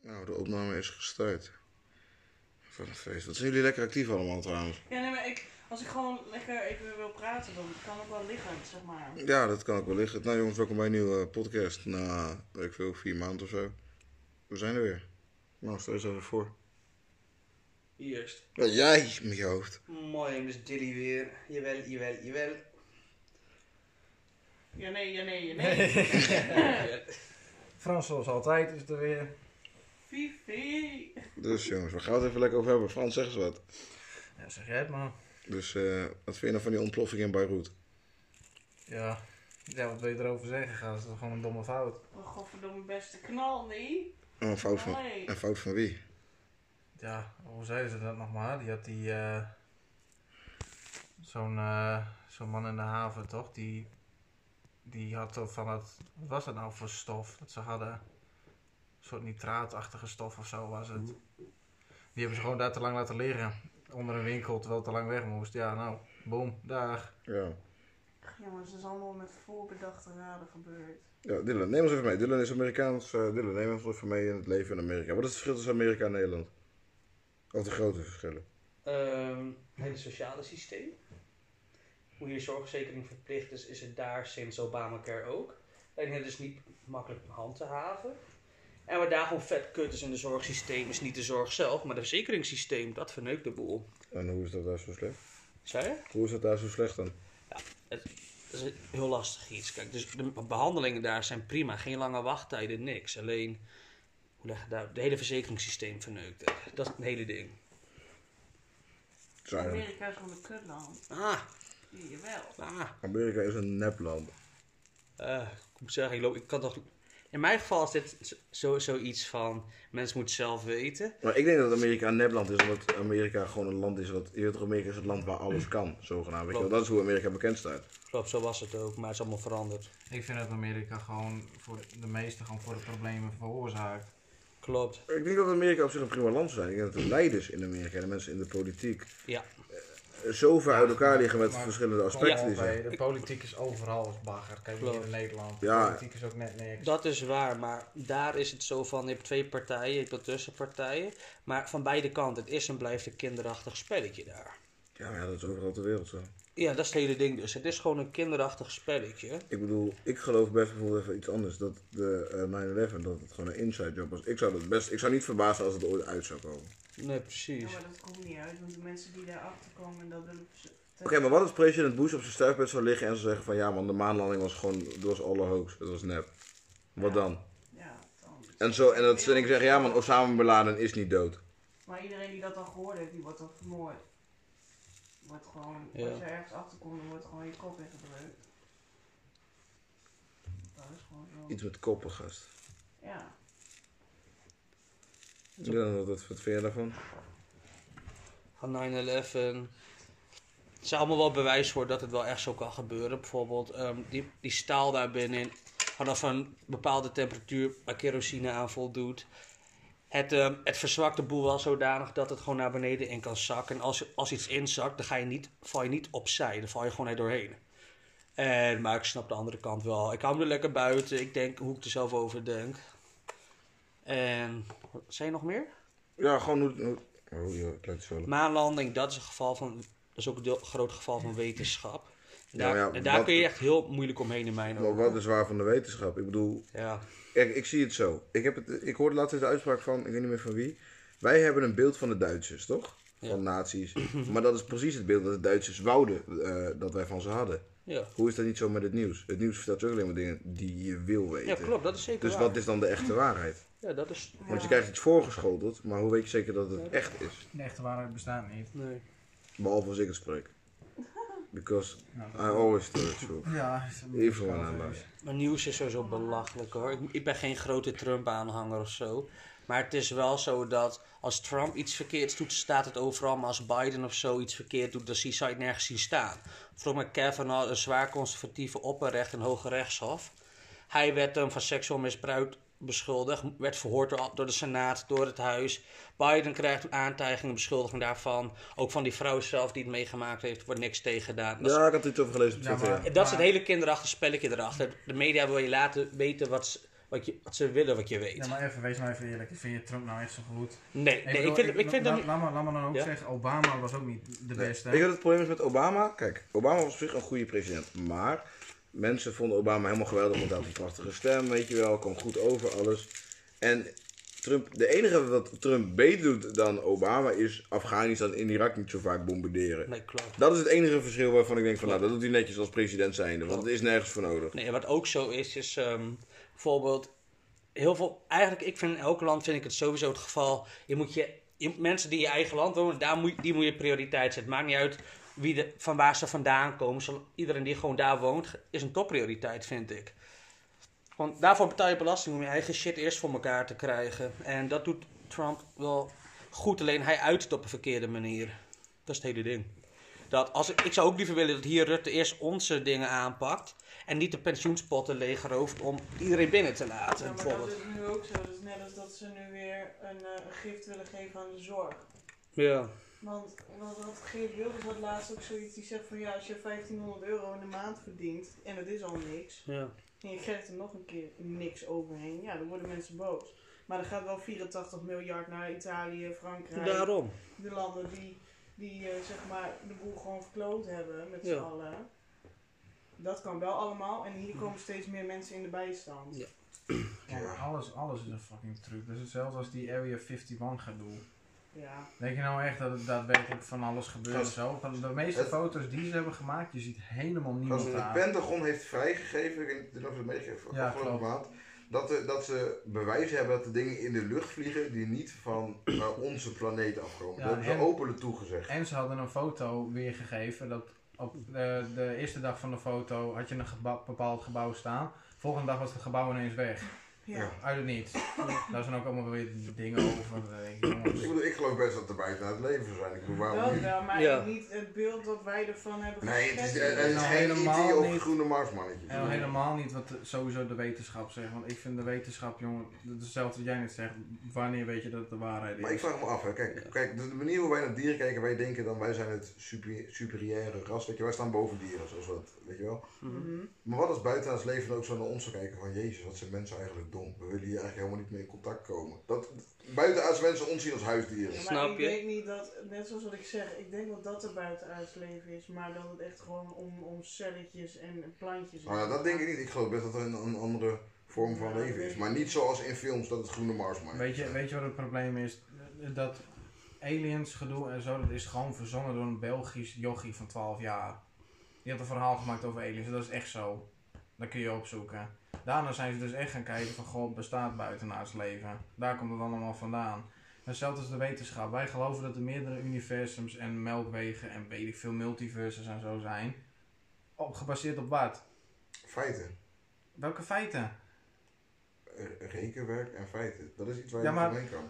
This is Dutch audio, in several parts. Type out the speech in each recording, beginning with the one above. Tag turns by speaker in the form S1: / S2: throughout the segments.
S1: Nou, de opname is gestart. Van het feest. Wat zijn jullie lekker actief allemaal trouwens?
S2: Ja, nee, maar ik, als ik gewoon lekker even wil praten, dan kan ik wel liggen, zeg maar.
S1: Ja, dat kan ook wel liggen. Nou jongens, welkom bij een nieuwe podcast. Na, weet ik veel, vier maanden of zo. We zijn er weer. Nou, stel eens even voor.
S3: Eerst.
S1: Ja, jij met je hoofd.
S3: Mooi jongens, Dilly weer. Jawel, jawel, jawel.
S2: Ja, nee, ja, nee, ja, nee.
S4: Frans zoals altijd is er weer.
S2: Fifi.
S1: Dus jongens, we gaan het even lekker over hebben. Frans, zeg eens wat.
S4: Ja, zeg jij het maar.
S1: Dus eh, wat vind je nou van die ontploffing in Beirut?
S4: Ja. Ja, wat wil je erover zeggen, gaas? Dat is gewoon een domme fout.
S2: Oh, godverdomme beste knal, nee.
S1: Oh, een fout van,
S2: Nee.
S1: een fout van wie?
S4: Ja, hoe zeiden ze dat nog maar? Die had die... eh, Zo'n eh, zo'n man in de haven, toch? Die, die had toch van dat... Wat was dat nou voor stof? Dat ze hadden... Een soort nitraatachtige stof of zo was het. Die hebben ze gewoon daar te lang laten liggen. Onder een winkel, terwijl het te lang weg moest. Ja, nou, boom, dag.
S1: Ja.
S2: Ach, Jongens, dat is allemaal met voorbedachte raden gebeurd.
S1: Ja, Dylan, neem ons even mee. Dylan is Amerikaans. Eh, Dylan, neem ons even mee in het leven in Amerika. Wat is het verschil tussen Amerika en Nederland? Of de grote verschillen?
S3: Ehm, het hele sociale systeem. Hoe je zorgverzekering verplicht is, is het daar sinds Obamacare ook. En het is niet makkelijk om hand te haven. En wat daar gewoon vet kut is in het zorgsysteem, is niet de zorg zelf, maar het verzekeringssysteem. Dat verneukt de boel.
S1: En hoe is dat daar zo slecht?
S3: Zei je?
S1: Hoe is dat daar zo slecht dan?
S3: Dat is heel lastig iets. Kijk, dus de behandelingen daar zijn prima. Geen lange wachttijden, niks. Alleen, hoe leg je daar, het hele verzekeringssysteem verneukt het. Dat is het hele ding.
S1: Het is eigenlijk-
S2: Amerika is gewoon een kutland.
S3: Ah,
S2: Jawel.
S3: ah.
S1: Amerika is een nepland.
S3: Eh, ik moet zeggen, ik, loop, ik kan toch... In mijn geval is dit zo- zo, zoiets van... Mensen moeten zelf weten.
S1: Maar ik denk dat Amerika een nepland is, omdat Amerika gewoon een land is wat... Je weet toch, Amerika is het land waar alles kan, zogenaamd. Weet je wel? Dat is hoe Amerika bekend staat.
S3: Klopt, zo was het ook. Maar het is allemaal veranderd.
S4: Ik vind dat Amerika gewoon voor de meeste gewoon voor de problemen veroorzaakt.
S3: Klopt.
S1: Ik denk dat Amerika op zich een prima land is. Ik denk dat de leiders in Amerika en de mensen in de politiek... eh,
S3: Ja.
S1: zo ver uit elkaar liggen met
S4: Maar-
S1: verschillende aspecten
S4: Kom
S1: die
S4: op,
S1: zijn.
S4: hé, De politiek is overal als bagger. Kijk maar hier
S3: Klopt.
S4: in Nederland. De
S1: Ja.
S4: politiek is ook net niks.
S3: Dat is waar. Maar daar is het zo van... Je hebt twee partijen, je hebt wel tussenpartijen. Maar van beide kanten. Het is en blijft een kinderachtig spelletje daar.
S1: Ja, maar ja, dat is overal ter wereld zo.
S3: Ja, dat is het hele ding dus. Het is gewoon een kinderachtig spelletje.
S1: Ik bedoel, ik geloof best bijvoorbeeld even iets anders. Dat de eh, 9-11, dat het gewoon een inside job was. Ik zou dat best, ik zou niet verbazen als het er ooit uit zou komen. Oké,
S3: Nee,
S2: Ja,
S3: precies.
S2: maar dat komt niet uit, want de mensen die daarachter komen, dat willen ze...
S1: maar wat als president Bush op zijn sterfbed zou liggen en zou zeggen van ja man, de maanlanding was gewoon, dat was alle hoax, dat was nep. Wat dan?
S2: Ja, dan.
S1: En, zo, en dat en ik zeg ja man, Osama Bin Laden is niet dood.
S2: Maar iedereen die dat dan gehoord heeft, die wordt dan vermoord. Wordt gewoon,
S3: Ja.
S2: als je ergens achter komt, dan wordt gewoon je kop weggedrukt. Dat is gewoon zo.
S1: Iets met koppen, gast.
S2: Ja.
S1: Dylan, wat, wat, wat vind je daarvan?
S3: van 9-11. Er zijn allemaal wel bewijs voor dat het wel echt zo kan gebeuren. Bijvoorbeeld ehm, die, die staal daar binnenin vanaf een bepaalde temperatuur waar kerosine aan voldoet. Het, ehm, het verzwakt de boel wel zodanig dat het gewoon naar beneden in kan zakken. En als, als iets inzakt, dan ga je niet, val je niet opzij. Dan val je gewoon er doorheen. En, maar ik snap de andere kant wel. Ik hou me er lekker buiten. Ik denk hoe ik er zelf over denk. En zijn er nog meer?
S1: Ja, gewoon hoe... hoe- Oh joh, het lijkt zo.
S3: Maanlanding, dat is een geval van. Dat is ook een deel- groot geval van wetenschap. En daar,
S1: Ja, maar ja,
S3: en daar
S1: wat-
S3: kun je echt heel moeilijk omheen in mijn
S1: Maar
S3: ogen.
S1: wat is waar van de wetenschap? Ik bedoel,
S3: Ja,
S1: Kijk, ik zie het zo. Ik, heb het, ik hoorde laatst eens de uitspraak van, ik weet niet meer van wie. Wij hebben een beeld van de Duitsers, toch? Van
S3: Ja.
S1: nazi's. Maar dat is precies het beeld dat de Duitsers wouden eh, dat wij van ze hadden.
S3: ja.
S1: Hoe is dat niet zo met het nieuws? Het nieuws vertelt je ook alleen maar dingen die je wil weten.
S3: ja klopt, dat is zeker
S1: Dus
S3: waar.
S1: wat is dan de echte waarheid?
S3: Ja, dat is...
S1: Want je krijgt iets voorgeschoteld, maar hoe weet je zeker dat het echt is?
S4: De echte waarheid bestaat niet.
S3: Nee.
S1: Behalve als ik het spreek. Because
S4: Nou,
S1: I always tell the truth.
S4: Ja,
S1: Even one I love.
S3: Maar nieuws is sowieso belachelijk hoor. Ik, ik ben geen grote Trump-aanhanger of zo. Maar het is wel zo dat als Trump iets verkeerds doet, staat het overal. Maar als Biden of zo iets verkeerd doet, dan zie, zou je het nergens zien staan. Vroeger Kavanaugh, een zwaar conservatieve opperrecht en hoge rechtshof. Hij werd hem van seksueel misbruik beschuldigd, werd verhoord door, door de Senaat, door het Huis. Biden krijgt aantijgingen, beschuldiging daarvan. Ook van die vrouw zelf die het meegemaakt heeft, wordt niks tegen gedaan. Dat is
S1: Ja, ik had er iets over gelezen op
S4: Ja,
S1: Twitter.
S4: maar-
S1: ja.
S3: dat is het hele kinderachtig spelletje erachter. De media wil je laten weten wat, ze- wat, je, wat ze willen wat je weet.
S4: Ja, maar even, wees nou even eerlijk. Vind je Trump nou echt zo goed?
S3: Nee, nee, ik vind, ik vind
S4: la-
S3: hem
S4: laat, me, laat me dan ook
S3: Ja?
S4: zeggen, Obama was ook niet de
S1: Nee,
S4: beste.
S1: Weet je wat het probleem is met Obama? Kijk, Obama was op zich een goede president. Maar mensen vonden Obama helemaal geweldig, want hij had een prachtige stem, weet je wel. Kwam goed over, alles. En Trump, de enige wat Trump beter doet dan Obama is Afghanistan en Irak niet zo vaak bombarderen.
S3: Nee, klopt.
S1: Dat is het enige verschil waarvan ik denk van, nou, dat doet hij netjes als president zijnde. Want het is nergens voor nodig.
S3: Nee, en wat ook zo is, is ehm, bijvoorbeeld heel veel. Eigenlijk, ik vind in elk land vind ik het sowieso het geval. Je moet je, je moet mensen die in je eigen land wonen, daar moet, die moet je prioriteit zetten. Maakt niet uit wie de, van waar ze vandaan komen. Zo- iedereen die gewoon daar woont, is een topprioriteit, vind ik. Want daarvoor betaal je belasting om je eigen shit eerst voor elkaar te krijgen. En dat doet Trump wel goed, alleen hij uit het op een verkeerde manier. Dat is het hele ding. Dat als ik, ik zou ook liever willen dat hier Rutte eerst onze dingen aanpakt. En niet de pensioenspotten leegrooft om iedereen binnen te laten,
S2: Ja, maar dat
S3: bijvoorbeeld.
S2: is nu ook zo. Dat is net als dat ze nu weer een eh, gift willen geven aan de zorg.
S3: Ja.
S2: Want, want wat Geert Wilders had laatst ook zoiets die zegt van ja, als je 1500 euro in de maand verdient en dat is al niks.
S3: ja.
S2: En je krijgt er nog een keer niks overheen. Ja, dan worden mensen boos. Maar er gaat wel 84 miljard naar Italië, Frankrijk.
S3: Daarom.
S2: de landen die, die eh, zeg maar de boel gewoon verkloot hebben met z'n
S3: Ja.
S2: allen. Dat kan wel allemaal en hier komen steeds meer mensen in de bijstand.
S3: Ja.
S4: Kijk, maar alles, alles is een fucking truc. Dat is hetzelfde als die Area 51 gedoe.
S2: Ja.
S4: Denk je nou echt dat het daadwerkelijk van alles gebeurt
S1: Gast,
S4: zo? Want de meeste
S1: het-
S4: foto's die ze hebben gemaakt, je ziet helemaal niemand
S1: Als
S4: aan.
S1: de Pentagon heeft vrijgegeven, ik weet niet of je het meegeeft, van
S4: Ja,
S1: afgelopen
S4: klopt.
S1: maand, dat, de- dat ze bewijs hebben dat de dingen in de lucht vliegen die niet van eh, onze planeet afkomen.
S4: Ja,
S1: dat hebben ze
S4: en-
S1: openlijk toegezegd.
S4: En ze hadden een foto weergegeven. Dat op de, de eerste dag van de foto had je een gebouw- bepaald gebouw staan. Volgende dag was het gebouw ineens weg.
S2: Ja.
S1: Ja.
S4: Uit het niets. Daar zijn ook allemaal weer dingen over. Dan denk ik, jongens.
S1: Ik bedoel, ik geloof best dat er buiten het leven zijn. Ik bedoel, waarom
S2: Dat
S1: niet?
S2: wel, maar
S3: Ja.
S2: niet het beeld dat wij ervan hebben
S1: Oh. Nee, het is,
S2: geschetst.
S1: het is
S4: Nou,
S1: geen
S4: helemaal
S1: idee of
S4: niet.
S1: groene marsmannetje.
S4: En helemaal niet wat de- sowieso de wetenschap zegt. Want ik vind de wetenschap, jongen, dat is hetzelfde wat jij net zegt. Wanneer weet je dat het de waarheid is?
S1: Maar ik vraag me af, hè. Kijk, kijk, de de manier hoe wij naar dieren kijken, wij denken dan wij zijn het super, superieure ras. Weet je, wij staan boven dieren, zoals wat, weet je wel.
S2: Mhm.
S1: Maar wat als buitenlands leven dan ook zo naar ons zou kijken van Jezus, wat zijn mensen eigenlijk dom. We willen hier eigenlijk helemaal niet mee in contact komen. Dat, buitenlands mensen ons zien als huisdieren.
S2: Ja, maar
S3: Snap
S2: ik
S3: je?
S2: denk niet dat, net zoals wat ik zeg, ik denk dat dat er buitenuit leven is, maar dat het echt gewoon om, om celletjes en plantjes
S1: Nou ja, dat denk ik niet. Ik geloof best dat er een, een andere vorm van
S2: Ja,
S1: leven
S2: nee.
S1: is. Maar niet zoals in films dat het groene Mars maakt.
S4: Weet je, weet je wat het probleem is? Dat aliens gedoe en zo, dat is gewoon verzonnen door een Belgisch jochie van 12 jaar. Die had een verhaal gemaakt over aliens, dat is echt zo. Dat kun je opzoeken. Daarna zijn ze dus echt gaan kijken van, god, bestaat buitenaards leven? Daar komt het allemaal vandaan. Hetzelfde als de wetenschap. Wij geloven dat er meerdere universums en melkwegen en weet ik veel multiverses en zo zijn. Op, gebaseerd op wat?
S1: Feiten.
S4: Welke feiten?
S1: Eh, Rekenwerk en feiten. Dat is iets waar je
S4: Ja,
S1: niet
S4: maar-
S1: omheen kan.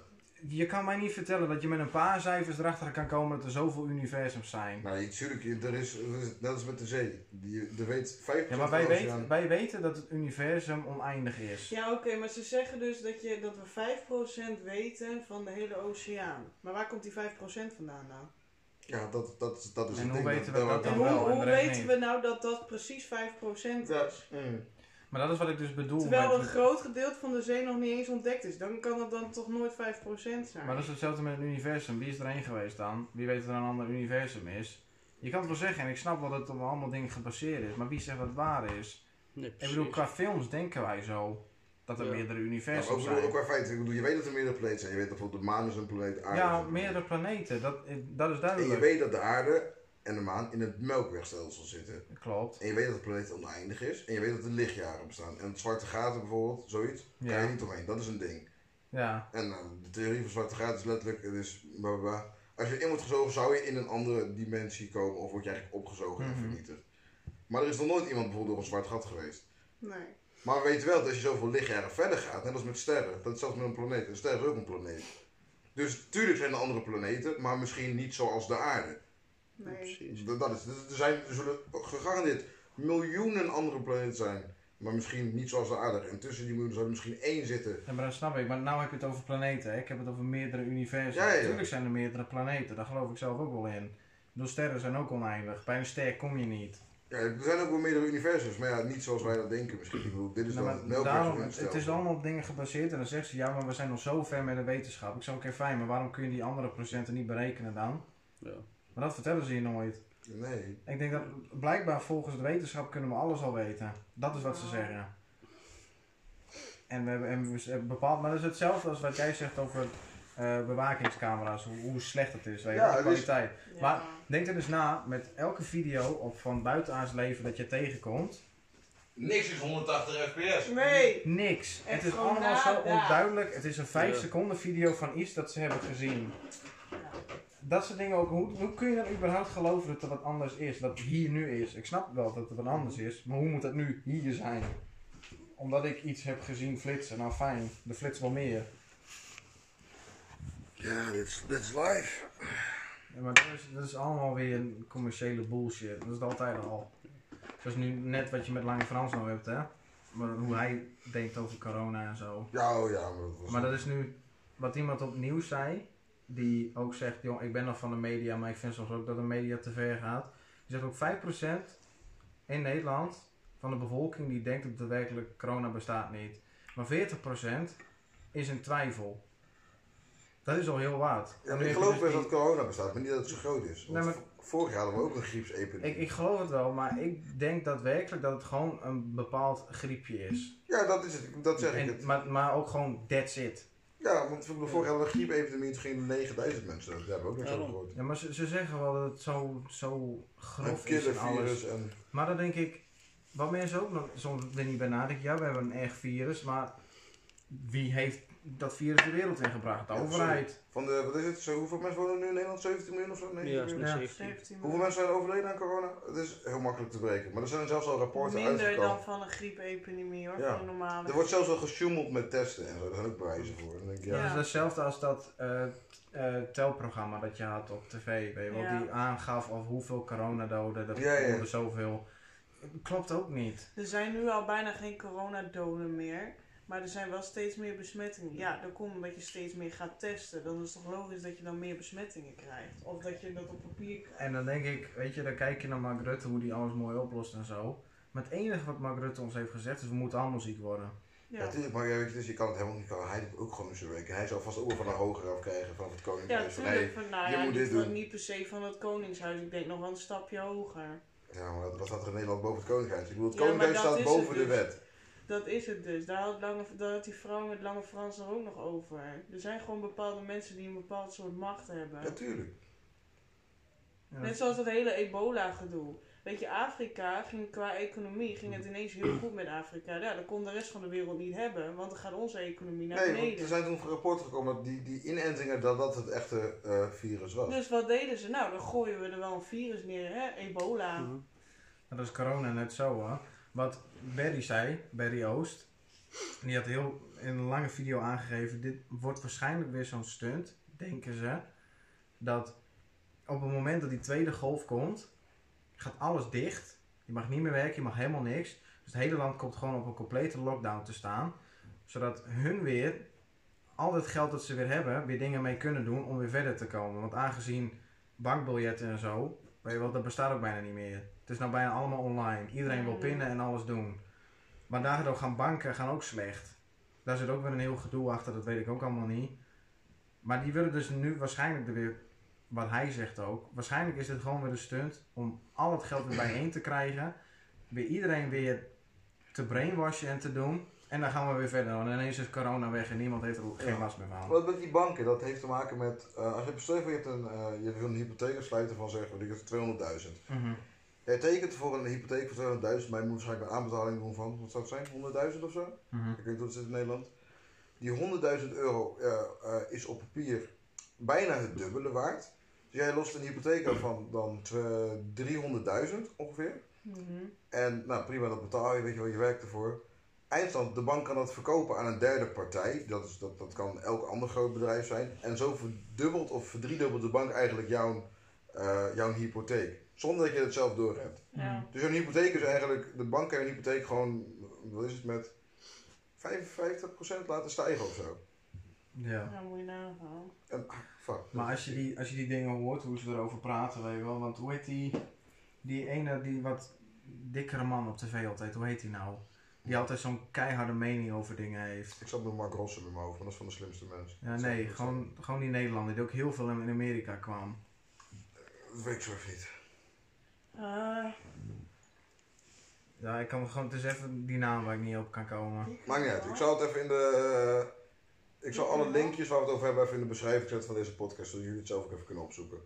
S4: Je kan mij niet vertellen dat je met een paar cijfers erachter kan komen dat er zoveel universums zijn.
S1: Nou, je- tuurlijk, je- er is, er is- net als met de zee. Die, er weet 5%
S4: Ja, maar
S1: van
S4: wij
S1: de oceaan-
S4: weten, wij weten dat het universum oneindig is.
S2: Ja, oké, maar ze zeggen dus dat, je, dat we 5% weten van de hele oceaan. Maar waar komt die 5% vandaan dan?
S1: Ja, dat, dat, dat is
S4: En
S1: het
S4: hoe
S1: ding.
S4: weten we dat dan
S2: En hoe,
S4: wel, en
S2: hoe
S4: de rest
S2: weten
S4: niet.
S2: we nou dat dat precies 5% is?
S1: Ja, mm.
S4: Hmm. Maar dat is wat ik dus bedoel.
S2: Terwijl
S4: met-
S2: een groot gedeelte van de zee nog niet eens ontdekt is. Dan kan dat dan toch nooit 5% zijn.
S4: Maar dat is dus- hetzelfde met het universum. Wie is er één geweest dan? Wie weet dat er een ander universum is? Je kan het wel zeggen, en ik snap wel dat het op allemaal dingen gebaseerd is, maar wie zegt dat het waar is?
S3: Nee,
S4: Ik bedoel, qua films denken wij zo dat er
S3: Ja.
S4: meerdere
S1: Ja, maar Nou, ook,
S4: universums
S1: bedoel, ook
S4: zijn.
S1: qua feiten. Ik bedoel, je weet dat er meerdere planeten zijn. Je weet dat bijvoorbeeld de maan is een planeet, aarde is
S4: Ja,
S1: een planeet.
S4: meerdere planeten, dat, eh, dat is
S1: En je
S4: duidelijk.
S1: weet dat de aarde en de maan in het melkwegstelsel zitten.
S4: Klopt.
S1: En je weet dat de planeet oneindig is. En je weet dat er lichtjaren bestaan. En het zwarte gaten bijvoorbeeld, zoiets, kan
S4: Ja.
S1: je niet omheen. Dat is een ding.
S4: Ja.
S1: En eh, de theorie van zwarte gaten is letterlijk, het is bla, bla, bla. Als je in wordt gezogen, zou je in een andere dimensie komen. Of word je eigenlijk opgezogen
S4: Mhm.
S1: en vernietigd. Maar er is nog nooit iemand bijvoorbeeld door een zwart gat geweest.
S2: Nee.
S1: Maar we weten wel dat als je zoveel lichtjaren verder gaat, net als met sterren, dat is zelfs met een planeet. Een ster is ook een planeet. Dus tuurlijk zijn er andere planeten, maar misschien niet zoals de aarde.
S2: nee.
S1: Dat, dat is, er, zijn, er zullen gegarandeerd miljoenen andere planeten zijn. Maar misschien niet zoals de aarde. En tussen die miljoenen zou er misschien één zitten.
S4: Ja, maar dat snap ik. Maar nou heb je het over planeten. Hè? Ik heb het over meerdere universen.
S1: Ja, ja, ja.
S4: Natuurlijk zijn er meerdere planeten. Daar geloof ik zelf ook wel in. Ik bedoel, sterren zijn ook oneindig. Bij een ster kom je niet.
S1: Ja, er zijn ook wel meerdere universums, maar ja, niet zoals wij dat denken misschien. Ik bedoel, dit
S4: Nou,
S1: is dan
S4: maar
S1: het melkweg
S4: daarom,
S1: van
S4: het is allemaal op dingen gebaseerd en dan zegt ze ja, maar we zijn nog zo ver met de wetenschap. Ik zou oké, fijn, maar waarom kun je die andere procenten niet berekenen dan?
S5: Ja.
S4: Maar dat vertellen ze je nooit.
S1: Nee.
S4: Ik denk dat blijkbaar volgens de wetenschap kunnen we alles al weten. Dat is wat ze zeggen. En we hebben, en we hebben bepaald, maar dat is hetzelfde als wat jij zegt over eh, bewakingscamera's, hoe, hoe slecht het is, weet je,
S1: Ja,
S4: de
S1: het is-
S4: kwaliteit.
S2: Ja.
S4: Maar denk er dus na met elke video op van buitenaards leven dat je tegenkomt.
S1: Niks is 180 fps.
S2: Nee.
S4: Niks.
S2: Echt
S4: het is
S2: gewoon
S4: allemaal zo
S2: nada.
S4: onduidelijk. Het is een 5
S5: Ja.
S4: seconden video van iets dat ze hebben gezien. Dat soort dingen ook. Hoe, hoe kun je dan überhaupt geloven dat er wat anders is? Dat het hier nu is. Ik snap wel dat er wat anders is. Maar hoe moet dat nu hier zijn? Omdat ik iets heb gezien flitsen. Nou fijn, er flitst wel meer.
S1: Ja, that's, that's life.
S4: Ja, maar dat is, dat is allemaal weer een commerciële bullshit. Dat is het altijd al. Dat is nu net wat je met Lange Frans nou hebt, hè? Maar hoe hij denkt over corona en zo.
S1: Ja, oh ja, maar dat was...
S4: Maar dat is nu wat iemand opnieuw zei. Die ook zegt, jong, ik ben nog van de media, maar ik vind soms ook dat de media te ver gaat. Die zegt ook 5% in Nederland van de bevolking die denkt dat daadwerkelijk corona bestaat niet. Maar 40% is in twijfel. Dat is al heel wat.
S1: Ja,
S4: Nu
S1: maar ik
S4: heb je
S1: geloof
S4: dus
S1: best
S4: die-
S1: dat corona bestaat, maar niet dat het zo groot is. Want
S4: Nee, maar-
S1: v- Vorig jaar hadden we ook een griepsepidemie.
S4: Ik, ik geloof het wel, maar ik denk daadwerkelijk dat het gewoon een bepaald griepje is.
S1: Ja, dat is het. Dat zeg ik.
S4: En,
S1: Het.
S4: maar, maar ook gewoon that's it.
S1: Ja, want ik bedoel, vorig jaar hadden we een griepepidemie, toen gingen 9000 mensen. dood. Daar hebben we ook niks over
S5: Daarom.
S1: gehoord.
S4: Ja, maar ze, ze zeggen wel dat het zo, zo
S1: Een
S4: grof is en alles.
S1: killervirus en...
S4: Maar dan denk ik, wat mensen ook nog soms er niet bij nadenken. Ja, we hebben een echt virus, maar wie heeft dat virus de wereld ingebracht? De
S1: Ja,
S4: overheid.
S1: Van de, wat is het? Zo, hoeveel mensen wonen nu in Nederland? 17 miljoen of zo? Nee,
S5: Ja, is
S4: Ja.
S5: met 17.
S2: 17
S1: Hoeveel mensen zijn overleden aan corona? Het is heel makkelijk te breken. Maar er zijn zelfs al rapporten
S2: Minder
S1: uitgekomen.
S2: dan van een griepepidemie hoor,
S1: Ja.
S2: van een normale.
S1: Er wordt zelfs al gesjoemeld met testen en zo. Daar zijn ook bewijzen voor. Dan denk ik, ja.
S4: Dat
S2: Ja.
S4: is hetzelfde als dat eh, eh, telprogramma dat je had op tv. Weet je, wel,
S2: Ja.
S4: Die aangaf of hoeveel coronadoden, dat
S1: Ja, ja.
S4: konden zoveel. Klopt ook niet.
S2: Er zijn nu al bijna geen coronadoden meer. Maar er zijn wel steeds meer besmettingen. Ja, dat komt omdat je steeds meer gaat testen. Dan is het toch logisch dat je dan meer besmettingen krijgt. Of dat je dat op papier krijgt.
S4: En dan denk ik, weet je, dan kijk je naar Mark Rutte, hoe die alles mooi oplost en zo. Maar het enige wat Mark Rutte ons heeft gezegd is, we moeten allemaal ziek worden.
S1: Ja,
S2: Ja,
S1: tuurlijk, maar ja, weet je, dus je kan het helemaal niet kan. Hij doet ook gewoon in zijn werk. En Hij zal vast ook wel van een hoger af krijgen van het koninkrijk.
S2: ja
S1: Van,
S2: tuurlijk. Van, nou
S1: je
S2: ja,
S1: moet
S2: niet,
S1: dit
S2: van-
S1: doen.
S2: niet per se van het Koningshuis. Ik denk nog wel een stapje hoger.
S1: hey, ja, maar wat staat er in Nederland boven het koninkrijk? Ik bedoel, het
S2: Ja, maar
S1: koninkrijk
S2: dat
S1: staat
S2: is
S1: boven
S2: het
S1: de
S2: dus.
S1: wet.
S2: Dat is het dus. Daar had, lange, daar had die vrouw met Lange Frans er ook nog over. Er zijn gewoon bepaalde mensen die een bepaald soort macht hebben.
S1: Natuurlijk.
S4: Ja,
S2: Net zoals dat hele ebola-gedoe. Weet je, Afrika ging qua economie ging
S1: Mm.
S2: het ineens heel goed met Afrika. Ja, dat kon de rest van de wereld niet hebben, want dan gaat onze economie naar
S1: nee, want er
S2: beneden.
S1: zijn toen rapporten gekomen dat die, die inentingen, dat dat het echte eh, virus was.
S2: Dus wat deden ze? Nou, dan gooien we er wel een virus neer, hè? Ebola.
S5: Mhm.
S4: Nou, Dat is corona net zo hoor. Wat Barry zei, Barry Oost, die had heel in een lange video aangegeven, dit wordt waarschijnlijk weer zo'n stunt, denken ze, dat op het moment dat die tweede golf komt, gaat alles dicht. Je mag niet meer werken, je mag helemaal niks. Dus het hele land komt gewoon op een complete lockdown te staan, zodat hun weer al dat geld dat ze weer hebben, weer dingen mee kunnen doen om weer verder te komen. Want aangezien bankbiljetten en zo, weet je wel, dat bestaat ook bijna niet meer. Het is nou bijna allemaal online. Iedereen wil
S2: Mm.
S4: pinnen en alles doen. Maar daardoor gaan banken gaan ook slecht. Daar zit ook weer een heel gedoe achter, dat weet ik ook allemaal niet. Maar die willen dus nu waarschijnlijk er weer, wat hij zegt ook, waarschijnlijk is dit gewoon weer een stunt om al het geld weer bijeen te krijgen. Weer iedereen weer te brainwashen en te doen. En dan gaan we weer verder. Want ineens is corona weg en niemand heeft er geen
S1: Ja.
S4: last meer van.
S1: Wat met die banken, dat heeft te maken met, eh, als je bestel je hebt een, eh, je wil een hypotheek sluiten van zeg, weet ik 200.000.
S4: Mhm.
S1: Jij tekent voor een hypotheek van 200.000, maar je moet waarschijnlijk een aanbetaling doen van, wat zou het zijn, 100.000 of zo?
S4: Mhm.
S1: Ik weet niet hoe het zit in Nederland. Die 100.000 euro eh, eh, is op papier bijna het dubbele waard. Dus jij lost een hypotheek af van dan tw- 300.000 ongeveer.
S2: Mhm.
S1: En nou prima, dat betaal je, weet je wel, je werkt ervoor. Eindstand, de bank kan dat verkopen aan een derde partij. Dat, is, dat, dat kan elk ander groot bedrijf zijn. En zo verdubbelt of verdriedubbelt de bank eigenlijk jouw, eh, jouw hypotheek. Zonder dat je het zelf doorhebt.
S2: Ja.
S1: Dus een hypotheek is eigenlijk, de bank kan je hypotheek gewoon, wat is het, met 55% laten stijgen of zo.
S4: Ja.
S2: Nou, moet je nagaan.
S1: En, ah, fuck.
S4: Maar als je, die, als je die dingen hoort, hoe ze erover praten, weet je wel. Want hoe heet die, die ene die wat dikkere man op tv altijd, hoe heet hij nou? Die altijd zo'n keiharde mening over dingen heeft.
S1: Ik zat met Mark Rossum in mijn hoofd, want dat is van de slimste mensen.
S4: Ja, nee, gewoon, gewoon die Nederlander die ook heel veel in Amerika kwam.
S1: Dat weet ik zo even niet.
S2: Ah,
S4: Ja, ik kan me gewoon, het is even die naam waar ik niet op kan komen.
S2: die
S1: Maakt niet uit.
S2: kan
S1: Ik
S2: wel.
S1: zal het even in de. eh, ik zal alle linkjes waar we het over hebben even in de beschrijving zetten van deze podcast, zodat jullie het zelf ook even kunnen opzoeken.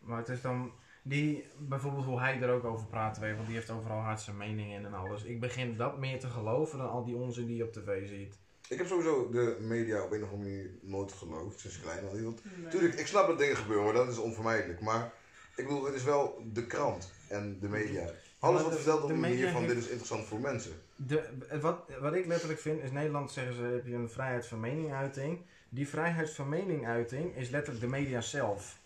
S4: Maar het is dan, die, bijvoorbeeld hoe hij er ook over praat, weet, je, want die heeft overal hard zijn mening in en alles. Ik begin dat meer te geloven dan al die onzin die je op tv ziet.
S1: Ik heb sowieso de media op een of andere manier nooit geloofd, sinds klein al. Want
S2: Nee.
S1: Tuurlijk, ik snap dat dingen gebeuren, hoor, dat is onvermijdelijk. Maar ik bedoel, het is wel de krant en de media. Alles wat
S4: de-
S1: verteld op
S4: de
S1: een manier
S4: media
S1: van
S4: heeft-
S1: dit is interessant voor mensen.
S4: De, wat, wat ik letterlijk vind, is Nederland zeggen ze, heb je een vrijheid van meningsuiting. Die vrijheid van meningsuiting is letterlijk de media zelf.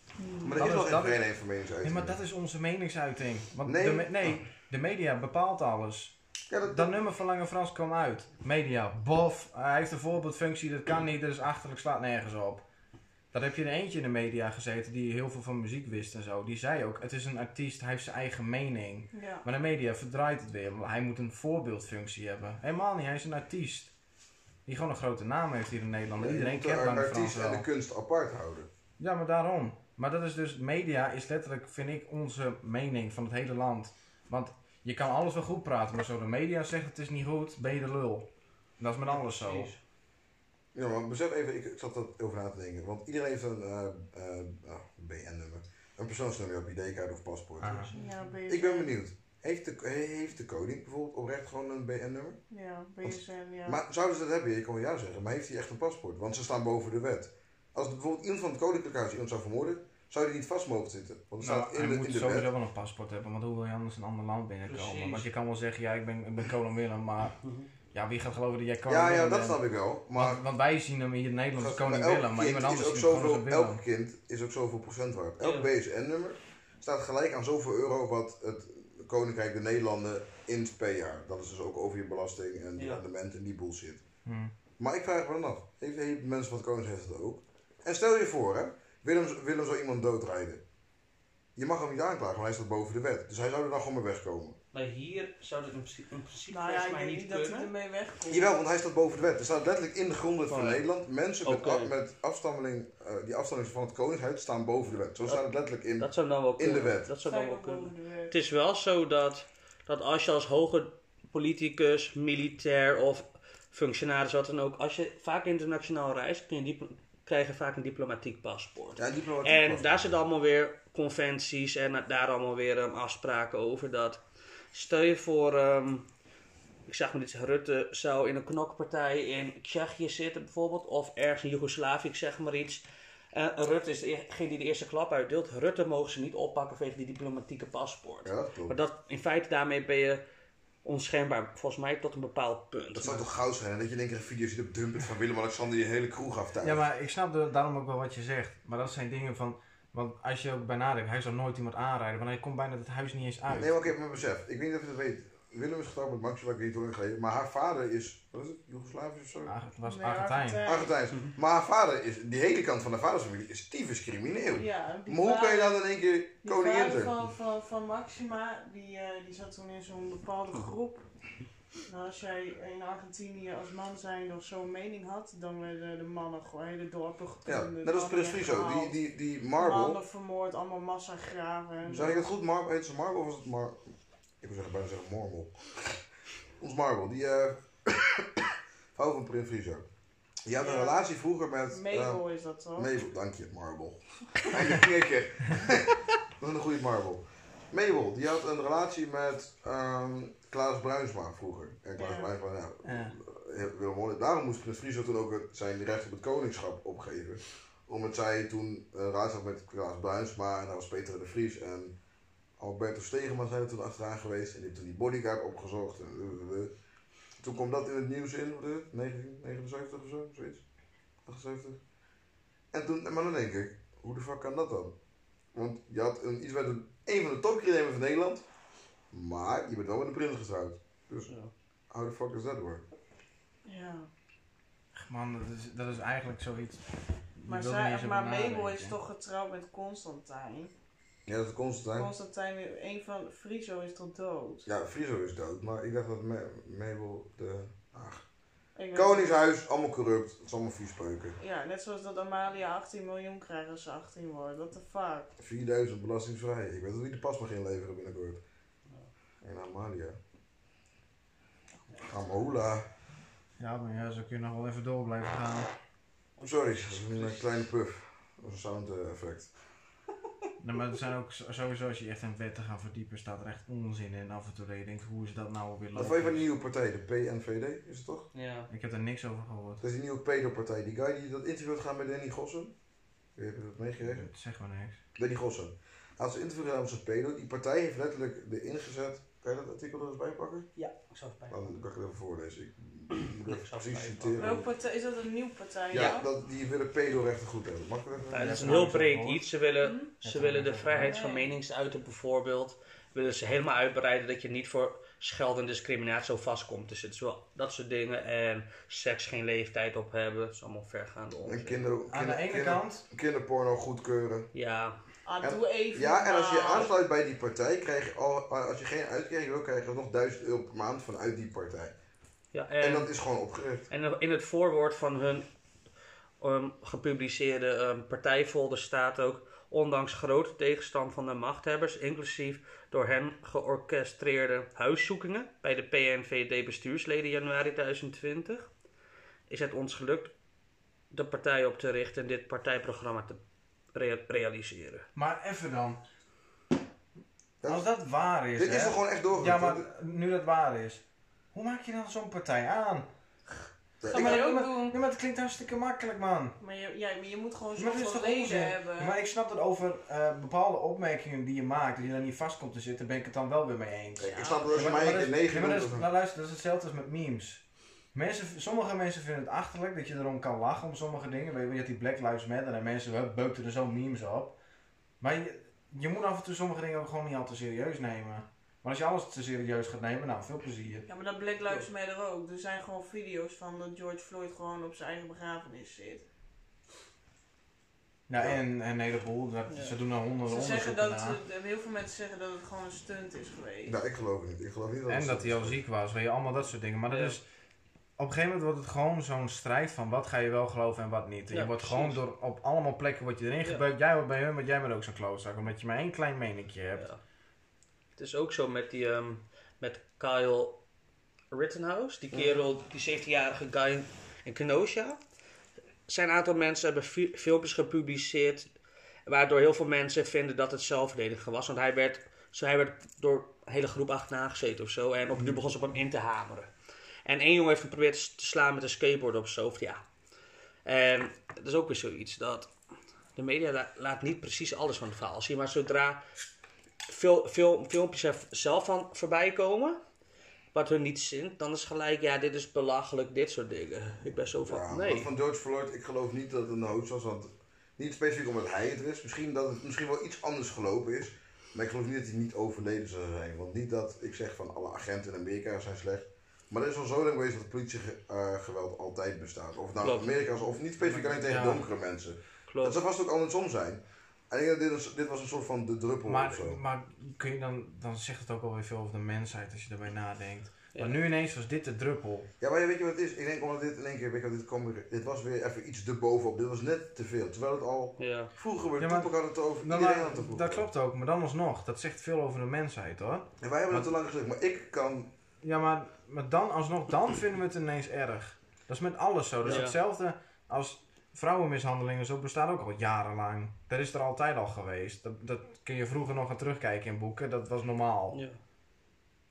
S1: Maar er is
S4: Alles
S1: wel
S4: dat-
S1: geen vrijheid van meningsuiting.
S4: Nee, maar dat is onze meningsuiting. Want
S1: Nee.
S4: De me- nee, de media bepaalt alles.
S1: Ja, dat,
S4: Dat nummer van Lange Frans kwam uit. Media, bof. Hij heeft een voorbeeldfunctie, dat kan niet, dus achterlijk slaat nergens op. Dat heb je er eentje in de media gezeten die heel veel van muziek wist en zo. Die zei ook, het is een artiest, hij heeft zijn eigen mening.
S2: Ja.
S4: Maar de media verdraait het weer, want hij moet een voorbeeldfunctie hebben. Helemaal niet, hij is een artiest. Die gewoon een grote naam heeft hier in Nederland.
S1: je
S4: Iedereen
S1: moet
S4: kent
S1: de
S4: Lange Frans
S1: artiest en
S4: wel.
S1: de kunst apart houden.
S4: Ja, maar daarom. Maar dat is dus, media is letterlijk, vind ik, onze mening van het hele land. Want je kan alles wel goed praten, maar zo de media zegt het is niet goed, ben je de lul. En dat is met alles zo.
S6: Precies.
S1: Ja, maar besef even, ik zat dat over na te denken. Want iedereen heeft een eh, eh, ah, BN-nummer. Een persoonsnummer op je ID-kaart of paspoort.
S4: Ah.
S1: Dus
S2: Ja, BSN.
S1: Ik ben benieuwd. Heeft de, heeft de koning bijvoorbeeld oprecht gewoon een BN-nummer?
S2: Ja, BSN, ja.
S1: Maar zouden ze dat hebben? Ik kan wel ja zeggen. Maar heeft hij echt een paspoort? Want ze staan boven de wet. Als bijvoorbeeld iemand van het koninklijk huis iemand zou vermoorden, zou hij niet vast mogen zitten. Want het
S4: Nou,
S1: staat in
S4: hij
S1: de, in
S4: moet
S1: de wet.
S4: sowieso wel een paspoort hebben, want hoe wil je anders een ander land binnenkomen?
S6: Precies.
S4: Want je kan wel zeggen, ja, ik ben, ik ben koning Willem, maar ja, wie gaat geloven dat jij koning
S1: Mhm. Ja,
S4: Willem
S1: ja, dat
S4: bent?
S1: snap ik wel. Maar
S4: want, want wij zien hem hier in Nederland als
S1: Gast,
S4: koning
S1: elk
S4: Willem, maar
S1: kind
S4: iemand anders
S1: is ook
S4: ziet hem gewoon
S1: zoveel,
S4: als Willem.
S1: Elk kind is ook zoveel procent waard. Elk
S6: Ja.
S1: BSN-nummer staat gelijk aan zoveel euro wat het Koninkrijk de Nederlanden int per jaar. Dat is dus ook over je belasting en je
S6: Ja.
S1: rendement en die bullshit.
S4: Hmm.
S1: Maar ik vraag me dan af, heeft, heeft mensen van het Koninkrijk dat ook? En stel je voor, hè, Willem, Willem zou iemand doodrijden. Je mag hem niet aanklagen, want hij staat boven de wet. Dus hij zou er dan gewoon mee wegkomen.
S3: Maar hier zou dat in principe, in principe
S2: nou ja, ik
S3: volgens mij
S2: denk
S3: niet
S2: niet dat hij
S3: kunnen.
S2: ermee wegkomt.
S1: Jawel, want hij staat boven de wet. Er staat letterlijk in de grondwet van
S3: Oh, ja.
S1: Nederland. Mensen
S3: Oké.
S1: met, af- met afstammeling, eh, die afstammeling van het koningshuis staan boven de wet. Zo
S3: Ja.
S1: staat het letterlijk in.
S3: Dat zou dan wel kunnen.
S1: de wet.
S3: Dat zou
S2: Sta
S3: dan
S2: je
S3: wel
S2: nog
S3: kunnen.
S2: boven de wet.
S3: Het is wel zo dat, dat als je als hoge politicus, militair of functionaris, wat dan ook, als je vaak internationaal reist, kun je diplo- krijg je vaak een diplomatiek paspoort.
S1: Ja, diplomatiek
S3: En
S1: paspoort.
S3: daar zitten allemaal weer conventies en daar allemaal weer ehm, afspraken over dat. Stel je voor, ehm, ik zag me dit, Rutte zou in een knokpartij in Tsjechië zitten bijvoorbeeld, of ergens in Joegoslavië, ik zeg maar iets. En Rutte is degene die de eerste klap uitdeelt. Rutte mogen ze niet oppakken vanwege die diplomatieke paspoort.
S1: Ja, dat klopt.
S3: Maar dat, in feite daarmee ben je onschendbaar, volgens mij tot een bepaald punt.
S1: Dat zou toch goud zijn, hè? dat je in één keer een video ziet op Dumpet van Willem-Alexander die een hele kroeg aftuigt.
S4: Ja, maar ik snap da- daarom ook wel wat je zegt. Maar dat zijn dingen van. Want als je ook bij nadenkt, hij zou nooit iemand aanrijden, want hij komt bijna het huis niet eens uit.
S1: Nee, maar oké, maar besef. Ik weet niet of je dat weet. Willem is getrouwd met Maxi, waar ik niet door geleden. Maar haar vader is, wat is het, Joegoslavisch of zo?
S4: Ag- het was
S2: Nee,
S4: Argentijn. Mhm.
S1: Argentijns. Maar haar vader is, die hele kant van haar vaders familie is tyfus crimineel.
S2: Ja, die
S1: maar hoe kan je
S2: vader-
S1: dan in één keer
S2: Die
S1: koningin
S2: vader
S1: zijn?
S2: van, van, van Maxima, die, eh, die zat toen in zo'n bepaalde
S4: Oh.
S2: groep. Nou, als jij in Argentinië als man zijnde of zo'n mening had, dan werden de mannen gewoon hele dorpen
S1: Ja,
S2: getoond.
S1: net als Prins Friso, die, die, die Marble.
S2: Mannen vermoord, allemaal massagraven. en zo.
S1: Zeg ik het goed? Mar heet ze Marble of was het Mar... Ik wil zeggen, bijna zeggen Mormel. Ons Marble, die eh vrouw van Prins Frizo. Die had een
S2: Ja.
S1: relatie vroeger met... eh,
S2: Mabel is dat toch?
S1: Mabel, dank je, Marble. Eindelijk knikken. Dat is een goede Marble. Mabel, die had een relatie met ehm, Klaas Bruinsma vroeger. En Klaas
S2: Ja.
S1: Bruinsma, ja,
S4: Ja.
S1: heel- heel mooi. Daarom moest Prins Frizo toen ook het- zijn recht op het koningschap opgeven. Omdat zij toen een relatie had met Klaas Bruinsma en daar was Peter de Vries en Alberto Stegema zijn er toen achteraan geweest. En die heeft toen die bodyguard opgezocht. En, eh, eh, eh. Toen kwam dat in het nieuws in, wat is het, 1979 of zo, zoiets. 78. En toen, maar dan denk ik, hoe de fuck kan dat dan? Want je had een, iets met een, een van de topcriminelen van Nederland, maar je bent wel met een prins getrouwd. Dus,
S3: Ja.
S1: how the fuck is that work?
S2: Ja.
S4: Man, dat is, dat is eigenlijk zoiets. je
S2: Maar,
S4: wilt er
S2: zij,
S4: niet eens
S2: maar
S4: over
S2: Mabel
S4: nadenken.
S2: is toch getrouwd met Constantijn?
S1: Ja, dat is Constantijn.
S2: Constantijn, een van Friso is tot dood.
S1: Ja, Friso is dood, maar ik dacht dat Me- Mabel de... Ach.
S2: Ik weet-
S1: Koningshuis, allemaal corrupt. Het is allemaal viespeuken.
S2: Ja, net zoals dat Amalia 18 miljoen krijgt als ze 18 wordt. What the fuck?
S1: 4000 belastingsvrij. Ik weet dat wie de pas mag inleveren binnenkort. En Amalia. Amola.
S4: Ja, maar ja, zo kun je nog wel even door blijven gaan.
S1: Sorry, dat is een eh, kleine puff. Dat is een sound eh, effect.
S4: Nee, maar er zijn ook s- sowieso, als je echt in wetten gaat verdiepen, staat er echt onzin in af en toe. Dat je denkt, hoe is dat nou alweer
S1: Wat vond je van die
S4: logisch?
S1: nieuwe partij, de PNVD, is het toch?
S3: Ja.
S4: Ik heb er niks over gehoord.
S1: Dat is die nieuwe pedopartij. Die guy die dat interview had gaan met Danny Gossen. Heb je dat meegekregen?
S4: Dat zegt maar niks.
S1: Danny Gossen. Hij had zijn interview gedaan met zijn pedo. Die partij heeft letterlijk de ingezet. Kan je dat artikel er eens bij pakken?
S3: Ja, ik zou het bij.
S1: Nou, dan kan ik het even voorlezen. Ik moet
S3: Ik
S1: even
S3: zou
S1: precies
S3: het
S2: Welke
S1: citeren.
S2: partij? Is dat een nieuw partij?
S1: Ja, dat, die willen pedo-rechten goed hebben. Mag ik dat even?
S3: Ja, dat is een
S4: Ja,
S3: heel
S4: dat is
S3: breed
S4: ook
S3: iets. Ze willen,
S2: Hm?
S4: Ja,
S3: ze willen
S4: dat
S3: de
S4: is ook
S3: vrijheid
S2: wel.
S3: van
S2: Nee.
S3: meningsuiting bijvoorbeeld. Willen ze helemaal uitbreiden dat je niet voor scheld en discriminatie zo vastkomt. Dus het is wel dat soort dingen. En seks geen leeftijd op hebben. Dat is allemaal vergaande
S1: En
S3: onzin.
S1: kinder,
S4: Aan de
S1: kinder-
S4: ene
S1: kinder-
S4: kant,
S1: kinderporno goedkeuren.
S3: Ja,
S2: Ah,
S1: Ja,
S2: doe even
S1: Ja, en als je
S2: normaal.
S1: aansluit bij die partij, krijg je al, als je geen uitkering wil, krijg je nog 1000 euro per maand vanuit die partij.
S3: ja en,
S1: En
S3: en,
S1: dat is gewoon opgericht.
S3: in het voorwoord van hun ehm, gepubliceerde ehm, partijfolder staat ook... Ondanks grote tegenstand van de machthebbers, inclusief door hen georchestreerde huiszoekingen bij de PNVD-bestuursleden januari 2020, is het ons gelukt de partij op te richten en dit partijprogramma te rea- realiseren.
S4: maar even dan.
S1: Dat-
S4: Als dat waar is,
S1: Dit is
S4: hè?
S1: er gewoon echt doorgegaan.
S4: Ja, maar nu dat waar is, hoe maak je dan zo'n partij aan?
S2: Ga maar
S4: Ik-
S2: ook
S4: maar-
S2: doen.
S4: Ja, maar het klinkt hartstikke makkelijk, man.
S2: Maar je, ja, maar je moet gewoon
S4: Maar dat is
S2: zoveel
S4: toch
S2: leden
S4: onzin?
S2: hebben.
S4: Maar ik snap dat over eh, bepaalde opmerkingen die je maakt, dat je daar niet vast komt te zitten, ben ik het dan wel weer mee eens.
S1: Ik snap dat als je
S4: Ja, maar-
S1: mij
S4: maar
S1: een keer
S4: dat is- ja, maar
S1: 9 doet.
S4: dat is-
S1: of-
S4: Nou luister, dat is hetzelfde als met memes. Mensen, sommige mensen vinden het achterlijk dat je erom kan lachen om sommige dingen. Weet je, je had die Black Lives Matter en mensen hup, beukten er zo memes op. Maar je, je moet af en toe sommige dingen ook gewoon niet al te serieus nemen. Maar als je alles te serieus gaat nemen, nou veel plezier.
S2: Ja, maar dat Black Lives Matter ook. Er zijn gewoon video's van dat George Floyd gewoon op zijn eigen begrafenis zit.
S4: Nou
S1: Ja.
S4: en, en een heleboel, dat-
S3: Ja.
S4: dus ze doen er honderden
S2: Ze zeggen
S4: onderzoeken
S2: dat,
S4: naar.
S2: eh, heel veel mensen zeggen dat het gewoon een stunt is geweest.
S1: Nou, ik geloof het niet. Ik geloof niet dat
S4: En
S1: het
S4: dat
S1: zo
S4: hij al
S1: is.
S4: ziek was, weet je, allemaal dat soort dingen. Maar dat
S3: Ja.
S4: is, op een gegeven moment wordt het gewoon zo'n strijd van wat ga je wel geloven en wat niet. En
S3: Ja,
S4: je wordt
S3: precies.
S4: gewoon door, op allemaal plekken word je erin
S3: Ja.
S4: gebeukt. Jij wordt bij hun, want jij bent ook zo'n klootzak. Omdat je maar één klein meninkje hebt.
S3: Ja. Het is ook zo met die ehm, met Kyle Rittenhouse, die kerel, die 17-jarige guy in Kenosha. Zijn aantal mensen hebben fi- filmpjes gepubliceerd, waardoor heel veel mensen vinden dat het zelfverdediging was. Want hij werd, zo, hij werd door een hele groep achterna gezeten of zo. En opnieuw begon ze op hem in te hameren. En één jongen heeft geprobeerd s- te slaan met een skateboard op zijn hoofd, ja. En dat is ook weer zoiets dat de media la- laat niet precies alles van het verhaal zien. Maar zodra veel, veel filmpjes er zelf van voorbij komen. Wat hun niet zint, dan is gelijk, ja, dit is belachelijk, dit soort dingen. Ik ben zo van,
S1: Ja, maar
S3: nee.
S1: Van George Floyd, ik geloof niet dat het een hoax was. Want niet specifiek omdat hij het is. Misschien dat het misschien wel iets anders gelopen is. Maar ik geloof niet dat hij niet overleden zou zijn. Want niet dat ik zeg van alle agenten in Amerika zijn slecht. Maar er is al zo lang geweest dat politiegeweld eh, altijd bestaat. Of het nou
S3: Klopt.
S1: in Amerika is of niet specifiek alleen tegen
S4: Ja.
S1: donkere mensen. Dat
S3: Klopt.
S1: zou vast ook andersom zijn. En ik denk dat dit, was, dit was een soort van de druppel
S4: Maar,
S1: of zo.
S4: maar kun je dan, dan zegt het ook alweer veel over de mensheid als je erbij nadenkt.
S3: Ja.
S4: Maar nu ineens was dit de druppel.
S1: Ja, maar weet je wat het is? Ik denk omdat dit in één keer, weet je wat dit kwam, weer- dit was weer even iets erbovenop. Dit was net te veel. Terwijl het al
S3: Ja.
S1: vroeger werd,
S4: Ja,
S1: ja,
S4: maar-
S1: had het over,
S4: Nou,
S1: iedereen
S4: maar-
S1: had het over.
S4: dat klopt ook, maar dan alsnog. Dat zegt veel over de mensheid hoor.
S1: En wij hebben het te lang gezegd, maar ik kan.
S4: Ja, maar, maar dan alsnog, dan vinden we het ineens erg. Dat is met alles zo. Dat is
S3: Ja.
S4: hetzelfde als vrouwenmishandelingen. Zo bestaat ook al jarenlang. Dat is er altijd al geweest. Dat, dat kun je vroeger nog aan terugkijken in boeken. Dat was normaal.
S3: Ja.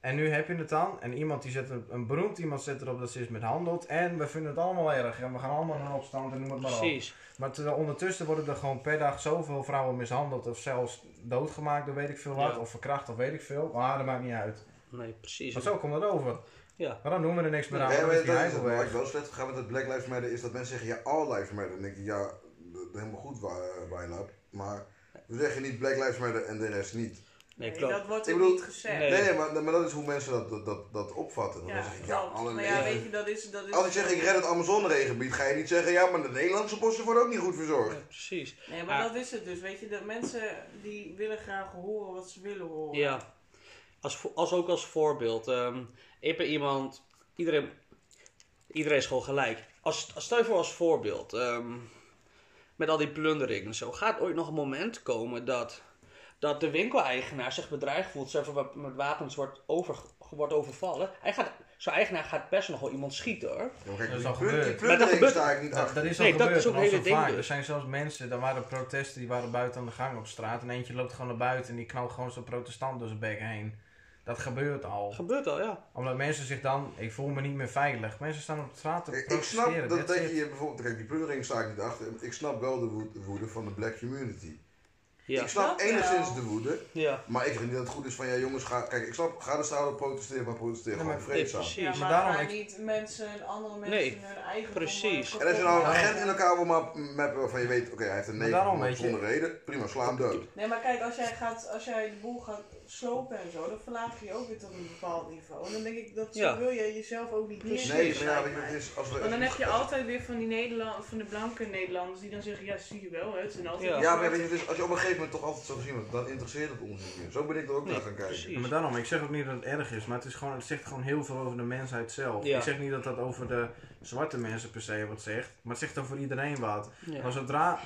S4: En nu heb je het dan. En iemand die zet een, een beroemd iemand zet erop dat ze is mishandeld. En we vinden het allemaal erg. En we gaan allemaal naar opstand en noem het maar op.
S3: Precies.
S4: Maar terwijl ondertussen worden er gewoon per dag zoveel vrouwen mishandeld. Of zelfs doodgemaakt door weet ik veel wat.
S3: Ja.
S4: Of verkracht of weet ik veel. Maar dat maakt niet uit.
S3: Nee, precies.
S4: Want zo komt het over.
S3: Ja.
S4: Maar dan doen we er niks meer aan.
S1: ja,
S4: Dan
S1: maar
S4: is
S1: dat
S4: die
S1: is
S4: heibel
S1: het. Waar ik
S4: weg.
S1: wel slecht ga met het Black Lives Matter is dat mensen zeggen, ja, all lives matter. Dan denk ik, ja, eh, dat is helemaal goed, Wijlab. Maar we zeggen niet Black Lives Matter en de rest niet.
S3: Nee,
S2: Nee,
S3: klopt.
S2: dat wordt
S1: Ik
S2: ook
S1: bedoel-
S2: niet gezegd.
S3: Nee.
S1: Nee, nee, maar, maar dat is hoe mensen dat, dat, dat, dat opvatten. Dan
S2: Ja,
S1: zeggen, ja,
S2: klopt.
S1: alle
S2: maar ja,
S1: regen-
S2: weet je, dat is... Dat is
S1: Als ik zeg ik red het Amazone-regengebied, ga je niet zeggen, ja, maar de Nederlandse bossen worden ook niet goed verzorgd.
S3: Ja, precies.
S2: Nee, maar
S3: Ah.
S2: dat is het dus. Weet je, dat mensen die willen graag horen wat ze willen horen.
S3: Ja. Als, vo- als ook als voorbeeld. ehm, ik ben iemand. Iedereen, iedereen is gewoon gelijk. Als, als, stel je voor als voorbeeld. ehm, met al die plundering en zo. Gaat ooit nog een moment komen dat. Dat de winkeleigenaar zich bedreigd voelt. Zelfs wat met wapens wordt, over, wordt overvallen. Hij gaat, zijn eigenaar gaat best nog wel iemand schieten hoor.
S1: Ja, maar kijk,
S4: Dat is
S1: die
S4: al
S1: plun- die
S4: gebeurd.
S3: Maar
S1: plundering
S3: dat
S1: sta ik niet
S4: Dat,
S1: achter.
S4: dat is al
S3: Nee, dat
S4: gebeurd.
S3: is ook
S4: en al
S3: hele
S4: zo
S3: ding
S4: vaak.
S3: dus.
S4: Er zijn zelfs mensen, daar waren protesten, die waren buiten aan de gang op straat. En eentje loopt gewoon naar buiten en die knalt gewoon zo'n protestant door zijn bek heen. Dat gebeurt al.
S3: Gebeurt al, ja.
S4: Omdat mensen zich dan, ik voel me niet meer veilig. Mensen staan op straat te
S1: Ik,
S4: protesteren.
S1: ik snap dat,
S4: that's
S1: dat je
S4: it.
S1: hier bijvoorbeeld, kijk, die plundering sta ik niet achter. Ik snap wel de woed- de woede van de black community.
S3: Ja.
S1: Ik snap
S2: Dat wel.
S1: enigszins de woede,
S3: ja.
S1: maar ik vind niet dat het goed is van, ja jongens, ga, kijk, ik snap, ga de straat op protesteren, maar protesteer
S4: Ja,
S1: gewoon
S4: maar-
S3: Nee,
S1: vreedzaam.
S2: Ja,
S3: precies.
S2: maar
S4: daarom
S2: ga
S4: ik-
S2: niet mensen en andere mensen
S3: Nee,
S2: hun eigen
S3: precies.
S2: vermogen
S1: En als je nou een
S4: Ja.
S1: agent in elkaar wil map- mappen waarvan je weet, oké, hij heeft een
S4: Maar
S1: neef
S4: daarom,
S1: maar
S4: weet je-
S1: zonder reden, prima, sla hem dood.
S2: Nee, maar kijk, als jij, gaat, als jij de boel gaat slopen en zo, dan verlaag je je ook weer tot een bepaald niveau. En dan denk ik, dat zo
S3: Ja.
S2: wil je jezelf ook niet neerzetten.
S1: Nee, maar ja,
S2: lijkt
S1: weet je,
S2: mij.
S1: het is als we...
S2: Want dan heb je altijd weer van die Nederland, van de blanke Nederlanders die dan zeggen, ja zie je wel, hè, het zijn altijd
S3: Ja.
S2: die
S1: Ja, maar
S2: zwarte-
S1: weet je, het is- als je op een gegeven moment toch altijd zo gezien wordt, dan interesseert het ons niet meer. Zo ben ik er ook
S3: Nee,
S1: naar gaan kijken.
S3: precies.
S4: Ja, maar daarom, ik zeg ook niet dat het erg is, maar het, is gewoon, het zegt gewoon heel veel over de mensheid zelf.
S3: Ja.
S4: Ik zeg niet dat dat over de zwarte mensen per se wat zegt, maar het zegt over iedereen wat.
S3: Ja.
S4: Maar zodra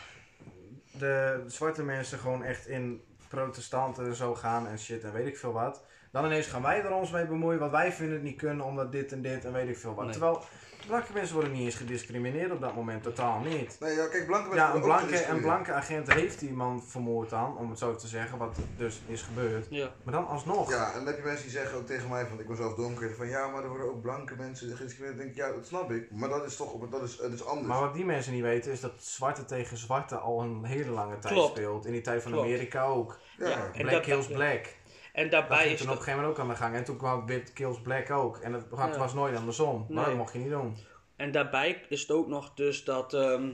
S4: de zwarte mensen gewoon echt in protestanten en zo gaan en shit en weet ik veel wat, dan ineens gaan wij er ons mee bemoeien, want wij vinden het niet kunnen omdat dit en dit en weet ik veel wat.
S3: Nee.
S4: Terwijl blanke mensen worden niet eens gediscrimineerd op dat moment, totaal niet.
S1: Nee, ja, kijk, blanke
S4: Ja,
S1: mensen
S4: een
S1: worden ook
S4: blanke, een
S1: gediscrimineerd.
S4: blanke agent heeft die man vermoord dan, om het zo te zeggen, wat dus is gebeurd.
S3: Ja.
S4: Maar dan alsnog.
S1: Ja, en dan heb je mensen die zeggen ook tegen mij, van ik ben zelf donker, van ja, maar er worden ook blanke mensen gediscrimineerd. Dan denk ik, ja, dat snap ik, maar dat is toch, op- dat is, het is anders.
S4: Maar wat die mensen niet weten is dat zwarte tegen zwarte al een hele lange tijd
S3: Klopt.
S4: speelt. In die tijd van
S3: Klopt.
S4: Amerika ook.
S1: ja.
S3: ja. En
S4: Black
S3: dat-
S4: kills
S3: ja.
S4: black.
S3: En
S4: Dat
S3: daarbij
S4: ging
S3: is
S4: toen op een
S3: dat,
S4: gegeven moment ook aan de gang. En toen kwam wit kills black ook. En dat wa-
S3: Ja.
S4: was nooit andersom. Maar
S3: Nee.
S4: dat mocht je niet doen.
S3: En daarbij is het ook nog dus dat ehm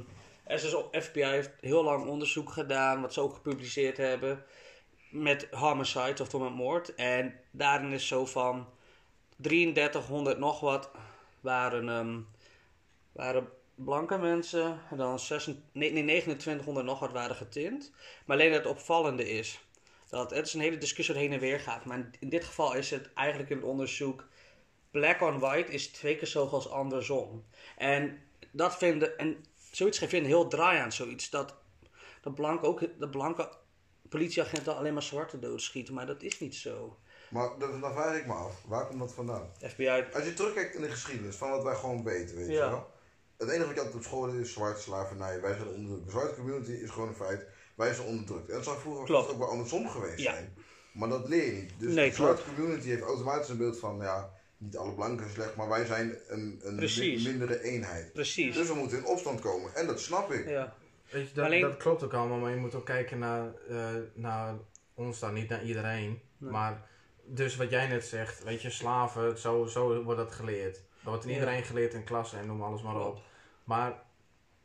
S3: SSO, FBI heeft heel lang onderzoek gedaan, wat ze ook gepubliceerd hebben, met homicides, oftewel met moord. En daarin is zo van 3300 nog wat waren, ehm, waren blanke mensen, en dan 26 nee, nee, 2900 nog wat waren getint. Maar alleen het opvallende is, dat het is een hele discussie dat heen en weer gaat, maar in- in dit geval is het eigenlijk in het onderzoek black on white is twee keer zo als andersom. En dat vinden, en zoiets geeft vinden heel draai aan zoiets. Dat de blanke, ook, de blanke politieagenten alleen maar zwarte doodschieten, maar dat is niet zo.
S1: Maar dat, dan vraag ik me af, waar komt dat vandaan?
S3: FBI,
S1: Als je terugkijkt in de geschiedenis, van wat wij gewoon weten, weet
S3: Ja.
S1: je wel. Het enige wat je altijd op school leert is zwart, slavernij, wij zijn onderdrukt. De zwarte community is gewoon een feit, wij zijn onderdrukt. En het zou vroeger
S3: Klopt.
S1: ook wel andersom geweest
S3: Ja.
S1: zijn. Maar dat leer je niet. Dus
S3: Nee,
S1: de zwarte community heeft automatisch een beeld van, ja, niet alle blanken slecht, maar wij zijn een, een
S3: Precies.
S1: min- mindere eenheid.
S3: precies.
S1: Dus we moeten in opstand komen. En dat snap ik.
S3: Ja,
S4: Weet je, dat,
S3: Alleen-
S4: dat klopt ook allemaal. Maar je moet ook kijken naar, eh, naar ons dan. Niet naar iedereen.
S3: Nee.
S4: Maar dus wat jij net zegt. Weet je, slaven. Zo, zo wordt dat geleerd. Dat wordt in
S3: Ja.
S4: iedereen geleerd in klassen en noem alles maar op. Maar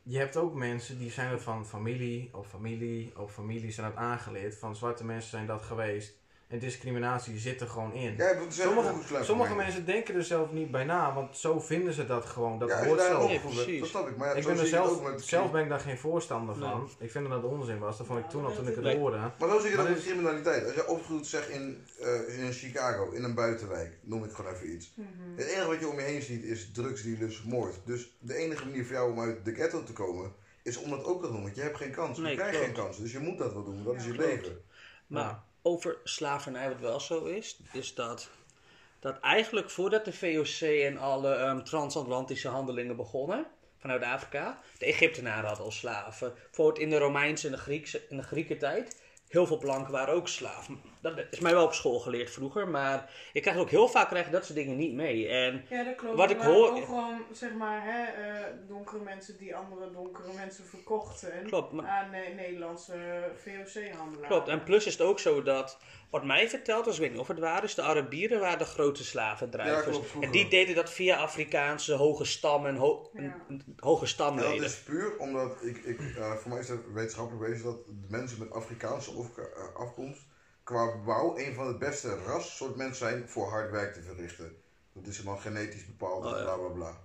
S4: je hebt ook mensen die zijn dat van familie op familie op familie zijn dat aangeleerd. Van zwarte mensen zijn dat geweest. En discriminatie zit er gewoon in.
S1: Ja, dat zijn
S4: Sommige-
S1: ook goed slecht.
S4: Sommige
S1: voor mij.
S4: mensen denken er zelf niet bij na, want zo vinden ze dat gewoon. Dat
S1: ja,
S4: hoort
S1: daarom,
S4: zo.
S3: Nee,
S1: goed,
S3: precies.
S1: Dat snap ik. Maar ja,
S4: Ik
S1: zo
S4: ben er
S1: zie ik het
S4: zelf,
S1: ook met-
S4: zelf ben ik daar geen voorstander van. Ik vind dat het onzin was. Dat vond ik
S2: Ja,
S4: toen al
S2: dat
S4: toen ik het
S3: is-
S4: hoorde.
S1: Maar zo zie je
S4: Maar
S1: dat met
S4: dus-
S1: criminaliteit. Als je opgegroeid zegt in, eh, in Chicago, in een buitenwijk, noem ik gewoon even iets.
S2: Mhm.
S1: Het enige wat je om je heen ziet is drugsdealers, moord. Dus de enige manier voor jou om uit de ghetto te komen, is om dat ook te doen. Want je hebt geen kans.
S3: Nee,
S1: je krijgt
S3: klopt.
S1: geen kans. Dus je moet dat wel doen. Dat is je
S2: Ja.
S1: leven.
S3: maar
S4: Ja.
S3: over slavernij wat wel zo is, is dat, dat eigenlijk voordat de VOC en alle ehm, transatlantische handelingen begonnen, vanuit Afrika, de Egyptenaren hadden al slaven. Bijvoorbeeld in de Romeinse en de Griekse in de Griekentijd, heel veel blanken waren ook slaven. Dat is mij wel op school geleerd vroeger, maar ik krijg ook heel vaak krijg ik dat soort dingen niet mee. En
S2: Ja, dat klopt.
S3: Wat ik
S2: Maar
S3: hoor-
S2: Ook gewoon, zeg maar, hè, eh, donkere mensen die andere donkere mensen verkochten
S3: klopt, maar,
S2: aan eh, Nederlandse VOC-handelaren.
S3: klopt. En plus is het ook zo dat, wat mij verteld was, ik weet niet of het waar is, de Arabieren waren de grote
S1: Ja,
S3: slavendrijvers.
S1: klopt, vroeger.
S3: en die deden dat via Afrikaanse hoge stammen en ho-
S2: Ja.
S3: en- en hoge
S1: En dat
S3: stamleden.
S1: is puur omdat ik, ik eh, voor mij is het wetenschappelijk bewezen dat de mensen met Afrikaanse of- eh, afkomst qua bouw een van het beste rassoort mensen zijn voor hard werk te verrichten. Dat is helemaal genetisch bepaald,
S3: Oh, ja.
S1: bla bla bla.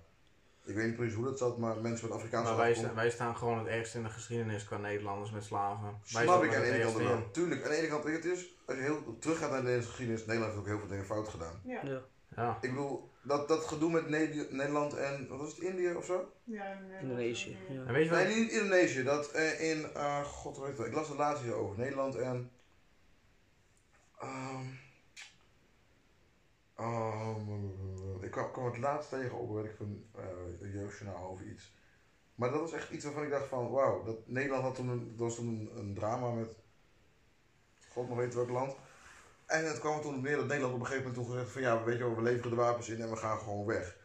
S1: Ik weet niet precies hoe dat zat, maar mensen met Afrikaanse
S4: Maar wij,
S1: afkomst-
S4: sta- wij staan gewoon het ergste in de geschiedenis qua Nederlanders met slaven. Wij
S1: Snap
S4: staan
S1: ik aan
S4: er
S1: de
S4: het
S1: ene kant
S4: ergste
S1: wel.
S4: in.
S1: Tuurlijk, aan de ene kant, weet je, het is, als je heel terug gaat naar de Nederlandse geschiedenis, Nederland heeft ook heel veel dingen fout gedaan.
S2: Ja,
S3: Ja.
S4: Ja.
S1: Ik bedoel, dat, dat gedoe met Ned- Nederland en, wat was het, India of zo?
S2: ja in, eh,
S3: Indonesië.
S2: dat-
S3: Ja.
S4: En weet je
S1: Nee,
S4: wat?
S1: niet in Indonesië, dat eh, in, eh, god weet het, ik las het laatst hier over, Nederland en, ehm, oh, ik kwam, kwam het laatst tegen op, weet ik van, eh jeugdjournaal over iets. Maar dat was echt iets waarvan ik dacht van, wauw, dat Nederland had toen, een, dat was toen een, een drama met, god nog weet welk land. En het kwam er toen op neer dat Nederland op een gegeven moment toen gezegd van, ja, weet je wel, we leveren de wapens in en we gaan gewoon weg.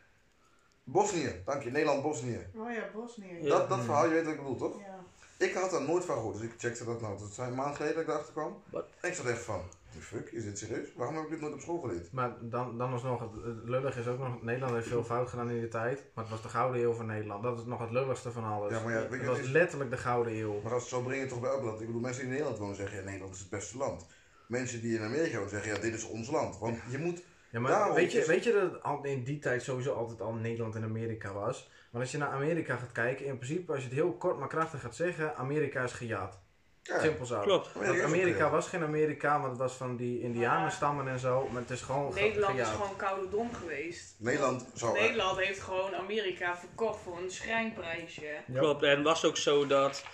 S1: Bosnië, dank je, Nederland-Bosnië.
S2: Oh ja, Bosnië.
S3: Ja.
S1: Dat, dat verhaal, je weet wat ik bedoel, toch?
S2: Ja.
S1: Ik had daar nooit van gehoord, dus ik checkte dat nou. Het zijn een maand geleden dat ik erachter kwam.
S3: Wat?
S1: En ik zat echt van, the fuck, is dit serieus? Waarom heb ik dit nooit op school geleerd?
S4: Maar dan, dan alsnog, het, het lullig is ook nog, Nederland heeft veel fout gedaan in die tijd. Maar het was de gouden eeuw van Nederland. Dat is nog het lulligste van alles.
S1: Ja, maar ja, weet
S4: het
S1: je, het
S4: was
S1: is-
S4: letterlijk de gouden eeuw.
S1: Maar als het zo brengen toch bij elk land. Ik bedoel, mensen die in Nederland wonen zeggen, ja, Nederland is het beste land. Mensen die in Amerika wonen zeggen, ja, dit is ons land. Want je moet,
S4: Ja, maar
S1: Daarom dus-
S4: weet, je,
S1: is-
S4: weet je dat het al in die tijd sowieso altijd al Nederland en Amerika was? Want als je naar Amerika gaat kijken, in principe, als je het heel kort maar krachtig gaat zeggen, Amerika is gejaagd.
S1: ja,
S4: Simpel zo.
S3: Klopt.
S4: Want
S1: is ook
S4: Amerika
S1: gejaagd.
S4: was geen Amerika, want het was van die Indianenstammen en zo. Maar het is gewoon ge-
S2: Nederland is
S4: gejaagd.
S2: gewoon koude dom geweest.
S1: Nederland zou...
S2: Nederland heeft gewoon Amerika verkocht voor een schrijnprijsje.
S4: Ja.
S3: Klopt, en was ook zo dat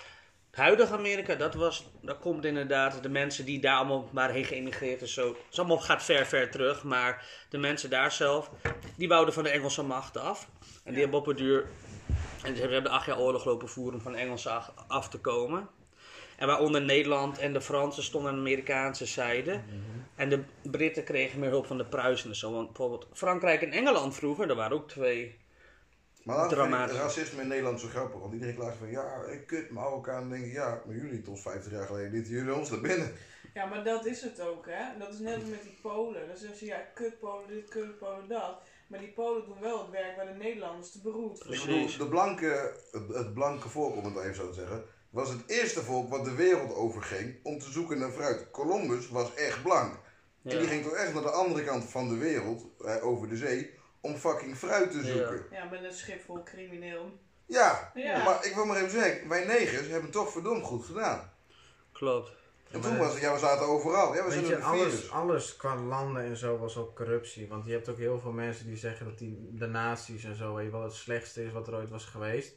S3: het huidige Amerika, dat was, dat komt inderdaad, de mensen die daar allemaal maar heen geëmigreerd en zo, het is allemaal gaat ver, ver terug, maar de mensen daar zelf, die bouwden van de Engelse macht af. En die
S2: Ja.
S3: hebben op het duur, en ze hebben acht jaar oorlog lopen voeren om van de Engelsen af- af te komen. En waaronder Nederland en de Fransen stonden aan de Amerikaanse zijde. En de Britten kregen meer hulp van de Pruisen en zo. Want bijvoorbeeld Frankrijk en Engeland vroeger, daar waren ook twee.
S1: Maar laat
S3: Dramatisch.
S1: racisme in Nederland zo grappig. Want iedereen klaagt van, ja, ik kut, Marokkaan. Dan denk ik, ja, maar jullie tot 50 jaar geleden lieten jullie ons naar binnen.
S2: Ja, maar dat is het ook, hè? Dat is net als met die Polen. Dan zeggen ze ja, kut Polen, dit, kut Polen, dat. Maar die Polen doen wel het werk waar de Nederlanders te beroerd voor
S1: Ik
S3: Precies.
S2: zijn.
S1: bedoel, de blanke, het, het blanke volk, om het even zo te zeggen, was het eerste volk wat de wereld overging om te zoeken naar fruit. Columbus was echt blank. En die ging toch echt naar de andere kant van de wereld, eh, over de zee, om fucking fruit te
S3: Ja.
S1: zoeken.
S2: Ja, met een schip vol crimineel.
S1: Ja,
S2: Ja.
S1: maar ik wil maar even zeggen, wij negers hebben het toch verdomd goed gedaan.
S3: Klopt.
S1: En
S4: maar-
S1: toen was het, ja, we zaten overal. Ja, we
S4: Weet
S1: zijn
S4: je,
S1: een virus.
S4: alles, alles qua landen en zo was ook corruptie. Want je hebt ook heel veel mensen die zeggen dat die, de nazi's en zo, weet je wel, het slechtste is wat er ooit was geweest.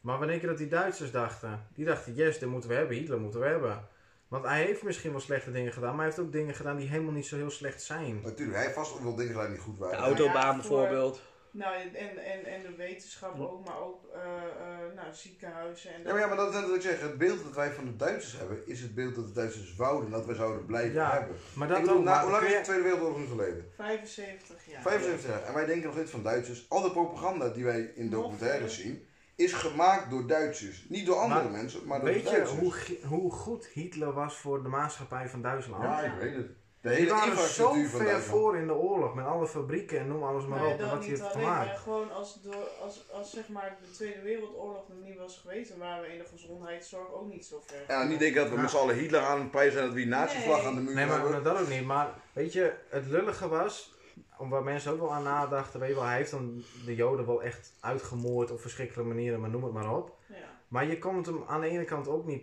S4: Maar wanneer keer dat die Duitsers dachten, die dachten, yes, dit moeten we hebben, Hitler moeten we hebben. Want hij heeft misschien wel slechte dingen gedaan, maar hij heeft ook dingen gedaan die helemaal niet zo heel slecht zijn.
S1: Natuurlijk, hij heeft vast ook wel dingen gedaan die goed
S3: De
S1: waren.
S3: autobaan
S2: Ja, voor-
S3: bijvoorbeeld.
S2: Nou, en, en, en, en de wetenschap ook, maar ook eh, eh, nou, ziekenhuizen en
S1: Ja, maar, ja, maar dat is net wat ik zeg. Het beeld dat wij van de Duitsers hebben, is het beeld dat de Duitsers wouden dat wij zouden blijven
S4: Ja,
S1: hebben.
S4: Maar dat
S1: ik bedoel,
S4: ook,
S1: na,
S4: maar
S1: hoe lang
S4: kun
S1: is
S4: je-
S1: de Tweede Wereldoorlog nu geleden?
S2: 75 jaar.
S1: 75 jaar. En wij denken nog steeds van Duitsers. Al de propaganda die wij in
S2: Nog
S1: documentaires
S2: veel.
S1: zien, is gemaakt door Duitsers. Niet door andere
S4: Maar
S1: mensen, maar door
S4: Weet je
S1: Duitsers.
S4: hoe, gi- hoe goed Hitler was voor de maatschappij van Duitsland?
S1: Ja, ik weet het. De hele
S4: die waren zo
S1: infrastructuur van
S4: ver
S1: Duitsland.
S4: voor in de oorlog met alle fabrieken en noem alles maar
S2: Maar
S4: op. En
S2: dat
S4: wat hij
S2: niet eh.
S4: heeft
S2: alleen, maar
S4: gemaakt.
S2: gewoon als, door, als, als zeg maar de Tweede Wereldoorlog nog niet was geweest, dan waren we in de gezondheidszorg ook niet zo ver.
S1: En dan niet denken dat we
S4: Ja.
S1: met z'n allen Hitler aan het prijzen en dat we die nazi-vlag
S2: Nee.
S1: aan de muur
S4: Nee, maar
S1: hebben.
S4: maar dat ook niet. Maar weet je, het lullige was, om waar mensen ook wel aan nadachten, weet je wel, hij heeft dan de Joden wel echt uitgemoord op verschrikkelijke manieren, maar noem het maar op.
S2: Ja.
S4: Maar je kon het hem aan de ene kant ook niet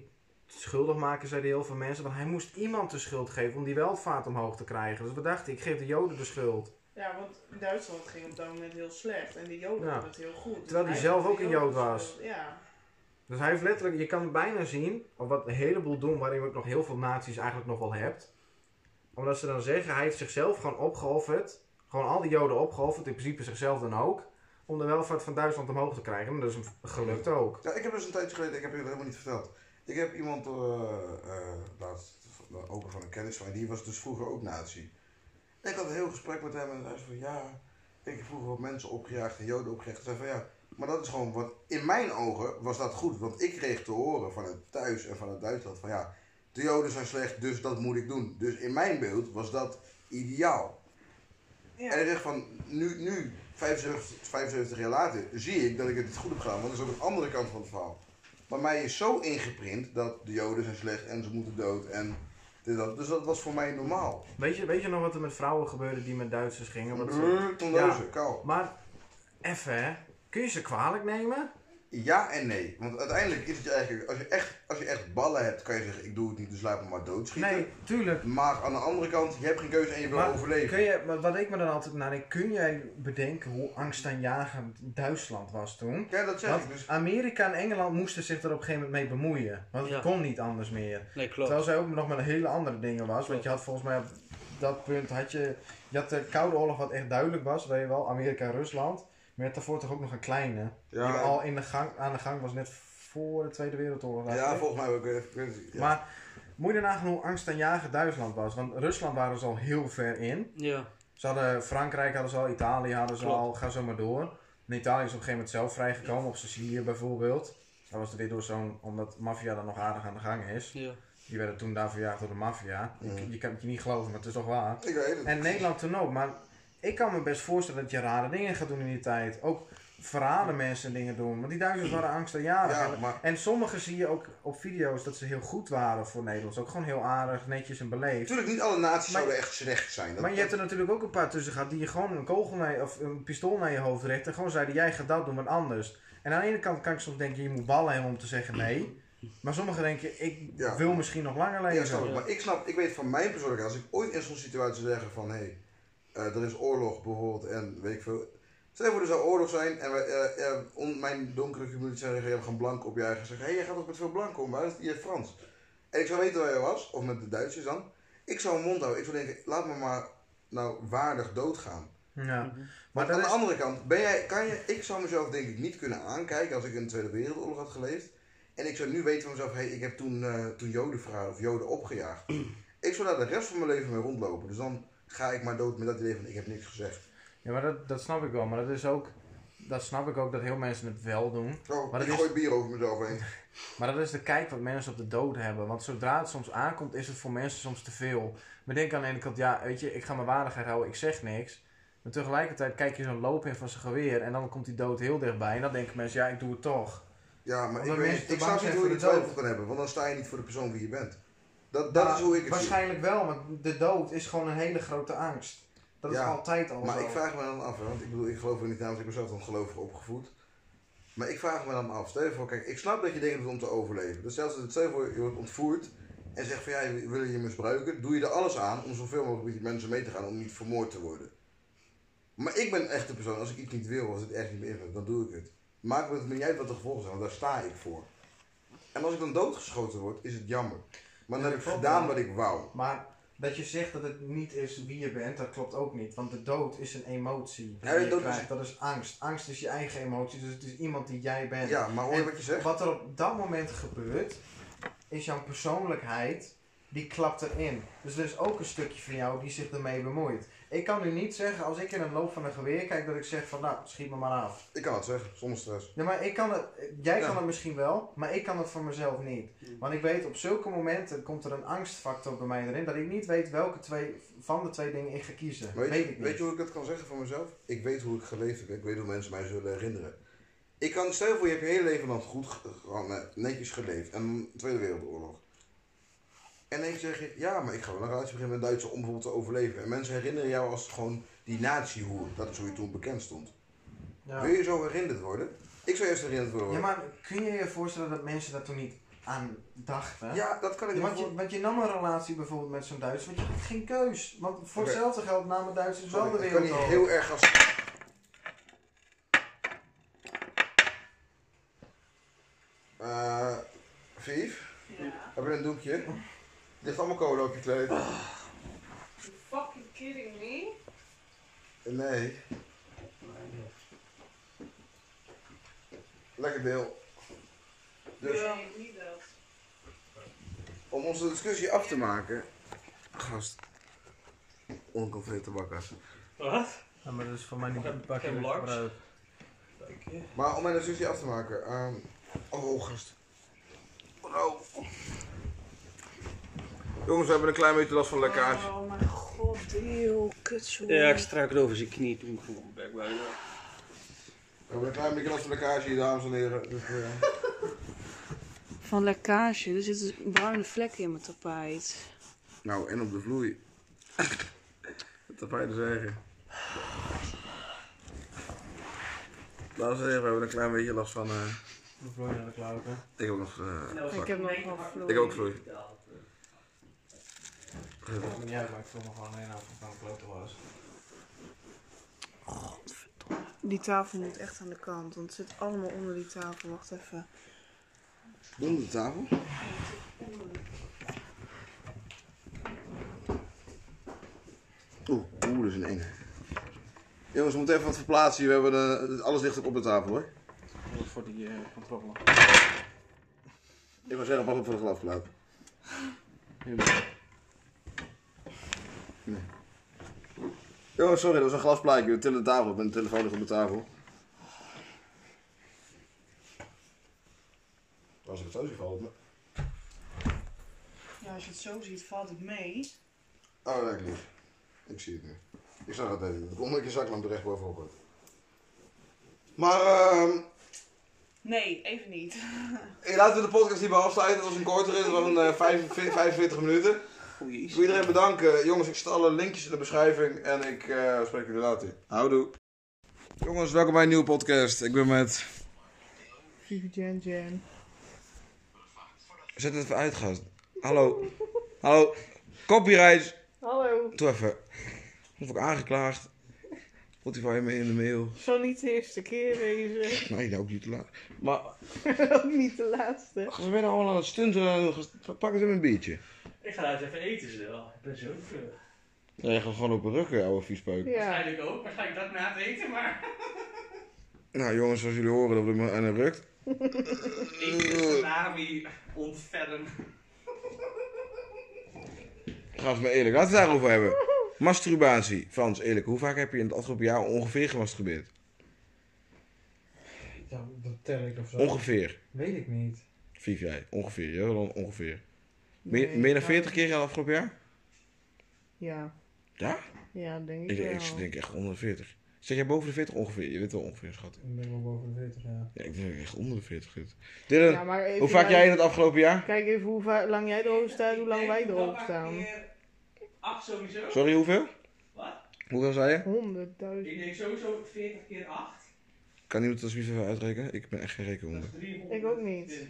S4: schuldig maken, zeiden heel veel mensen, want hij moest iemand de schuld geven om die welvaart omhoog te krijgen. Dus we dachten, ik geef de Joden de schuld.
S2: ja, want Duitsland ging op dat moment heel slecht en de Joden
S4: Ja.
S2: hadden het heel goed.
S4: Terwijl die
S2: Hij
S4: zelf
S2: had
S4: ook
S2: de
S4: een
S2: Joden
S4: Jood was.
S2: gespeeld, Ja.
S4: Dus hij heeft letterlijk, je kan bijna zien, of wat een heleboel doen waarin we ook nog heel veel naties eigenlijk nog wel hebt. Omdat ze dan zeggen, hij heeft zichzelf gewoon opgeofferd. Gewoon al die Joden opgeofferd, in principe zichzelf dan ook. Om de welvaart van Duitsland omhoog te krijgen. En dat is hem gelukt ook.
S1: Ja, ik heb dus een tijdje geleden, ik heb jullie helemaal niet verteld. Ik heb iemand eh eh, laatst, ook van een kennis van mij, die was dus vroeger ook nazi. En ik had een heel gesprek met hem en hij zei van ja, ik heb vroeger wat mensen opgejaagd en joden opgejaagd. Hij zei van ja, maar dat is gewoon wat, in mijn ogen was dat goed. Want ik kreeg te horen vanuit thuis en vanuit Duitsland van ja, de joden zijn slecht, dus dat moet ik doen. Dus in mijn beeld was dat ideaal.
S2: Ja.
S1: En hij zegt van, nu, nu 75, 75 jaar later, zie ik dat ik het niet goed heb gedaan. Want dat is ook een andere kant van het verhaal. Maar mij is zo ingeprint dat de Joden zijn slecht en ze moeten dood. En Dus dat, dus dat was voor mij normaal.
S4: Weet je, weet je nog wat er met vrouwen gebeurde die met Duitsers gingen? Wat ze-
S1: Brrr, Tondeuzen, kou.
S4: Maar, even hè. Kun je ze kwalijk nemen?
S1: Ja en nee. Want uiteindelijk is het je eigenlijk, als je echt, als je echt ballen hebt, kan je zeggen ik doe het niet, dus laat me maar doodschieten.
S4: Nee, tuurlijk.
S1: Maar aan de andere kant, je hebt geen keuze en je wil
S4: Maar
S1: overleven.
S4: Kun je, maar wat ik me dan altijd naar denk, kun jij bedenken hoe angstaanjagend Duitsland was toen?
S1: Ja, dat zeg
S4: Want
S1: ik dus.
S4: Amerika en Engeland moesten zich er op een gegeven moment mee bemoeien. Want het
S7: Ja.
S4: kon niet anders meer.
S7: Nee, klopt.
S4: Terwijl zij ook nog met hele andere dingen was. Want
S7: Klopt.
S4: je had volgens mij op dat punt, had je, je had de Koude Oorlog wat echt duidelijk was, weet je wel, Amerika en Rusland. Maar je had daarvoor toch ook nog een kleine, die
S1: Ja,
S4: al in de gang, aan de gang was net voor de Tweede Wereldoorlog. dacht
S1: ja
S4: ik.
S1: volgens mij ook. eh, ik weet het niet. Ja.
S4: Maar moet je nagaan hoe angstaanjagend Duitsland was. Want Rusland waren ze al heel ver in.
S7: Ja,
S4: Ze hadden Frankrijk, hadden ze al, Italië hadden ze
S7: Klopt.
S4: al, ga zo maar door. En Italië is op een gegeven moment zelf vrijgekomen, op Sicilië bijvoorbeeld. Dat was er weer door zo'n, omdat de maffia dan nog aardig aan de gang is.
S7: ja.
S4: Die werden toen daar verjaagd door de maffia. Je- Je, kan het je niet geloven, maar het is toch waar.
S1: Ik weet het.
S4: En Nederland toen ook, maar ik kan me best voorstellen dat je rare dingen gaat doen in die tijd. Ook verraden mensen dingen doen, want die Duitsers waren angstaanjarig.
S1: Ja,
S4: En-
S1: maar-
S4: En sommigen zie je ook op video's dat ze heel goed waren voor Nederlands. Ook gewoon heel aardig, netjes en beleefd.
S1: Natuurlijk, niet alle naties
S4: Maar-
S1: zouden echt slecht zijn. Dat,
S4: Maar je hebt er natuurlijk ook een paar tussen gehad die je gewoon een kogel naar, of een pistool naar je hoofd richten. En gewoon zeiden, jij gaat dat doen, wat anders. En aan de ene kant kan ik soms denken, je moet ballen hebben om te zeggen nee. Maar sommigen denken, ik
S1: Ja.
S4: wil misschien nog langer leven.
S1: Ja, snap ik. Maar ik snap, ik weet van mijn persoonlijke, als ik ooit in zo'n situatie zeg van hé, hey, eh, er is oorlog bijvoorbeeld en weet ik veel. Stel je voor, er zou oorlog zijn en we, eh, eh, om mijn donkere community zeggen, ja, we gaan blank op je eigen zeggen. Hé, hey, jij gaat toch met veel blank om, maar dat is je Frans. En ik zou weten waar je was, of met de Duitsers dan. Ik zou mijn mond houden. Ik zou denken, laat me maar nou waardig doodgaan.
S4: Ja. Maar
S1: Maar aan
S4: dat
S1: de
S4: is...
S1: andere kant, ben jij, kan je, ik zou mezelf denk ik niet kunnen aankijken als ik in de Tweede Wereldoorlog had geleefd. En ik zou nu weten van mezelf, hey, ik heb toen, eh, toen Joden verraden of Joden opgejaagd. ik zou daar de rest van mijn leven mee rondlopen. Dus dan ga ik maar dood met dat idee van, ik heb niks gezegd.
S4: Ja, maar dat, dat snap ik wel. Maar dat is ook... Dat snap ik ook dat heel mensen het wel doen.
S1: Zo,
S4: Maar
S1: Oh, ik
S4: dat is-
S1: gooi bier over mezelf heen.
S4: Maar dat is de kijk wat mensen op de dood hebben. Want zodra het soms aankomt, is het voor mensen soms te veel. We denken aan de ene kant, ja, weet je, ik ga mijn waardigheid houden, ik zeg niks. Maar tegelijkertijd kijk je zo'n loop in van zijn geweer en dan komt die dood heel dichtbij. En dan denken mensen, ja, ik doe het toch.
S1: Ja, maar
S4: Omdat
S1: ik, weet,
S4: mensen te
S1: ik
S4: bang
S1: snap niet
S4: zijn
S1: hoe
S4: voor
S1: je die
S4: de dood. Nou,
S1: twijfel kan hebben. Want dan sta je niet voor de persoon wie je bent. Dat, dat is hoe ik het zie.
S4: Waarschijnlijk wel, want de dood is gewoon een hele grote angst. Dat
S1: Ja,
S4: is altijd al
S1: Maar
S4: zo.
S1: ik vraag me dan af, hè, want ik bedoel, ik geloof er niet aan, want ik ben zelf dan gelovig opgevoed. Maar ik vraag me dan af, stel je voor, kijk, ik snap dat je dingen doet om te overleven. Dus zelfs stel je voor, je wordt ontvoerd en zegt van ja, je- willen je misbruiken, doe je er alles aan om zoveel mogelijk met die mensen mee te gaan om niet vermoord te worden. Maar ik ben echt de persoon, als ik iets niet wil, als het echt niet meer invloed, dan doe ik het. Maakt me het me niet uit wat de gevolgen zijn, want daar sta ik voor. En als ik dan doodgeschoten word, is het jammer. Maar dan
S4: Ja,
S1: heb ik
S4: klopt,
S1: gedaan
S4: ja.
S1: wat ik wou.
S4: Maar dat je zegt dat het niet is wie je bent, dat klopt ook niet. Want de dood is een emotie.
S1: Ja,
S4: die
S1: de
S4: je
S1: dood is-
S4: krijgt. Dat is angst. Angst is je eigen emotie, dus het is iemand die jij bent.
S1: Ja, maar hoor je
S4: En
S1: wat je zegt?
S4: Wat er op dat moment gebeurt, is jouw persoonlijkheid, die klapt erin. Dus er is ook een stukje van jou die zich ermee bemoeit. Ik kan nu niet zeggen, als ik in een loop van een geweer kijk, dat ik zeg van, nou, schiet me maar af.
S1: Ik kan het zeggen, zonder stress.
S4: Ja, maar ik kan het, jij
S1: Ja.
S4: kan het misschien wel, maar ik kan het voor mezelf niet. Want ik weet, op zulke momenten komt er een angstfactor bij mij erin, dat ik niet weet welke twee, van de twee dingen ik ga kiezen.
S1: Maar
S4: weet
S1: Weet,
S4: ik
S1: je,
S4: niet.
S1: weet je hoe ik dat kan zeggen voor mezelf? Ik weet hoe ik geleefd heb. Ik weet hoe mensen mij zullen herinneren. Ik kan, stel je voor, je hebt je hele leven lang goed, ge- gewoon, eh, netjes geleefd. En Tweede Wereldoorlog. En dan zeg je, ja, maar ik ga wel een relatie beginnen met Duitsers om bijvoorbeeld te overleven. En mensen herinneren jou als gewoon die natiehoer. Dat is hoe je toen bekend stond.
S4: ja.
S1: Wil je zo herinnerd worden? Ik zou eerst herinnerd worden.
S4: ja, maar kun je je voorstellen dat mensen daar toen niet aan dachten?
S1: Ja, dat kan
S4: Ja,
S1: ik niet
S4: want, je,
S1: voor-
S4: want je nam een relatie bijvoorbeeld met zo'n Duits, want je had geen keus. Want voor
S1: Oké.
S4: hetzelfde geld namen Duitsers wel de
S1: Sorry, Ik kan
S4: wereld
S1: niet
S4: over.
S1: heel erg als... Eh, Vief,
S2: Ja.
S1: heb je een doekje? Er ligt allemaal kolen op je kleed.
S2: You fucking kidding me?
S1: Nee. Lekker deel. Dus
S2: Nee, niet dat.
S1: om onze discussie af te maken. Gast. Onconfeerde tabakkas.
S7: Wat?
S4: Ja, maar dat is voor mij niet
S7: Geen- geen laks.
S1: Maar om mijn discussie af te maken. ehm oh, gast. Oh. Jongens, we hebben een klein beetje last van lekkage.
S2: Oh mijn god, deel, kutzoen.
S7: Ja, ik struikelde over zijn knie toen ik gewoon back bijna.
S1: We hebben een klein beetje last van lekkage hier, dames en heren. Dus, eh,
S2: Van lekkage, er zitten bruine vlekken in mijn tapijt.
S1: Nou, en op de vloei. Wat te fijn te zeggen. Laten we zeggen, we hebben een klein beetje last van. eh,
S4: We vlooien naar de klauwen.
S1: ik heb ook nog. eh,
S2: Ik
S1: vlak.
S2: heb nog wel vloer.
S1: ik heb ook vloei.
S4: Maakt me niet uit, maar ik voel me gewoon alleen af of het nou een klote was.
S2: Die tafel moet echt aan de kant, want het zit allemaal onder die tafel. Wacht even.
S1: Onder de tafel. Oeh, oeh, dat is een eng. Jongens, we moeten even wat verplaatsen. hier. We hebben eh, alles ligt op de tafel hoor.
S4: Voor die eh, controle.
S1: Ik wil zeggen, pas op voor de glasplaat. Nee. Oh, sorry, dat was een glasplaatje. We tillen de tafel op en de telefoon ligt op de tafel.
S5: Als ik het zo zie vallen.
S2: Ja, als je het zo ziet, valt het mee.
S5: Oh, nee, ik niet. Ik zie het nu. Ik zag het even. Omdat ik je zaklamp er echt bovenop had. Maar, ehm...
S2: Nee, even niet.
S5: hey, laten we de podcast hierbij afsluiten. Het was een kortere, het was een eh, 45 45 minuten. Ik wil iedereen bedanken. Jongens, ik zet alle linkjes in de beschrijving en ik eh, spreek jullie later. Houdoe. Jongens, welkom bij een nieuwe podcast. Ik ben met...
S2: Vivi Jan Jan.
S1: Zet het even uit, gast. Hallo. Hallo. Copyright.
S2: Hallo.
S1: Doe even. Of ik aangeklaagd. Spotify me in de mail.
S2: Zo niet de eerste keer deze.
S1: Nee, dat ook niet te laat. Maar
S2: ook niet de laatste.
S1: we zijn allemaal aan het stunten. Gast, Pak eens even een biertje.
S3: Ik ga nou eens even eten, zo. Ik ben zo vlug.
S1: Nee, je gaat gewoon op een rukken, ouwe viespeuk.
S2: Ja.
S3: Waarschijnlijk ook. Waarschijnlijk dat na het eten, maar...
S1: Nou jongens, zoals jullie horen, dat doet me aan een rukt.
S3: Ik de tsunami ontfermen.
S1: Gaan ze me eerlijk, laten we het daarover hebben. Masturbatie. Frans, eerlijk, hoe vaak heb je in het afgelopen jaar ongeveer gemasturbeerd?
S4: Ja, dat tel ik of zo.
S1: Ongeveer.
S4: Weet ik niet.
S1: Vief jij, ongeveer. Jolan, ongeveer. Meer, meer dan 40 keer in het afgelopen jaar?
S2: Ja.
S1: Ja?
S2: Ja, denk
S1: Ik,
S2: ik wel.
S1: ik denk echt onder de 40. Zeg jij boven de 40 ongeveer? Je weet wel ongeveer, schat.
S4: Ik ben wel boven de 40, ja.
S1: Ja, ik denk dat ik echt onder de 40 zit. Dylan,
S2: Ja, maar even
S1: hoe vaak
S2: naar-
S1: jij in het afgelopen jaar?
S2: Kijk even hoe va- lang jij erover staat, hoe lang wij
S3: Ik denk
S2: erover
S3: dat
S2: staan.
S3: ik keer Acht sowieso.
S1: Sorry, hoeveel?
S3: Wat?
S1: Hoeveel zei je?
S2: 100.000.
S3: Ik denk sowieso 40 keer 8.
S1: Kan iemand dat alsjeblieft even uitrekenen? Ik ben echt geen
S3: Dat
S1: rekenwonder.
S3: is 300.
S2: Ik ook niet.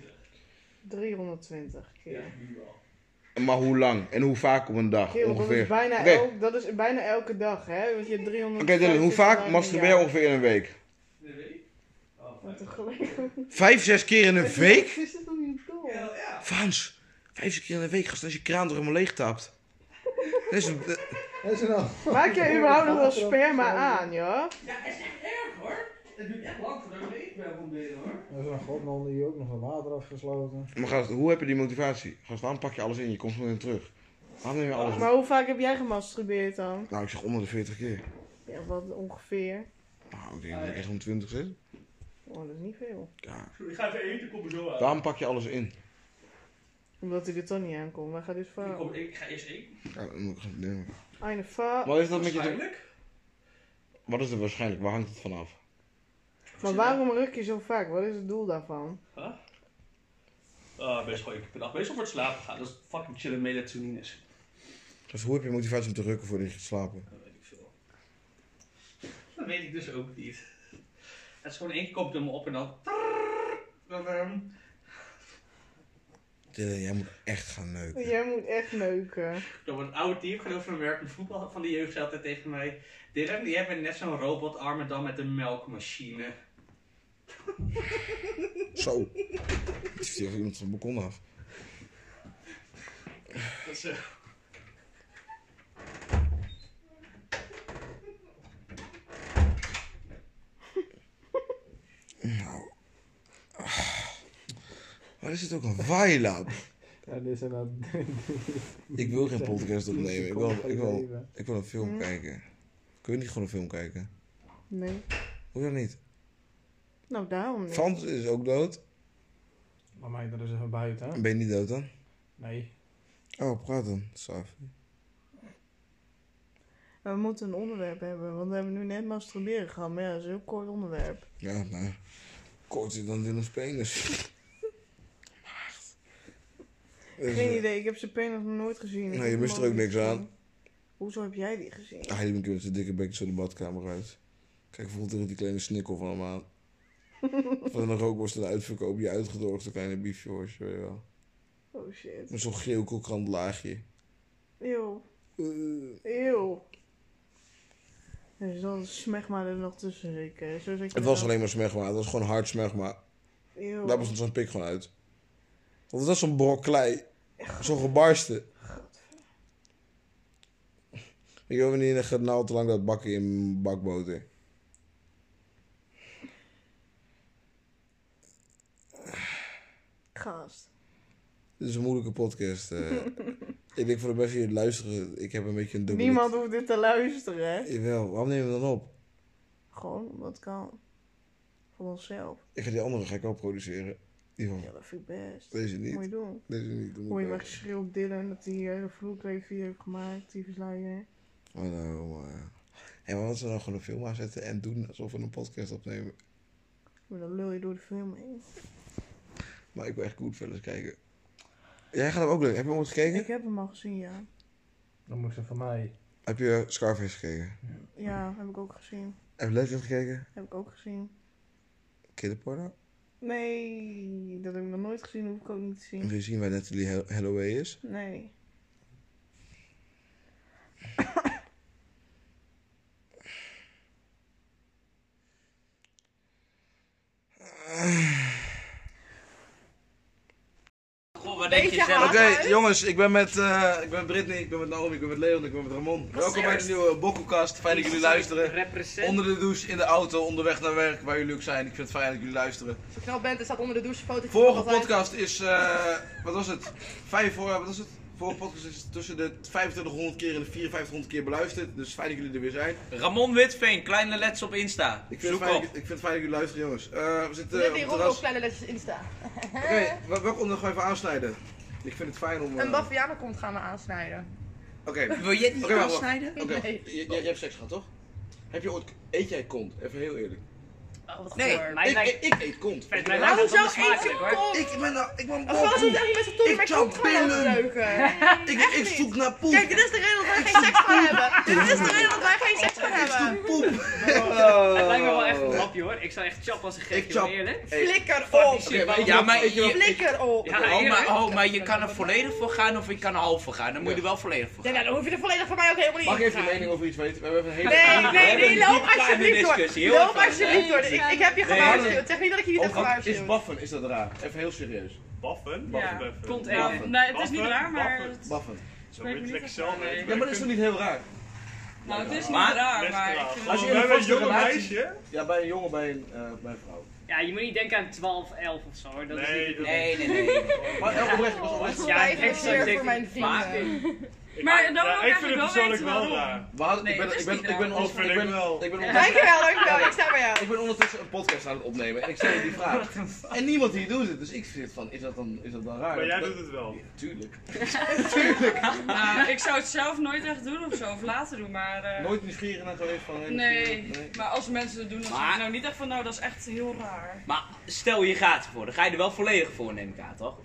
S2: 320
S3: Ja,
S2: keer.
S3: nu wel.
S1: Maar hoe lang en hoe vaak op een dag?
S2: Kerel, dat is,
S1: Ah, ongeveer.
S2: bijna
S1: Oké.
S2: elk, dat is bijna elke dag, hè? Want je hebt 300.
S1: Oké, Dylan, hoe vaak masturbeer je ongeveer in een week?
S3: De week? Oh,
S2: Wat
S3: fijn.
S2: een gelijk.
S1: Vijf, zes keer in een week?
S2: Is dat om je doel?
S3: Ja, ja.
S1: Frans, vijf, zes keer in een week, gast, als je kraan toch helemaal leeg tapt. Dat is een- eh,
S4: En zo nou.
S2: Maak jij überhaupt nog wel sperma aan, joh?
S3: Ja, het is echt erg hoor. Het duurt echt lang voordat ik weet welkom ben hoor.
S4: En zo godman die ook nog wat water afgesloten.
S1: Maar gast, hoe heb je die motivatie? Gast, waarom pak je alles in? Je komt zo meteen terug. Waarom neem je alles
S2: Maar hoe vaak heb jij gemasturbeerd dan?
S1: Nou, ik zeg onder de 40 keer.
S2: Ja, wat ongeveer.
S1: Nou, ik denk dat ik echt om 20 zit.
S2: Oh, dat is niet veel.
S1: Ja.
S3: Ik ga even eten, kom er zo aan.
S1: Waarom pak je alles in?
S2: Omdat ik er toch niet aankom. Waar gaat dit
S3: Ik,
S2: van?
S3: kom, ik ga eerst eten.
S1: Ja, dan moet ik het nemen.
S2: Eine fa.
S1: Wat is dat met je te-
S3: Waarschijnlijk.
S1: Wat is er waarschijnlijk? Waar hangt het vanaf?
S2: Maar waarom ruk je zo vaak? Wat is het doel daarvan?
S3: Ah, best gewoon ik per dag bezig voor het slapen gaan. Dat is fucking chillen melatonine is.
S1: Dus hoe heb je motivatie om te rukken voordat je gaat slapen?
S3: Dat weet ik veel. Dat weet ik dus ook niet. Het is gewoon één keer komt hem op en dan. Dan, ehm,
S1: Dylan, jij moet echt gaan eh, neuken.
S2: Jij moet echt neuken.
S3: dan wordt een oude teamgenoot van werk voetbal van de jeugd zei altijd tegen mij. Dylan, die hebben net zo'n robotarm en dan met een melkmachine.
S1: Zo. Het is hier iemand van het balkon af.
S3: Dat is, eh,
S1: Waar is het ook een waailab?
S4: Ja, dit zijn nou...
S1: Ik wil geen podcast opnemen. Ik wil, ik wil, ik wil een
S2: Hm?
S1: film kijken. Kun je niet gewoon een film kijken?
S2: Nee.
S1: Hoe dan niet?
S2: Nou, daarom niet.
S1: Frans is ook dood.
S4: Maar mij er is even buiten.
S1: Ben je niet dood dan?
S4: Nee.
S1: Oh, praat dan. Saf.
S2: We moeten een onderwerp hebben, want we hebben nu net masturberen gehad. Maar ja, dat is een heel kort onderwerp.
S1: Ja, nou. Korter dan Dylan's penis. Dus,
S2: Geen idee, ik heb zijn pen nog nooit gezien.
S1: Nou,
S2: Ik
S1: je
S2: heb
S1: mist
S2: hem
S1: er ook niks
S2: niet
S1: aan.
S2: gezien. Hoezo heb jij die gezien?
S1: eh, Hij liep een keer met zijn dikke bekje zo de badkamer uit. Kijk, voelt er die kleine snikkel van hem aan. Van een rookworst en uitverkoop, die uitgedroogde kleine biefje hoor, weet je wel.
S2: Oh shit.
S1: Met zo'n geel krokant laagje.
S2: Eeuw.
S1: Eh,
S2: Eeuw. Er is dan smegma er nog tussen zeker. Zo zit je
S1: het was
S2: dan-
S1: alleen maar smegma, het was gewoon hard smegma.
S2: Eeuw.
S1: Daar bestond zo'n pik gewoon uit. Want dat is zo'n brok klei. Zo'n gebarsten. Ik wil niet een genaal nou te lang dat bakken in bakboter.
S2: Gast.
S1: Dit is een moeilijke podcast. eh. ik denk voor de mensen die het luisteren, ik Eh. heb een beetje een dubbele...
S2: Niemand hoeft dit te luisteren, hè?
S1: Jawel, waarom nemen we hem dan op?
S2: Gewoon omdat het kan. Van onszelf.
S1: Ik ga die andere ga ik wel produceren. Die van
S2: Ja, dat vind ik best.
S1: deze niet.
S2: Moet je doen.
S1: Deze niet. dat moet
S2: Hoor je
S1: ik
S2: maar
S1: wel.
S2: geschreeuw op Dylan dat hij hier de vloerklevie heeft gemaakt, die versluier.
S1: Oh nou, eh. En wat als we dan gewoon een film aanzetten en doen alsof we een podcast opnemen?
S2: Maar dan lul je door de film heen.
S1: Maar ik wil echt Goodfellas kijken. Jij gaat hem ook leuk. Heb je hem ooit gekeken?
S2: Ik heb hem al gezien, ja.
S4: Dan moest ze van mij.
S1: Heb je Scarface gekeken?
S2: Ja, heb ik ook gezien.
S1: Heb je Legend gekeken?
S2: Heb ik ook gezien.
S1: Kinderporno?
S2: Nee, dat heb ik nog nooit gezien, hoef ik ook niet te zien.
S1: Wil je zien waar Natalie Hel- Holloway is?
S2: Nee.
S5: Goh, wat denk je
S2: Beetje
S5: zelf?
S1: Oké, jongens, ik ben met, eh, ik ben Britney, ik ben met Naomi, ik ben met Leon, ik ben met Ramon. Welkom bij de nieuwe Bokkelkast. Fijn dat jullie luisteren.
S8: Represent.
S1: Onder de douche, in de auto, onderweg naar werk, waar jullie ook zijn. Ik vind het fijn dat jullie luisteren.
S8: Als je knap bent, er staat onder de douche een fotootje van
S1: Vorige
S8: altijd.
S1: podcast is, eh, wat was het? Vijf voor, wat was het? Vorige podcast is tussen de 2500 keer en de 5400 keer beluisterd. Dus fijn dat jullie er weer zijn.
S5: Ramon Witveen, kleine lets op Insta.
S1: Ik vind, het
S5: Zoek
S1: fijn,
S5: op.
S1: dat- ik vind het fijn dat jullie luisteren, jongens. Eh, we
S8: We
S1: zitten
S8: hebben
S1: op
S8: hier
S1: het
S8: ook nog
S1: terras.
S8: kleine letjes in staan.
S1: Oké, wel- welk onderwerp gaan we even aansnijden? Ik vind het fijn om... eh,
S8: Een bavianen komt gaan we aansnijden.
S1: Oké, oké,
S5: Wil jij die
S1: Oké, wacht, wacht.
S5: afsnijden?
S8: Nee.
S1: J- j- jij hebt seks gehad, toch? Heb je ooit... Eet jij kont? Even heel eerlijk.
S8: Oh, wat
S5: Nee,
S8: goor.
S1: Ik,
S8: Ik-
S1: ik, ik eet kont. Ik ben
S8: Maar
S5: laat
S8: hoezo
S5: het
S8: eet je
S5: smakelijk, hoor.
S8: kont?
S1: ik ben... nou- Ik ben
S8: Een vrouw
S1: poep.
S8: doet echt niet met z'n tong,
S1: Ik
S8: maar
S1: zou
S8: kont gewoon
S1: pillen.
S8: aan neuken.
S1: Ik, ik zoek naar poep.
S8: Kijk, dit is de reden dat wij geen seks gaan hebben. Dit is de reden dat wij geen seks gaan hebben.
S1: poep. Oh.
S5: Het lijkt me wel echt een hapje hoor. Ik zou echt chap als een
S1: Ik
S5: gek,
S1: chap.
S5: joh, eerlijk.
S8: Flikker
S5: Fuck
S8: op.
S5: die shit,
S1: maar-
S5: ja, maar
S1: weet je wat-
S5: je...
S8: Flikker op.
S5: Ja, oh, maar, oh, maar je kan er volledig voor gaan of je kan er half voor gaan. Dan moet je er wel volledig voor
S8: Ja,
S5: gaan.
S8: nou, dan hoef je er volledig van mij ook helemaal niet
S1: Mag ik
S8: in te
S1: even je
S8: gaan.
S1: mening over iets weten? We hebben even een hele...
S8: Nee,
S5: We
S8: nee,
S5: hebben
S8: nee,
S5: een
S8: loop
S5: diepgaande
S8: alsjeblieft
S5: discussie,
S8: door.
S5: heel
S8: Loop
S5: erg.
S8: alsjeblieft door. Ik, ik heb je gewaarschuwd. Zeg niet dat ik
S5: Oh,
S8: je niet heb
S1: Ook al is
S8: gewaarschuwd.
S1: baffen, is dat raar? Even heel serieus.
S9: Baffen?
S2: Ja.
S9: Baffen.
S5: Kont
S2: Nou,
S5: eten.
S2: nee, het is niet waar, maar.
S9: Baffen.
S2: het-
S1: Baffen.
S9: Zo moet je het lekker
S2: echt
S9: zelf
S2: waar,
S9: weten.
S2: nee.
S1: Ja, maar dat is toch niet heel raar?
S2: Nou, het is niet
S5: Maar-
S2: raar,
S9: Best
S2: maar. Ik
S9: raar.
S2: vind
S1: Als
S9: Als
S1: je
S9: je
S1: in een
S9: een
S1: vastje
S9: jonge
S1: relatie-
S9: meisje?
S1: Ja, bij een jongen, bij een, eh, bij een vrouw.
S10: Ja, je moet niet denken aan 12, 11 of zo hoor. Dat is
S9: Nee,
S10: niet...
S9: dat-
S5: Nee, nee, nee.
S1: Maar eh, oprecht, dat is oprecht.
S8: Wat
S5: Ja,
S8: mij
S5: ik zou
S8: gebeurt voor
S5: zeggen-
S8: mijn
S5: maar-
S8: vrienden.
S9: Ik-
S2: Maar dan
S5: Nou,
S9: Ja,
S2: wil ik
S9: ik vind
S2: eigenlijk
S9: het
S2: wel
S9: persoonlijk
S2: weten
S9: wel
S2: waarom.
S9: raar.
S1: We hadden,
S2: Nee,
S1: ik ben,
S2: dat is
S1: ik ben,
S2: niet
S1: ik ben,
S2: raar.
S1: on-
S9: Dat vind
S1: ik
S9: ik
S1: ben,
S9: wel.
S1: ik ben ondertussen-
S8: Dankjewel, dankjewel. Ik sta bij jou.
S1: Ik ben ondertussen een podcast aan het opnemen en ik stel je die vraag. En niemand hier doet het, dus ik zit van, is dat dan, is dat dan raar?
S9: Maar jij
S1: Dat-
S9: doet het wel.
S1: Ja, tuurlijk.
S2: Nou, ik zou het zelf nooit echt doen of zo, of later doen, maar. eh,
S1: Nooit nieuwsgierig naar geweest van... hé,
S2: Nee,
S1: nee.
S2: maar als mensen het doen, dan
S5: Maar-
S2: zeg ik nou niet echt van, nou, dat is echt heel raar.
S5: Maar stel je gaat ervoor, dan ga je er wel volledig voor, neem ik aan, toch?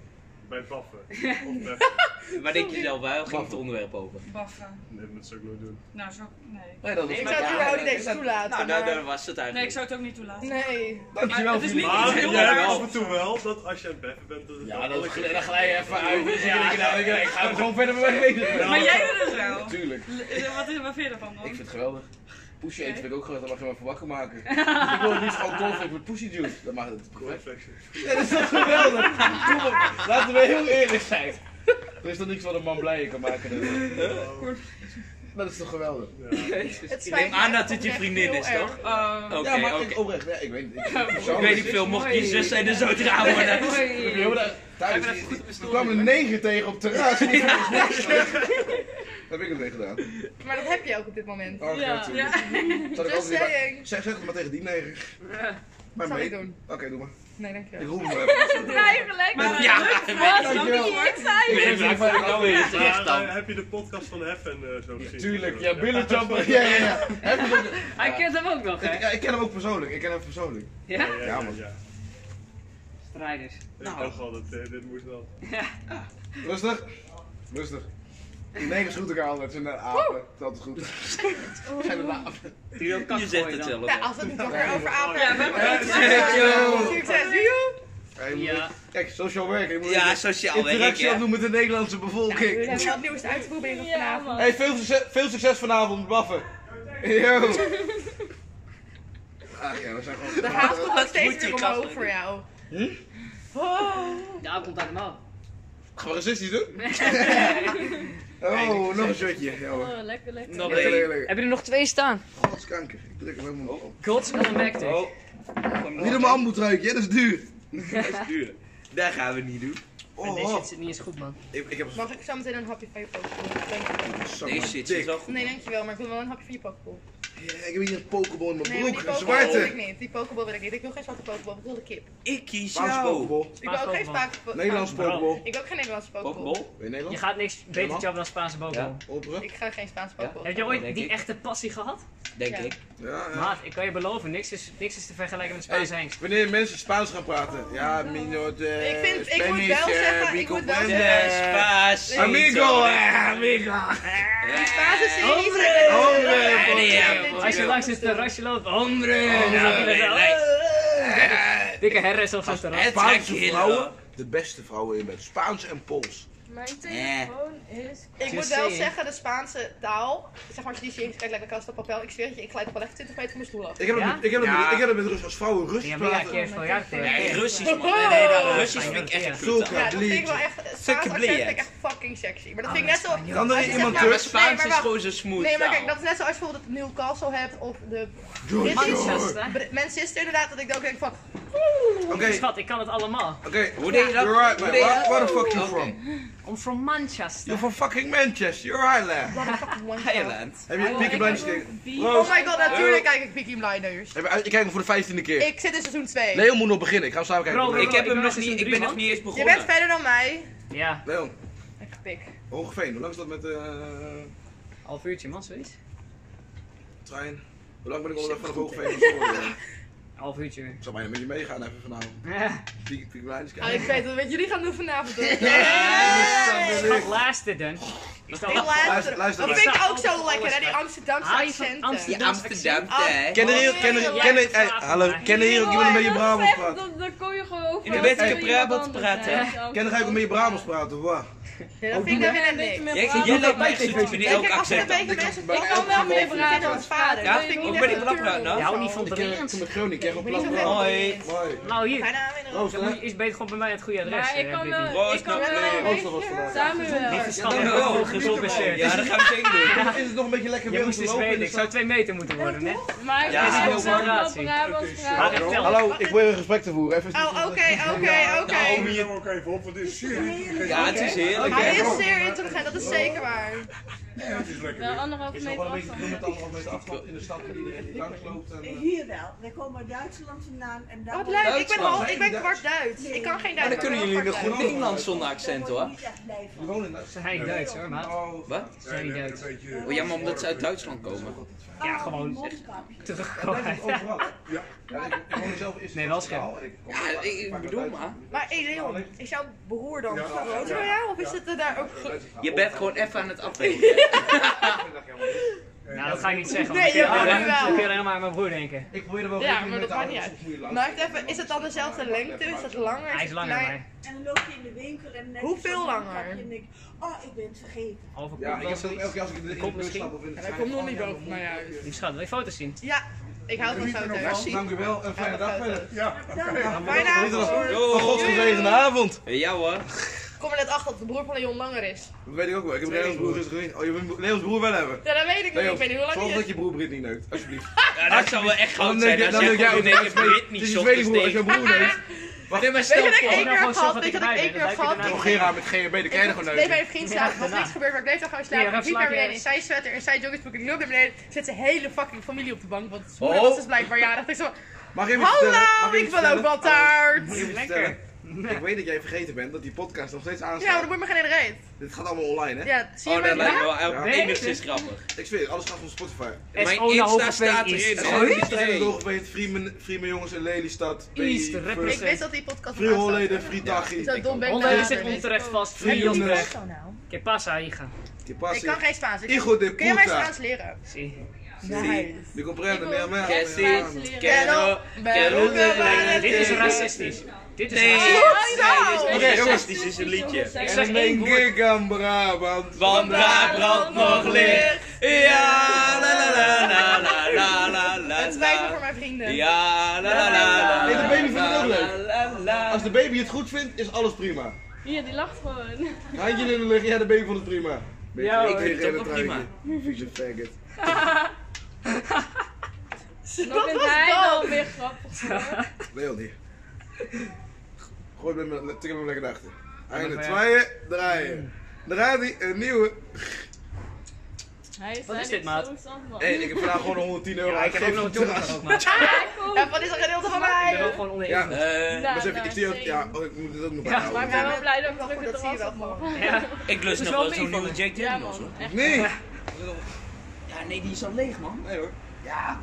S9: Bij baffen. Of baffen.
S5: Maar denk je zelf, waar ging het onderwerp over?
S2: Baffen.
S9: Nee, dat zou ik nooit doen.
S2: Nou, zo. Nee.
S1: Nee, dat is
S5: Nee,
S8: Ik
S5: maar
S8: zou het
S5: ja,
S8: überhaupt niet
S5: dat-
S8: eens
S5: dat- Nou,
S8: toelaten.
S5: daar,
S8: maar-
S5: daar was het
S2: Nee, ik
S5: eigenlijk.
S2: zou het ook niet toelaten.
S8: Nee.
S2: Maar het is niet
S9: Maar
S2: heel
S9: jij
S2: raar.
S9: hebt af en toe wel dat als je aan het beffen bent, dat het
S1: Ja,
S9: wel
S1: dat,
S9: lekker-
S1: dan glij je even uit. Dus
S5: Ja.
S1: ik, denk, nou, ik, ik ga gewoon verder met mij bezig.
S2: Maar jij doet het wel.
S1: Tuurlijk.
S2: L- Wat, is, wat vind je ervan
S1: Ik
S2: dan?
S1: vind het geweldig. Poesje eten vind ik ook geweldig, daar mag je me voor wakker maken. Dus ik wil het liefst gewoon cornflakes met poesie juice. Dat mag het perfect.
S9: Cornflakes.
S1: Ja, dat is toch geweldig? Kom op, laten we heel eerlijk zijn. Er is toch niks wat een man blij kan maken. dan dit? Dat is toch geweldig?
S8: Het
S5: Ik neem
S8: spijt me
S5: aan dat
S8: echt
S5: het je
S8: oprecht
S5: vriendin
S8: heel
S5: is,
S8: erg. Ehm,
S5: toch? Oké,
S1: ja, maar
S5: oké.
S1: ik, oprecht, ja, ik weet niet. Ik, ik,
S5: Ik weet niet veel, mocht je zus zijn, dan zou het raar worden.
S1: Thuis, er kwam een negen tegen op het terras. Dat heb ik het mee gedaan.
S8: Maar dat heb je ook op dit moment.
S1: Oh, ja.
S2: Ja.
S1: Zal ik
S8: Just
S1: altijd weer-
S8: saying.
S1: Zeg, zeg het maar tegen die negen. Maar
S8: Zal
S1: mee.
S8: ik
S1: Oké,
S8: doen.
S1: doe maar.
S8: Nee,
S1: Ik
S8: dankjewel.
S1: roep hem even.
S2: Maar
S5: Ja,
S2: ja,
S1: Dankjewel.
S5: Ik weet niet waar ik nou weer terecht
S9: Maar eh,
S5: dan.
S9: heb je de podcast van Heffen eh, zo gezien?
S1: Tuurlijk, ja, billenjumper. Ja, ja, ja. Heb je dat-
S10: Hij kent hem ook nog, hè?
S1: Ja, ik ken hem ook persoonlijk. Ik ken hem persoonlijk.
S10: Ja?
S9: Ja,
S1: Ja,
S9: ja,
S1: man.
S9: ja.
S10: rijders.
S5: Nou,
S11: Ik dacht al dat eh, dit moest wel.
S5: Rustig. Rustig. Die negers groeten elkaar altijd. Ze zijn net apen. Dat is altijd goed. Ze zijn een aap.
S1: Trio kan
S5: Je zegt het
S1: dan.
S5: zelf.
S8: Ja, als het niet toch weer over apen
S10: Ja,
S8: hebben.
S10: maar-
S8: Succes, Nou, joe!
S5: Ja, je moet-
S10: Ja.
S5: Kijk, sociaal werk. Je moet
S1: Ja,
S5: even
S1: sociaal werk,
S5: Interactie
S1: ja.
S5: opdoen met de Nederlandse bevolking.
S8: We hebben wat nieuws te uitproberen vanavond.
S5: Hey, veel, succes, veel succes vanavond, baffen. Yo. Ach ja, we zijn gewoon...
S8: De haat komt nog steeds
S1: Moet je
S8: meer
S1: kracht
S8: omhoog
S1: doen.
S8: voor jou.
S5: Hm?
S8: Oh.
S10: De auto komt uit de man.
S5: Gaan we racistisch doen? Oh, nog een shotje. Ja hoor.
S10: lekker, lekker.
S1: Nog
S5: Lekker, lekker,
S1: één.
S5: lekker.
S10: Hebben er nog twee staan?
S5: Godskanker. Ik druk hem helemaal op.
S10: Gods Galactic.
S1: Oh.
S5: Niet om mijn amboet ruiken, hè, dat is duur.
S1: Dat is duur. Dat gaan we niet doen.
S10: En
S5: Oh.
S10: deze zit ze niet eens goed, man.
S12: Ik, ik heb
S8: Mag ik zo meteen een hapje van je pokeball? Dankjewel.
S1: Deze shit is wel goed.
S8: Nee, dankjewel, maar ik wil wel een hapje van je pokeball.
S5: Ja, ik heb hier een pokeball in
S8: Nee,
S5: mijn
S8: maar die
S5: broek. Een
S8: pokeball wil ik
S5: zwarte.
S8: niet. Die pokeball wil ik niet. Ik wil geen zwarte pokeball, ik wil de kip.
S1: Ik kies
S5: Spaanse
S1: jou.
S5: pokeball.
S8: Ik wil ook geen
S10: Spaanse
S8: Spaanse pokeball.
S5: Nederlandse pokeball.
S8: Ik wil ook geen Nederlandse pokeball.
S1: Pokeball?
S5: Ben je
S10: Je
S5: Nederlands?
S10: gaat niks beter
S5: Helemaal?
S10: job dan Spaanse boven.
S1: Ja.
S5: Opperen?
S8: Ik ga geen Spaanse
S1: Ja?
S8: pokeball.
S10: Heb je ooit
S1: Denk
S10: die
S1: ik.
S10: echte passie gehad?
S1: Denk
S8: Ja.
S1: ik.
S5: Ja, ja.
S10: Maat, ik kan je beloven, niks is, niks is te vergelijken met Spaans
S5: Hey,
S10: Hengs.
S5: Wanneer mensen Spaans gaan praten. Ja, mino de...
S8: Ik vind- ik moet wel
S5: Spanish, eh,
S8: zeggen,
S5: mi
S8: ik moet wel
S5: comprende.
S8: zeggen-
S5: Eh,
S1: Spaas.
S5: Amigo, eh, amigo.
S8: Die Spaanse series.
S5: Hombre,
S10: Als je
S5: Ja.
S10: langs het terrasje loopt, hombre!
S5: Hombre.
S10: dan zag je dat wel.
S5: Eh,
S10: Dikke herres op zo'n terras.
S5: Spaanse vrouwen, de beste vrouwen in bed. Spaans en Pools.
S13: Mijn
S1: telefoon
S13: is.
S8: Ik moet wel zeggen, de Spaanse taal, zeg maar als je die series kijkt, lijkt me kast op papel. Ik zweer het je, ik glijd wel echt 20 meter mijn stoel af.
S5: Ik heb het
S10: Ja?
S5: met- ik heb het met- ik heb het met Rus als vrouwen
S10: Ja,
S5: Russisch
S10: maar ja,
S5: praten.
S10: keer voor jaar
S1: Nee,
S10: tegen.
S1: Russisch man. Nee, nee, dat-
S8: Oh.
S1: Russisch vind ik echt een
S5: Zulke
S1: kut.
S8: Ja, dat vind ik wel echt, Spaanse accent
S1: bleek,
S8: vind
S1: hè?
S8: ik echt fucking sexy. Maar dat vind ik net zo...
S5: Dan
S8: als
S5: is
S8: je
S5: iemand
S8: zeg maar-
S5: Turks.
S8: nee,
S1: Spaans
S8: maar
S1: is
S8: wacht.
S1: gewoon zo smooth.
S8: Nee, maar kijk,
S1: taal.
S8: dat is net zoals je bijvoorbeeld het Newcastle hebt of de
S5: George.
S8: British.
S10: Manchester.
S8: Br- Manchester inderdaad, dat ik dan ook denk van,
S5: Oké,
S10: Dus Schat, ik kan het allemaal.
S5: oké.
S1: Hoe deed je dat?
S5: You're right,
S1: Hoe
S5: man.
S1: deed je
S5: Where
S1: dat?
S5: where the fuck you
S1: Oké.
S5: from?
S10: Om from
S5: You're
S10: Manchester.
S5: from fucking Manchester. You're right, lad.
S8: what a fucking one cup.
S1: Thailand.
S5: Heb je Peaky Blinders gekeken?
S8: Oh my god, natuurlijk kijk ik Peaky Blinders.
S5: Heb je- Ik kijk hem voor de vijftiende keer.
S8: Ik zit in seizoen 2.
S5: Leon moet nog beginnen. Ik ga hem samen kijken.
S10: Bro,
S5: Nee,
S1: Ik heb hem
S10: ben
S1: nog
S10: seizoen
S1: niet, ik
S10: drie,
S1: ben nog
S10: man.
S1: niet eens
S8: Je bent
S1: begonnen.
S8: verder dan mij.
S10: Ja,
S5: Leon,
S8: Ik pik.
S5: Hogeveen. Hoe lang is dat met eh, de
S10: half uurtje man, zoiets.
S5: trein? Hoe lang ben ik onderweg van Hogeveen naar Zwolle?
S10: Half uurtje.
S5: Ik zal bijna met je meegaan even vanavond. Peaky Peaky Blinders
S8: Ah,
S5: kijken.
S8: ik weet wat jullie gaan doen vanavond. hoor.
S10: Schat, luister dan. Ik
S8: Ik luister. Dat
S5: Luister, luister, luister.
S8: vind ik ook zo lekker, hè, die Amsterdamse
S10: Haai Ah, van Oh,
S8: accenten.
S1: Je
S10: Amsterdam.
S1: Amsterdam, hè?
S5: Ken er hier, ken er, ken er, hey, hallo, ken er hier ook iemand die met je Brabants praat?
S13: Dan, dan kon je gewoon over.
S1: In de wet
S5: Hey.
S1: ik Brabant praten.
S5: Ken er ook iemand met je Brabants praten, of wat?
S8: Ja, dat vind ik dan weer net
S13: beetje
S8: niks.
S13: meer
S1: Jij
S13: praten.
S1: jij lijkt mij gezoet in
S8: Kijk,
S1: elk
S8: als er een
S1: accent.
S8: beetje mensen
S5: Ik
S8: Ik kan wel
S5: kan
S8: meer
S13: wel
S8: praten als vader.
S1: Ja?
S8: Dat vind ik
S1: Hoe
S8: niet
S1: ben
S8: echt
S1: ik blap praten
S8: natuurlijk
S1: nou?
S10: Je houdt niet
S8: of
S10: van
S8: zo.
S5: Ik ken ik
S10: Brabants.
S5: kom uit Groningen, ik ken
S8: Ik ben niet
S5: gewoon
S8: zo
S5: plat
S1: Hoi.
S8: gek.
S5: Hoi.
S10: Nou
S8: Ga
S10: hier,
S8: naam in de
S5: Roos,
S10: dan moet je- is beter gewoon bij mij het goede adres.
S13: Maar ik
S10: eh,
S13: kan
S10: Biggie.
S13: wel.
S1: Roos,
S13: Ik kan
S1: nou,
S13: wel.
S5: Roos, dat was vandaag.
S13: Samuel.
S10: Niet schat,
S1: Ja,
S10: ik
S1: wel.
S10: ben gecompenseerd.
S1: Ja, dat gaan we zeker doen.
S5: Is het nog een beetje lekker
S10: Je
S5: weer om
S10: moest
S5: te
S10: eens
S5: lopen in
S10: weten,
S5: de
S10: ik zou
S5: stad?
S10: twee meter moeten worden, hè?
S13: Maar ik
S1: Ja,
S13: kan
S10: dat is
S13: wel
S10: wel
S13: Brabants
S10: Ah,
S13: praten.
S10: echt wel.
S5: Hallo, ik wil een gesprek te voeren. Even
S8: Oh, oké, oké,
S11: Hou
S8: oké.
S11: hier nou ook even op, want dit is serieus.
S1: Ja, het is heerlijk.
S8: Hij
S1: hè?
S8: is zeer intelligent, dat is zeker waar.
S11: Het is lekker.
S13: Wel anderhalve meter
S5: met
S13: afstand.
S5: allemaal met afstand in de stad en iedereen die langs loopt. en, eh.
S2: Hier wel. Wij komen uit Duitsland vandaan en daar
S8: Wat
S2: wordt-
S8: leuk, ik ben,
S1: Duitsland.
S8: half- ik ben kwart Duits. Ik kan geen
S1: Maar
S8: Duits.
S1: dan kunnen jullie weer goed
S5: Duitsland.
S1: Nederlands zonder
S2: daar
S1: accent
S2: word je
S1: hoor.
S2: niet echt blij van.
S5: We wonen in Duitsland.
S10: Ze zijn niet Duits hoor, maat.
S5: Oh,
S1: Wat?
S10: Ze zijn niet Duits.
S1: Oh ja, maar omdat ze uit Duitsland komen.
S10: Ja, gewoon echt
S2: Mondkapje.
S5: dat
S10: terugkomen.
S5: lijkt het overal. hè? Ja. ik- Ik woon zelf eerst in
S10: Nee, wel
S5: Amsterdam. Ik kom
S1: Ja, ik, ik
S5: vaak
S1: bedoel
S5: uit
S1: maar.
S8: Maar hé Leon, is jouw broer dan groter dan jou? Of is het er daar ook... ge-
S1: Je bent gewoon even aan het afwegen.
S10: Nou, dat ga ik niet zeggen. want
S8: Nee,
S10: dan kun je
S8: ja,
S10: alleen-
S8: wel.
S10: Dan kun je alleen maar aan mijn broer denken.
S5: Ik probeer er wel
S8: Ja,
S5: rekening
S8: maar
S5: mee te
S8: dat maakt
S5: houden,
S8: niet
S5: soms moet je langs.
S8: Maar wacht even, is het dan dezelfde lengte? Is dat langer?
S10: Hij is
S8: het
S10: langer dan
S8: klein?
S10: mij.
S2: En dan loop je in de winkel en dan
S8: Hoeveel langer?
S2: En denk ik, oh, ik ben het vergeten.
S10: Halve kop
S5: Ja, ik
S10: wel
S5: heb dat ook elke
S10: zoiets.
S5: keer als ik in de in de
S10: Komt
S5: bus
S10: misschien.
S5: stap of in de
S8: Hij
S5: trein.
S8: komt nog
S5: Oh,
S8: niet
S5: ja,
S8: boven
S5: dan
S8: mij
S5: moet ik-
S8: uit.
S10: Lief schat, wil je foto's zien?
S8: Ja, ik hou van zo'n thuis.
S5: Dank u wel en fijne dag verder.
S8: Fijne avond.
S1: Yo.
S5: gezegende avond.
S1: Ja hoor.
S8: Ik kom er net achter dat de broer van Leon langer is.
S5: Dat weet ik ook wel. Ik heb Leon's broer eens gezien. Oh, je wil Leon's broer wel hebben.
S8: Ja, dat weet ik niet.
S5: Leon,
S8: Ik weet niet hoe lang
S5: zorg
S8: die
S5: dat
S8: is.
S5: je broer Brit niet neukt, alsjeblieft.
S1: Ja, dat zou wel echt goud
S5: Dan denk
S1: zijn. Dan
S5: ik- dan
S1: zeg
S5: denk jij
S1: je
S5: ook
S1: in één keer
S5: dat je
S1: Britney
S5: Het is je tweede
S1: ochtends
S5: broer, als
S1: tegen.
S5: jouw broer neukt.
S1: Nee, maar
S8: Weet je
S1: stel
S8: dat ik één
S1: voor.
S8: keer
S10: gewoon
S8: heb
S10: zorgen
S8: gehad?
S10: dat
S8: Weet je
S10: ik
S8: dat ik
S10: erbij
S8: één
S10: ben,
S8: keer
S10: dan
S8: gehad?
S10: blijf ik
S5: Gera met GHB, dan krijg je er gewoon
S8: bleef bij
S5: neuken.
S8: een vriend slapen, was niks gebeurd, maar ik bleef daar gewoon slapen.
S10: Ja,
S8: Ik liep naar
S10: slaap je
S8: beneden in
S10: eens.
S8: zijn sweater en zijn joggingsbroek. Ik loop naar beneden, zit zijn hele fucking familie op de bank, want zijn
S5: Oh.
S8: moeder was dus blijkbaar jarig. Ik zo,
S5: Mag ik even vertellen? Mag
S8: hallo,
S5: even
S8: ik wil
S5: vertellen?
S8: ook wel
S5: Hallo.
S8: taart.
S5: Mag ik even
S10: Lekker.
S5: vertellen?
S1: Ik weet dat jij vergeten bent dat die podcast nog steeds aanstaat.
S8: Ja, maar dat moet me geen reet.
S1: Dit gaat allemaal online, hè?
S8: Ja, zie je Oh, dat maar- lijkt me wel
S1: Ja.
S8: Nee, enigszins echt.
S1: grappig. Ik zweer het, alles gaat van Spotify.
S10: Mijn S.O. naar Insta hoge V staat is. erin.
S1: Sorry?
S10: Sorry?
S1: Hey. Hoogbeet, Vriemen jongens in Lelystad.
S10: East, represent.
S8: Ik wist dat die podcast
S1: Free Holleden, Free Tachi.
S8: Zo dom ben ik
S10: Holleden
S8: nou.
S10: zit onterecht vast.
S1: Free
S10: Free
S1: Jonas.
S10: Josbrecht. Que pasa, hija?
S1: Que
S8: Ik kan geen Spaans. Ik
S1: Hijo de
S8: Kun je mij
S1: puta.
S8: Spaans leren?
S10: Sí.
S8: Nee.
S1: Je comprende, meer man.
S8: Que sí, que no, que no me vale.
S10: Dit is racistisch. Dit is
S8: Nee, Oh,
S10: racistisch.
S8: nee, dit is
S10: Wat
S8: niet
S10: is
S8: racistisch,
S10: dit
S8: is een liedje.
S10: Ik
S1: En
S10: zeg één
S1: mijn
S10: woord.
S1: gig aan Brabant.
S10: Want Brabant nog licht.
S5: Ja, la la la la la la la la.
S8: Het spijt me voor mijn vrienden.
S5: Ja, la la la la.
S1: Nee, de baby vindt het ook leuk. Als de baby het goed vindt, is alles prima.
S9: Hier, die lacht gewoon.
S1: Handje in de lucht, ja, de baby vond het prima.
S9: Ja, hoor. Ik vind het
S1: geen
S9: ook wel prima.
S1: truitje. Vieze faggot.
S9: Dat
S8: was
S9: vindt hij dan
S8: dom.
S9: weer grappig. hoor.
S1: Nee, joh, niet. Gooi met me, tik hem lekker achter. Einde,
S14: Ja.
S1: tweeën, draaien. Daar gaat hij, een nieuwe.
S9: Hij is
S10: Wat
S9: daar
S10: is dit,
S9: niet
S10: maat?
S9: zo zand van.
S1: Hé, ik heb vandaag gewoon 110 euro
S10: Ja, ik heb ook nog een
S1: uitgegeven.
S10: toegang ook, maat.
S8: Ja, wat is een gedeelte van mij?
S10: Ik ben ook gewoon onder
S1: Ja,
S5: Eh,
S1: maar eens
S8: nou,
S1: even, ik zie ook, ja, oh, ik moet dit ook nog bijhouden.
S8: Maar ik ben wel blij dat ik nog
S9: Ik
S8: goed, dat zie je wel gewoon.
S5: Ik lust nog wel zo'n nieuwe Jack
S9: Ja,
S5: Daniels.
S9: man.
S5: hoor.
S9: Echt.
S1: Nee!
S5: Ja, nee, die is al leeg, man.
S1: Nee hoor.
S5: Ja.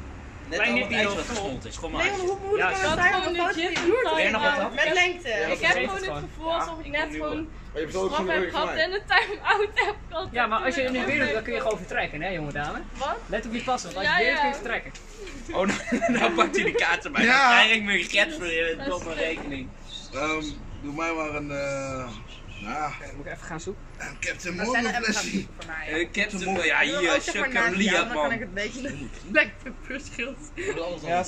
S5: Net
S10: Wij
S5: al
S10: nippen
S5: het
S10: hier
S5: ijs
S10: al
S5: wat
S10: vol.
S5: gesmolten is. Gewoon maar
S8: Leon,
S5: ijs.
S8: hoe moeilijk
S10: Ja,
S8: kan het
S9: dat
S8: zijn
S9: gewoon
S8: om
S9: een
S8: een
S9: jip
S8: foto
S5: Weer nog wat
S8: te
S5: dan?
S8: Met
S9: Ik
S8: lengte.
S10: vergeet
S9: heb gewoon
S10: het
S9: het
S10: gewoon.
S9: gevoel alsof ik net gewoon
S1: Maar je hebt zo ook
S9: straf
S1: zo'n
S9: heb
S1: leuk
S9: gehad en
S1: gemaakt.
S9: een time-out heb gehad.
S10: Ja, maar als je nu weer doet, dan kun je gewoon vertrekken, hè, jonge dame.
S9: Wat?
S10: Let op die passen, want als
S9: Ja,
S10: je weer doet, kun je
S9: ja.
S10: vertrekken.
S5: Oh, nou, nou pakt hij de kaarten bij.
S1: Ja.
S5: Dan krijg ik mijn get voor je domme rekening.
S1: Ehm, doe mij maar een, eh, nou,
S10: Kijk, moet ik even gaan zoeken.
S1: een Captain
S8: Dat zijn
S1: Morgan
S8: er echt
S1: flesje.
S8: voor mij.
S5: Eh, Ik heb ze mooi. Ja, hier, sukker,
S8: Dan
S5: liat,
S8: kan ik
S5: man.
S8: het beetje. Black pepper schild.
S1: Ja,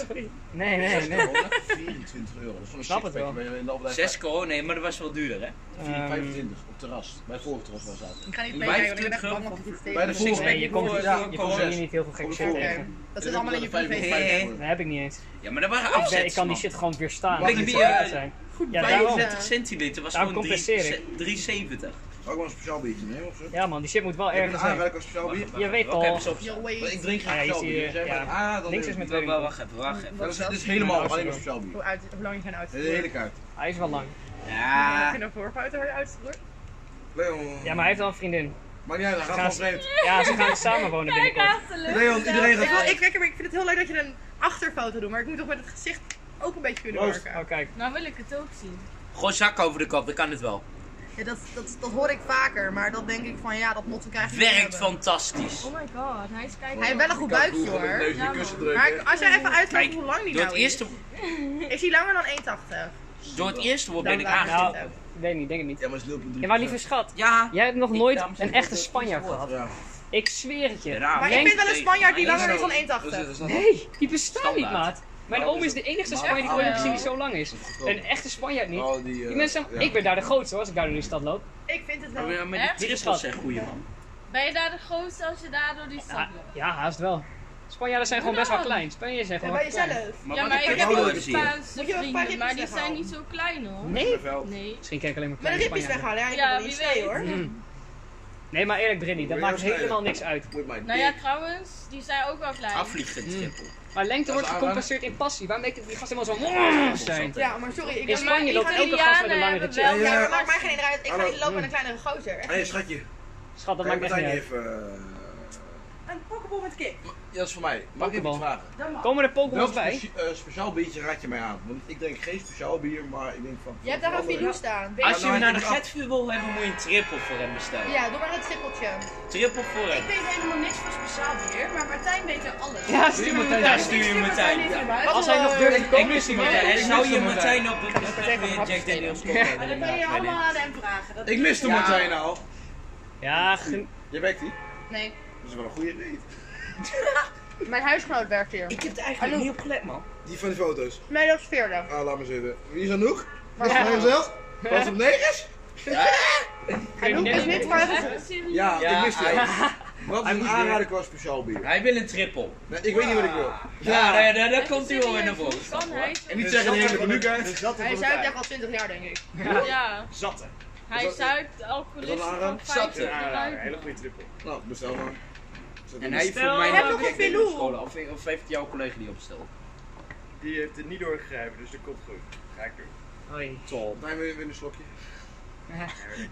S10: Nee, nee, nee.
S1: 24 euro, dat is voor een
S10: Snap het
S1: sixpack,
S10: wel.
S1: ben je in de opdracht.
S5: Zes kool, nee, maar dat was wel duurder, hè?
S10: Ehm,
S1: 25 op terras, bij vorige terras waar we zaten.
S8: Ik ga niet
S5: Bij
S8: meekijken, want ik ben echt
S5: 25
S8: bang dat ik iets
S1: Bij
S8: tegen
S1: de
S8: heb.
S1: volgende.
S10: Nee, je komt,
S5: voor-
S10: ja,
S5: voor-
S10: je komt
S1: voor-
S10: hier niet heel veel gek
S1: voor-
S10: shit
S1: voor-
S8: Oké.
S10: tegen.
S8: Dat is allemaal in je privé.
S5: Nee.
S10: Dat heb ik niet eens.
S5: Ja, maar dat waren
S10: Ik, ben-
S5: afzet.
S10: ik kan die shit gewoon weer staan.
S5: Blik
S10: Dat moet
S5: bier.
S10: goed zijn. Ja, daarom.
S5: 35 eh, centiliter was
S10: Daarom
S5: gewoon drie-
S10: compenseer ik.
S5: ze- 370.
S1: Ook wel een speciaal biertje mee of zo?
S10: Ja man, die shit moet wel
S1: Ik heb een
S10: ergens zijn.
S1: aanraak als speciaal bier.
S10: Je weet
S5: Oké,
S10: al.
S5: pas op.
S8: Yo,
S1: Maar Ik
S8: wait.
S1: drink geen
S10: Ah, ja, je
S1: speciaal
S10: ziet
S1: bier.
S10: hier,
S1: dus jij
S10: ja.
S1: bent- ah, dan
S10: Links
S1: is
S10: is met
S1: het.
S10: twee
S5: Wa- wa-
S10: winkels.
S5: Wacht even, wacht even.
S1: Dat is- Dit is helemaal
S10: Ja,
S1: alleen maar
S10: zeker.
S1: speciaal bier.
S8: Hoe uit- hoe lang is mijn auto?
S1: De hele kaart.
S10: Hij is wel lang.
S8: Heb
S5: Ja.
S8: je een voorfoto van je auto? hoor?
S1: Leon.
S10: Ja, maar hij heeft al een vriendin.
S1: Maakt niet uit, hij gaat gewoon
S10: Gaan ze-
S1: vreemd.
S10: Ja, ze gaan samen wonen
S9: Kijk,
S10: binnenkort.
S9: achterlijk.
S1: Leon, iedereen
S8: Ik, wil,
S1: gaat
S8: Oh, ik, ik, ik vind het heel leuk dat je een achterfoto doet, maar ik moet toch met het gezicht ook een beetje kunnen
S1: Proost.
S8: werken.
S10: Oh kijk.
S9: Nou wil ik het ook zien.
S5: Gewoon zak over de kop, dat kan het wel.
S8: Ja, dat, dat, dat hoor ik vaker, maar dat denk ik van ja, dat motto krijg ik niet
S5: Werkt
S8: hebben.
S5: fantastisch.
S9: Oh my god, hij is kijken.
S8: Hij heeft wel een goed buikje hoor.
S1: Neusje kussen
S8: Maar
S1: drukken.
S8: ik- als jij even
S5: Kijk,
S8: uitlegt hoe lang die
S5: door
S8: nou
S5: het eerste,
S8: is, is hij langer dan 1,80?
S5: door het eerste woord ben
S8: Dan
S5: ik
S8: laat
S5: aangekomen.
S10: Nou,
S8: het zitten.
S10: ik weet niet, denk ik niet.
S1: Ja, maar het is 0,3.
S10: Ja, maar lieve schat,
S5: Ja.
S10: jij hebt nog nooit
S5: dames en
S10: een
S5: heren,
S10: echte Spanjaard gehad.
S1: Ja.
S10: Ik zweer het je.
S5: Raar.
S8: Maar
S10: Denk-
S8: ik vind wel een Spanjaard die
S5: Maar
S8: langer is dan
S1: Dus dit
S8: 1,80.
S1: is dat-
S10: Nee, die bestaat niet,
S5: Standaard. Oh,
S10: maat. Mijn
S1: Nou,
S10: oom is
S1: dus
S10: de enigste
S1: maar-
S10: Spanjaard die ik
S8: Oh,
S10: ooit heb gezien die zo lang is.
S8: Nou,
S1: goedkoop.
S10: Een echte Spanjaard niet.
S5: Nou,
S1: Oh, die, eh,
S10: Die mensen,
S1: ja.
S10: ik ben daar de grootste hoor, als ik daar door die stad loop.
S8: Ik vind het wel.
S5: Oh, ja, maar
S9: Hè?
S5: die trippels zijn goeie man.
S9: Ben je daar de grootste als je daar door die stad
S10: Ja,
S9: loopt?
S10: ja, haast wel. Spanjaarden zijn gewoon best wel klein. Spanjaarden zijn
S8: Ja,
S10: gewoon
S8: bij
S10: klein.
S8: jezelf.
S5: Maar
S9: Ja,
S5: wat
S9: maar
S5: ik
S9: ik
S5: heb
S1: nou
S9: heb
S5: wel
S9: ook
S5: gezien.
S9: Spaanse
S8: Moet je wel een paar
S9: vrienden, maar die
S8: ripjes
S9: zijn
S8: weghalen?
S9: niet zo klein hoor.
S10: Nee.
S9: Nee.
S10: Misschien ken ik alleen maar
S8: Met de
S10: kleine
S8: ripjes weghalen,
S10: Spanjaarden.
S8: ja, ik
S9: Ja,
S8: wil
S9: wie
S8: niet twee
S9: weet.
S8: hoor.
S10: Mm.
S5: Mm.
S10: Nee, maar eerlijk Brinny, dat
S1: Moet je
S10: maakt
S1: wel snijden.
S10: helemaal niks uit. Mm.
S1: Moet mijn
S9: Nou ja,
S1: dik.
S9: trouwens, die zijn ook wel klein.
S5: Afvliegend trippel.
S10: Maar lengte wordt
S1: aan-
S10: gecompenseerd in passie. Waarom denk je dat die gasten helemaal zo zijn?
S8: Ja, maar sorry, ik
S10: In
S8: ben maar...
S10: Spanje loopt elke
S9: Italianen
S10: gast met een langere
S9: hebben
S10: chick.
S9: wel-
S8: Ja, maar maakt mij
S9: Passie.
S8: geen idee uit. Ik ga
S1: Hallo.
S8: niet lopen met een kleinere gozer.
S1: Hé, schatje.
S10: Schat, dat
S1: Kan je
S10: maakt echt niet
S1: Martijn
S10: uit.
S1: even... eh,
S15: Een pokkenbal met kip.
S1: Ja, dat is voor mij. Mag ik even
S10: Pokeball.
S1: iets vragen?
S15: Dan mag.
S10: Komen er Pokémon's
S1: Welk
S10: bij?
S1: speci- eh, speciaal biertje raad je mij aan? Want ik drink geen speciaal bier, maar ik denk van...
S8: Je hebt daar een video
S1: video.
S8: staan.
S5: Als je
S1: nou,
S5: hem naar de
S1: ik heb-
S5: getvuur wil hebben, moet je een trippel voor hem bestellen.
S8: Ja, doe maar een trippeltje.
S5: Trippel voor
S15: Ik
S5: hem.
S15: weet helemaal niks van speciaal bier, maar Martijn weet er alles.
S10: Ja, stuur me
S5: Daar stuur je Martijn. Ja.
S10: Als hij nog durft te komen, is hij
S5: Ja,
S10: wel.
S5: En zou je Martijn op een gesprek weer een Jack Daniels kopen?
S15: Maar dan kan je allemaal aan hem vragen. Dat
S1: Ik miste Martijn al.
S10: Ja, gen-
S1: nou. Je werkt die?
S8: Nee,
S1: Dat is wel een goede reet.
S8: mijn huisgenoot werkt hier.
S5: Ik heb het eigenlijk niet op gelet, man.
S1: Die van de foto's.
S8: Nee, dat is veerder.
S1: Ah, laat maar zitten. Wie is Anouk?
S8: Maar
S1: Van hemzelf? Was het negers?
S8: Anouk is niet voor
S9: Echt
S8: even
S9: een serie.
S1: Ja,
S5: Ja,
S1: ik miste
S5: hij-
S1: jou. Wat is
S10: moest
S1: een
S10: weer.
S1: aanrader qua speciaal bier?
S5: Hij wil een trippel.
S1: Nee, ik weet niet wat ik wil.
S5: Ja, daar, daar, daar
S9: Echt
S5: komt hij
S9: serieus,
S5: wel in de
S9: hoe
S5: volgende.
S9: kan hij
S1: En niet zeggen de hele menukaart. uit.
S8: Hij zuipt echt al 20 jaar, denk ik.
S9: zo- Ja,
S1: Zatte.
S9: hij
S1: dat-
S9: zuipt
S1: is
S9: alcoholisten
S1: dat een
S9: van
S1: aanrader?
S9: 50
S14: Hele goede trippel.
S1: Nou, bestel maar. Zet
S5: En
S1: in
S5: hij
S1: de-
S5: heeft voor mij
S8: Heb
S5: nog
S8: nog
S5: Jack
S8: een
S5: Daniels
S8: Velour?
S5: scholen. Of, of heeft jouw collega die opgesteld?
S14: Die heeft het niet doorgegeven, dus dat komt goed. Ga ik doen.
S10: Hoi.
S5: Top. Neem weer, weer een slokje.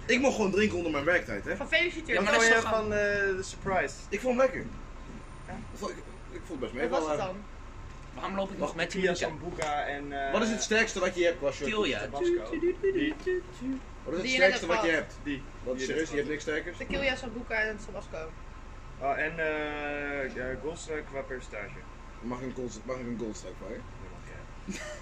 S5: Ik mocht gewoon drinken onder mijn werktijd, hè?
S8: Gefeliciteerd.
S5: Ja, maar
S8: dat
S5: dat
S8: is
S5: is
S8: toch
S5: toch
S8: gewoon-
S5: van eh, de surprise. Ik vond hem lekker. Ik vond- Ik, ik vond het best mee.
S8: Wat was het dan?
S1: Waarom loop ik
S5: nog met Kia Sambuca en... wat is het sterkste wat je hebt qua shortje?
S1: Tilja.
S5: Tabasco. Die. Wat is het
S8: Die je net
S5: sterkste
S8: hebt
S5: wat je
S8: gehad.
S5: hebt? Die. Wat is serieus? Je hebt niks sterkers?
S8: De Kilja Sambuca en Tabasco.
S5: Ah, en eh ja, goldstrike qua percentage. Mag ik een gold- mag ik een goldstrike bij?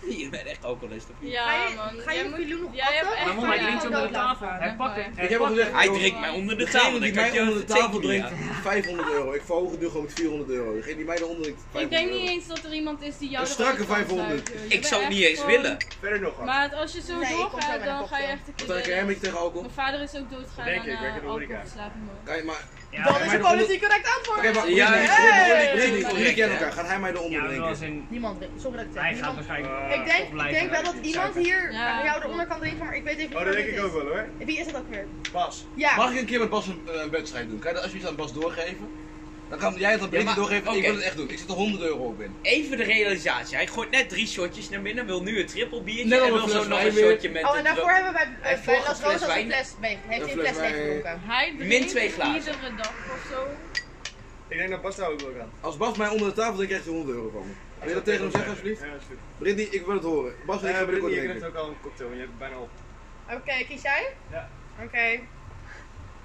S1: Je bent echt alcoholist of niet?
S9: Ja,
S8: Ga je-
S9: man.
S8: ga je
S9: Jij
S8: met
S9: moet-
S8: Pilou nog
S9: Jij
S8: pakken?
S9: hebt echt
S8: Maar
S9: maar
S8: hij drinkt onder de tafel.
S9: Hij pakt het.
S5: Ik heb al gezegd,
S1: Hij
S5: joh,
S1: drinkt mij onder de
S5: degene
S1: tafel.
S5: die
S1: dan
S5: mij
S1: kan je
S5: onder de
S1: altijd
S5: tafel
S1: zeker
S5: drinkt,
S1: niet aan.
S5: 500 euro. Ik verhoog het nu gewoon met 400 euro. Degene die mij eronder drinkt, 500
S9: Ik denk
S5: euro.
S9: niet eens dat er iemand is die jou
S5: Een
S9: eruit
S5: strakke
S9: kan
S5: 500.
S9: zuigen. Je
S5: Ik
S9: bent
S5: zou
S9: echt
S5: niet eens
S9: gewoon-
S5: willen. Verder nog hard.
S9: Maar het- als je zo
S8: Nee, ik kom zo
S9: doorgaat,
S8: met een
S9: dan
S8: kopje.
S9: ga je echt een
S5: Wat heb jij hem tegen alcohol?
S9: Mijn vader is ook doodgegaan
S5: Denk
S9: aan
S5: ik, werk in de
S9: eh,
S5: horeca.
S9: alcoholverslaving. hoor.
S5: Kan je maar...
S8: Dat is een politiek correct antwoord.
S5: Oké, maar
S1: Ja,
S5: ja,
S1: ja, ja, ja, ja.
S5: jullie kennen elkaar. Gaan hij mij eronder
S10: Ja,
S5: drinken?
S10: wel zijn.
S8: Niemand wil. Sorry dat ik zeg.
S10: Hij gaat
S8: niemand-
S10: waarschijnlijk.
S9: eh,
S8: Ik denk, ik denk wel dat iemand hier
S9: Ja.
S8: aan jou eronder kan drinken, maar ik weet
S5: Oh,
S8: even niet wie het is.
S5: hoor.
S8: Wie is dat ook weer?
S5: Bas.
S8: Ja.
S5: Mag ik een keer met Bas een, een wedstrijd doen? Kan je dat alsjeblieft aan Bas doorgeven? Dan kan jij het aan Bas
S1: maar-
S5: doorgeven. Ik
S1: oké.
S5: wil het echt doen. Ik zit er 100 euro op in.
S1: Even de realisatie. Hij gooit net drie shotjes naar binnen, wil nu een triple biertje
S5: Net al
S1: en
S5: een
S1: wil
S5: fles
S1: zo nog een
S5: wijn weer.
S1: shotje met
S8: Oh,
S1: de
S8: en daarvoor
S1: dro-
S8: hebben wij
S1: Hij
S8: bij,
S1: heeft
S8: bij
S1: vorige
S8: Las
S1: fles
S8: Rosas een
S1: wijn.
S8: fles mee. Heeft hij
S5: Een
S8: een fles
S5: fles wijn.
S8: meegedronken?
S9: Hij
S1: Min
S9: drinkt
S1: twee glazen.
S9: iedere dag of zo.
S16: Ik denk dat Bas daar ook wel kan.
S5: Als Bas mij onder de tafel drinkt, krijgt hij 100 euro van me. Wil je dat tegen hem zeggen, alsjeblieft?
S16: Ja, is goed.
S5: Britney, ik wil het horen. Bas en ik
S16: Eh,
S5: gaan binnenkort
S16: Brittany, je krijgt
S5: drinken.
S16: ook al een cocktail, want je hebt het bijna op.
S8: Oké, kies jij?
S16: Ja.
S8: Oké.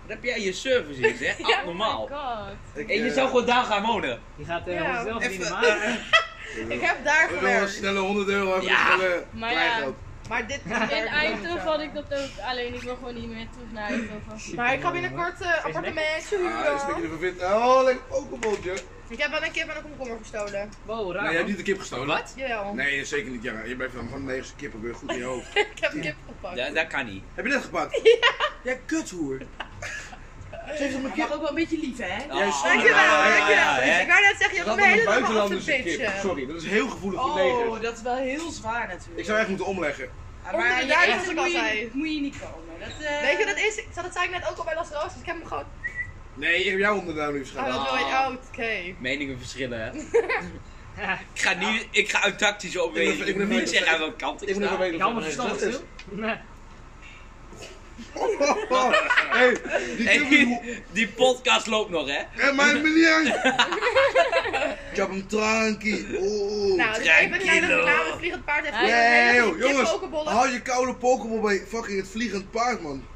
S1: Wat heb jij je service in, zeg?
S9: Ja,
S1: Abnormaal.
S9: Oh my god.
S5: Ik,
S1: En je
S5: eh,
S1: zou gewoon daar gaan wonen.
S10: Je gaat
S8: Ja.
S10: eh onszelf
S5: Even-
S10: verdienen, maar.
S8: Ik heb daar
S5: Ik wil wel
S8: gewerkt.
S5: snelle 100 euro hebben.
S1: Ja,
S5: snelle
S9: maar ja.
S5: kleingeld.
S8: Maar dit
S9: In Eindhoven had ik dat ook, alleen ik wil gewoon niet meer terug naar Eindhoven.
S8: Maar ik ga binnenkort eh appartement
S5: Ah, een stukje
S8: huren.
S5: ervan vindt. Oh, lekker pokeboltje.
S8: Ik heb wel een keer met een komkommer gestolen.
S10: Wow,
S5: Nee,
S10: raar.
S5: je hebt
S10: man.
S5: niet de kip gestolen. Wat?
S8: Jawel.
S5: Nee, zeker niet. Ja, je bent van van negen kippen weer goed in je hoofd.
S8: Ik heb kip gepakt.
S1: Ja, dat kan niet.
S5: Heb je dat gepakt? Ja. Jij kuthoer.
S2: Je mag ook wel een beetje lief, hè? Oh,
S1: Ah,
S8: Dankjewel,
S1: ja, ja,
S8: dankjewel.
S1: ja, hè?
S8: ik wou net zeggen, je hebt
S5: Dat
S8: me
S5: was een
S8: helemaal af te
S5: buitenlanderse kip.
S8: bitchen.
S5: Sorry, dat is heel gevoelig voor
S2: Oh,
S5: negers.
S2: dat is wel heel zwaar natuurlijk.
S5: Ik zou echt moeten omleggen.
S2: Maar
S8: Onder de
S2: je
S8: duim,
S2: eigen
S8: zoals ik
S2: moet
S8: al
S2: je-
S8: zei.
S2: Moet je niet komen. Dat, eh,
S8: Weet je, dat is, ik- dat zei ik net ook al bij Las Rosas, ik heb hem gewoon...
S5: Nee, ik heb jou onder de duim liefst
S8: Oh,
S5: gedaan.
S8: dat wil je,
S1: Ah.
S8: oh, oké.
S1: Meningen verschillen, hè? ik, ga nu, ik ga uit tactische
S5: Ik
S1: overweging
S5: ben- ik ben-
S1: niet zeggen aan welke kant ik
S5: Ik moet even
S1: sta.
S5: weten
S10: Ik
S5: of
S10: hou
S5: dat
S10: me
S5: een
S10: verstandig
S5: recess
S10: stil. Nee.
S5: is. Hey, die
S1: Hey,
S5: kip is...
S1: die podcast loopt nog, hè?
S5: Hey, mijn meneer! Ik heb hem trankie. Oh.
S8: Nou, dus even een kleine
S1: Tranquilo.
S8: reclame, het vliegend paard heeft... dus
S9: Nee,
S5: Nee,
S8: Nee,
S5: joh, jongens,
S8: Kippokenbollen
S5: hou je koude Pokémon bij fucking het vliegend paard, man.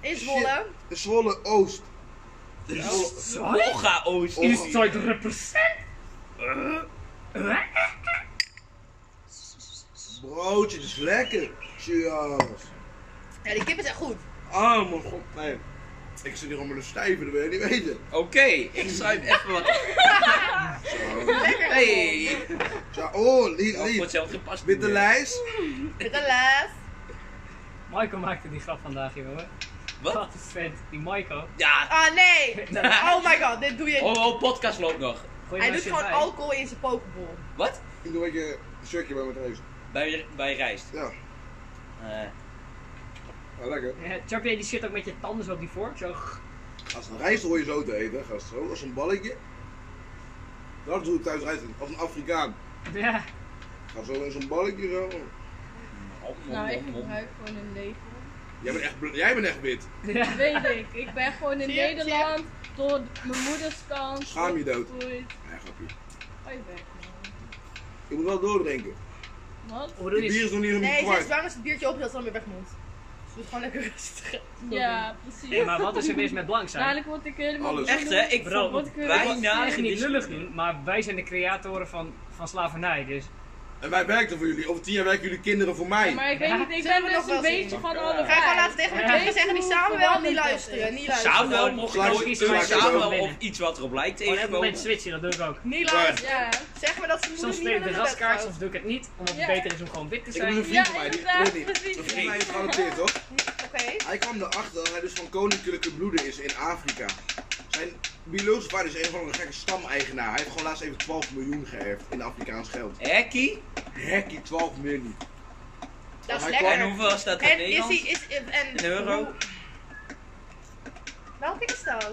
S8: in Zwolle.
S5: De Zwolle Oost.
S1: Olga Oost.
S5: Oh.
S10: Eastside represent.
S5: Broodje, dat is lekker. Cheers.
S8: Ja, die kip is echt goed.
S5: Oh mijn god, nee. Ik zit hier allemaal te stijven, dat wil je niet weten.
S1: Oké, ik sluit even wat.
S8: Lekker.
S1: Hey!
S5: Zo, oh, lief,
S1: Oh, voor
S5: lief.
S1: hetzelfde gepast.
S5: Witte lijst.
S8: Met een les.
S10: Michael maakte die grap vandaag, jongen.
S1: Wat?
S10: Wat is vet. Die Michael.
S1: Ja.
S8: Ah, nee. Oh my god, dit doe je
S1: Oh,
S8: niet.
S1: oh, podcast loopt nog.
S10: Gooi
S8: Hij
S10: maar
S8: doet
S10: shit
S8: gewoon
S10: bij.
S8: alcohol in zijn pokeball.
S1: Wat?
S5: Ik doe een beetje een shirtje bij mijn reis.
S1: Bij, bij rijst.
S5: Ja,
S1: Eh,
S5: ja, lekker.
S10: Eh, Chuck deed die shit ook met je tanden zo op die vork. Zo.
S5: Als een rijst hoor je zo te eten, gast. Zo, als een balletje. Dat doe ik thuis rijst. Als een Afrikaan.
S10: Ja.
S5: Ga zo in zo'n balletje zo.
S1: om, om,
S9: Nou, ik
S1: om, om.
S9: gebruik gewoon een leven.
S5: Jij bent echt, bl- jij bent echt wit.
S10: Ja.
S9: Weet ik. Ik ben gewoon in
S8: Zie je,
S9: Nederland door mijn moeders kant.
S5: Schaam je dood.
S9: opgegroeid.
S5: Ja, grapje.
S9: Ga je weg, man.
S5: Ik moet wel doordrinken.
S9: Wat?
S10: Hoe
S5: Die
S10: doe je
S5: bier is nog niet helemaal
S8: Nee,
S5: kwart.
S8: sinds waarom is het biertje op dat het dan weer weg moet? Dus doe het gewoon lekker rustig.
S9: Ja, precies.
S10: Ja, maar wat is er mis met blank
S8: Nou,
S10: zijn?
S9: Dadelijk word ik helemaal
S5: Alles.
S1: Echt, hè? Ik
S10: Bro,
S1: vond
S9: Word ik helemaal
S10: Ik
S1: bijna
S10: wil echt niet lullig
S1: gediscrimineerd.
S10: doen, maar wij zijn de creatoren van, van slavernij, dus...
S5: En wij werken voor jullie. Over tien jaar werken jullie kinderen voor mij.
S9: Maar ik weet niet, ik
S8: Zullen
S9: ben
S8: we
S9: dus
S8: nog wel
S9: een beetje
S8: zien?
S9: van alle
S8: Ik ga gewoon laten
S9: vijf.
S8: tegen mijn
S10: Ja.
S8: kinderen zeggen die samen wel niet
S9: Ja.
S8: luisteren. Niet luisteren.
S1: Samuel mocht
S5: Slaat-
S1: nooit
S5: slaat-
S1: een
S5: slaat-
S1: Samuel
S10: slaat-
S1: of iets wat erop lijkt
S10: Gewoon even een beetje
S1: tegenkomen.
S10: switchen, dat doe ik ook.
S8: Niet luisteren.
S9: Ja,
S8: Zeg maar dat ze moeder
S10: Soms
S8: niet
S10: speel ik
S8: meer
S10: de
S8: naar bed
S10: raskaart,
S8: gaat.
S10: soms doe ik het niet, omdat het
S9: Ja.
S10: beter is om gewoon wit te
S5: Ik heb
S10: zijn.
S5: een
S9: ja
S5: vriend van mij. Die,
S9: inderdaad,
S5: Britney. Een
S9: precies.
S5: vriend van mij is geadopteerd, toch?
S8: Oké.
S5: Hij kwam erachter dat hij dus van koninklijke bloeden is in Afrika. Zijn biologische vader is een van de gekke stameigenaar. Hij heeft gewoon laatst even 12 miljoen geërfd in Afrikaans geld.
S1: Hekkie?
S5: Hekkie, 12 miljoen.
S8: Dat is
S5: hij
S1: En
S8: lekker.
S1: hoeveel staat er in
S8: En is
S1: Nederland?
S8: hij, is, en...
S1: Een euro?
S8: Welke is dat?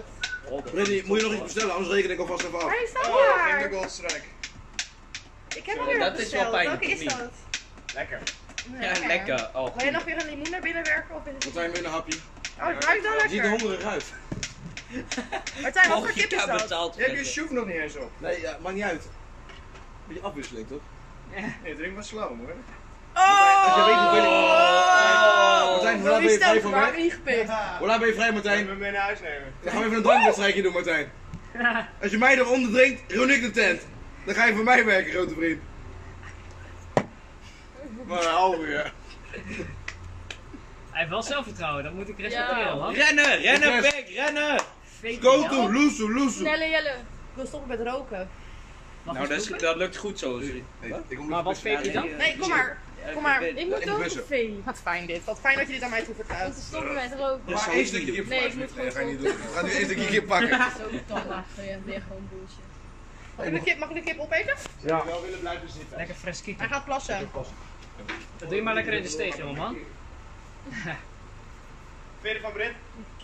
S5: Britney, moet je nog iets bestellen, anders reken ik alvast even af.
S8: Hij staat
S16: En
S8: daar.
S16: de Goldstrike.
S8: Ik heb hem weer
S1: dat is
S8: besteld.
S1: wel pijnlijk,
S8: Welke is
S1: of niet?
S8: dat?
S16: Lekker.
S2: Ja, lekker. Oh,
S8: Wil je nog weer een limoen naar binnen werken? Of is het...
S5: Martijn, weer een hapje.
S8: Oh, het ruikt wel
S5: Niet de
S8: lekker.
S5: hongerige ruif.
S8: Martijn,
S10: Oh,
S8: wat voor kip is dat?
S5: Je hebt je sjoef nog niet eens op. Nee, ja, maakt niet uit. Beetje afwisseling, toch? Nee, drink maar slow, hoor. Als je weet hoeveel ik... Martijn, hoe laat ben je vrij van mij?
S8: ingepikt.
S5: Hoe laat ben je vrij, Martijn?
S13: We mee naar huis nemen.
S5: Dan gaan we even een drankbedstrijdje doen, Martijn. Als je mij eronder drinkt, ruin ik de tent. Dan ga je voor mij werken, grote vriend. Maar hou weer.
S10: Hij heeft wel zelfvertrouwen, dat moet ik respecteren,
S2: Ja.
S10: man.
S2: Rennen, rennen,
S10: Ik res-
S2: Beck, rennen!
S10: Go
S5: to, loezo, loezo.
S8: Snelle Jelle. Ik wil stoppen met roken.
S2: Nou, dat, is- dat lukt goed zo.
S10: Maar wat vind je dan?
S8: Nee, kom maar. Kom maar.
S2: Ik moet ook een
S8: vee. Wat fijn dit. Wat fijn dat jullie het aan mij toevertrouwt. We
S9: stoppen met roken.
S5: Maar één stukje kip
S9: Nee, ik moet
S5: Nee,
S9: gewoon
S5: dat ga je niet doen. Ik ga nu één stukje kip pakken.
S9: Zo tandachter, ja, weer gewoon bullshit.
S8: Mag ik de kip, mag ik de kip opeten?
S5: Ja.
S13: wel willen blijven zitten.
S10: Lekker fris
S8: Hij gaat plassen.
S10: Dat doe je maar lekker in de steeg, jongeman.
S13: Tweede van Brent.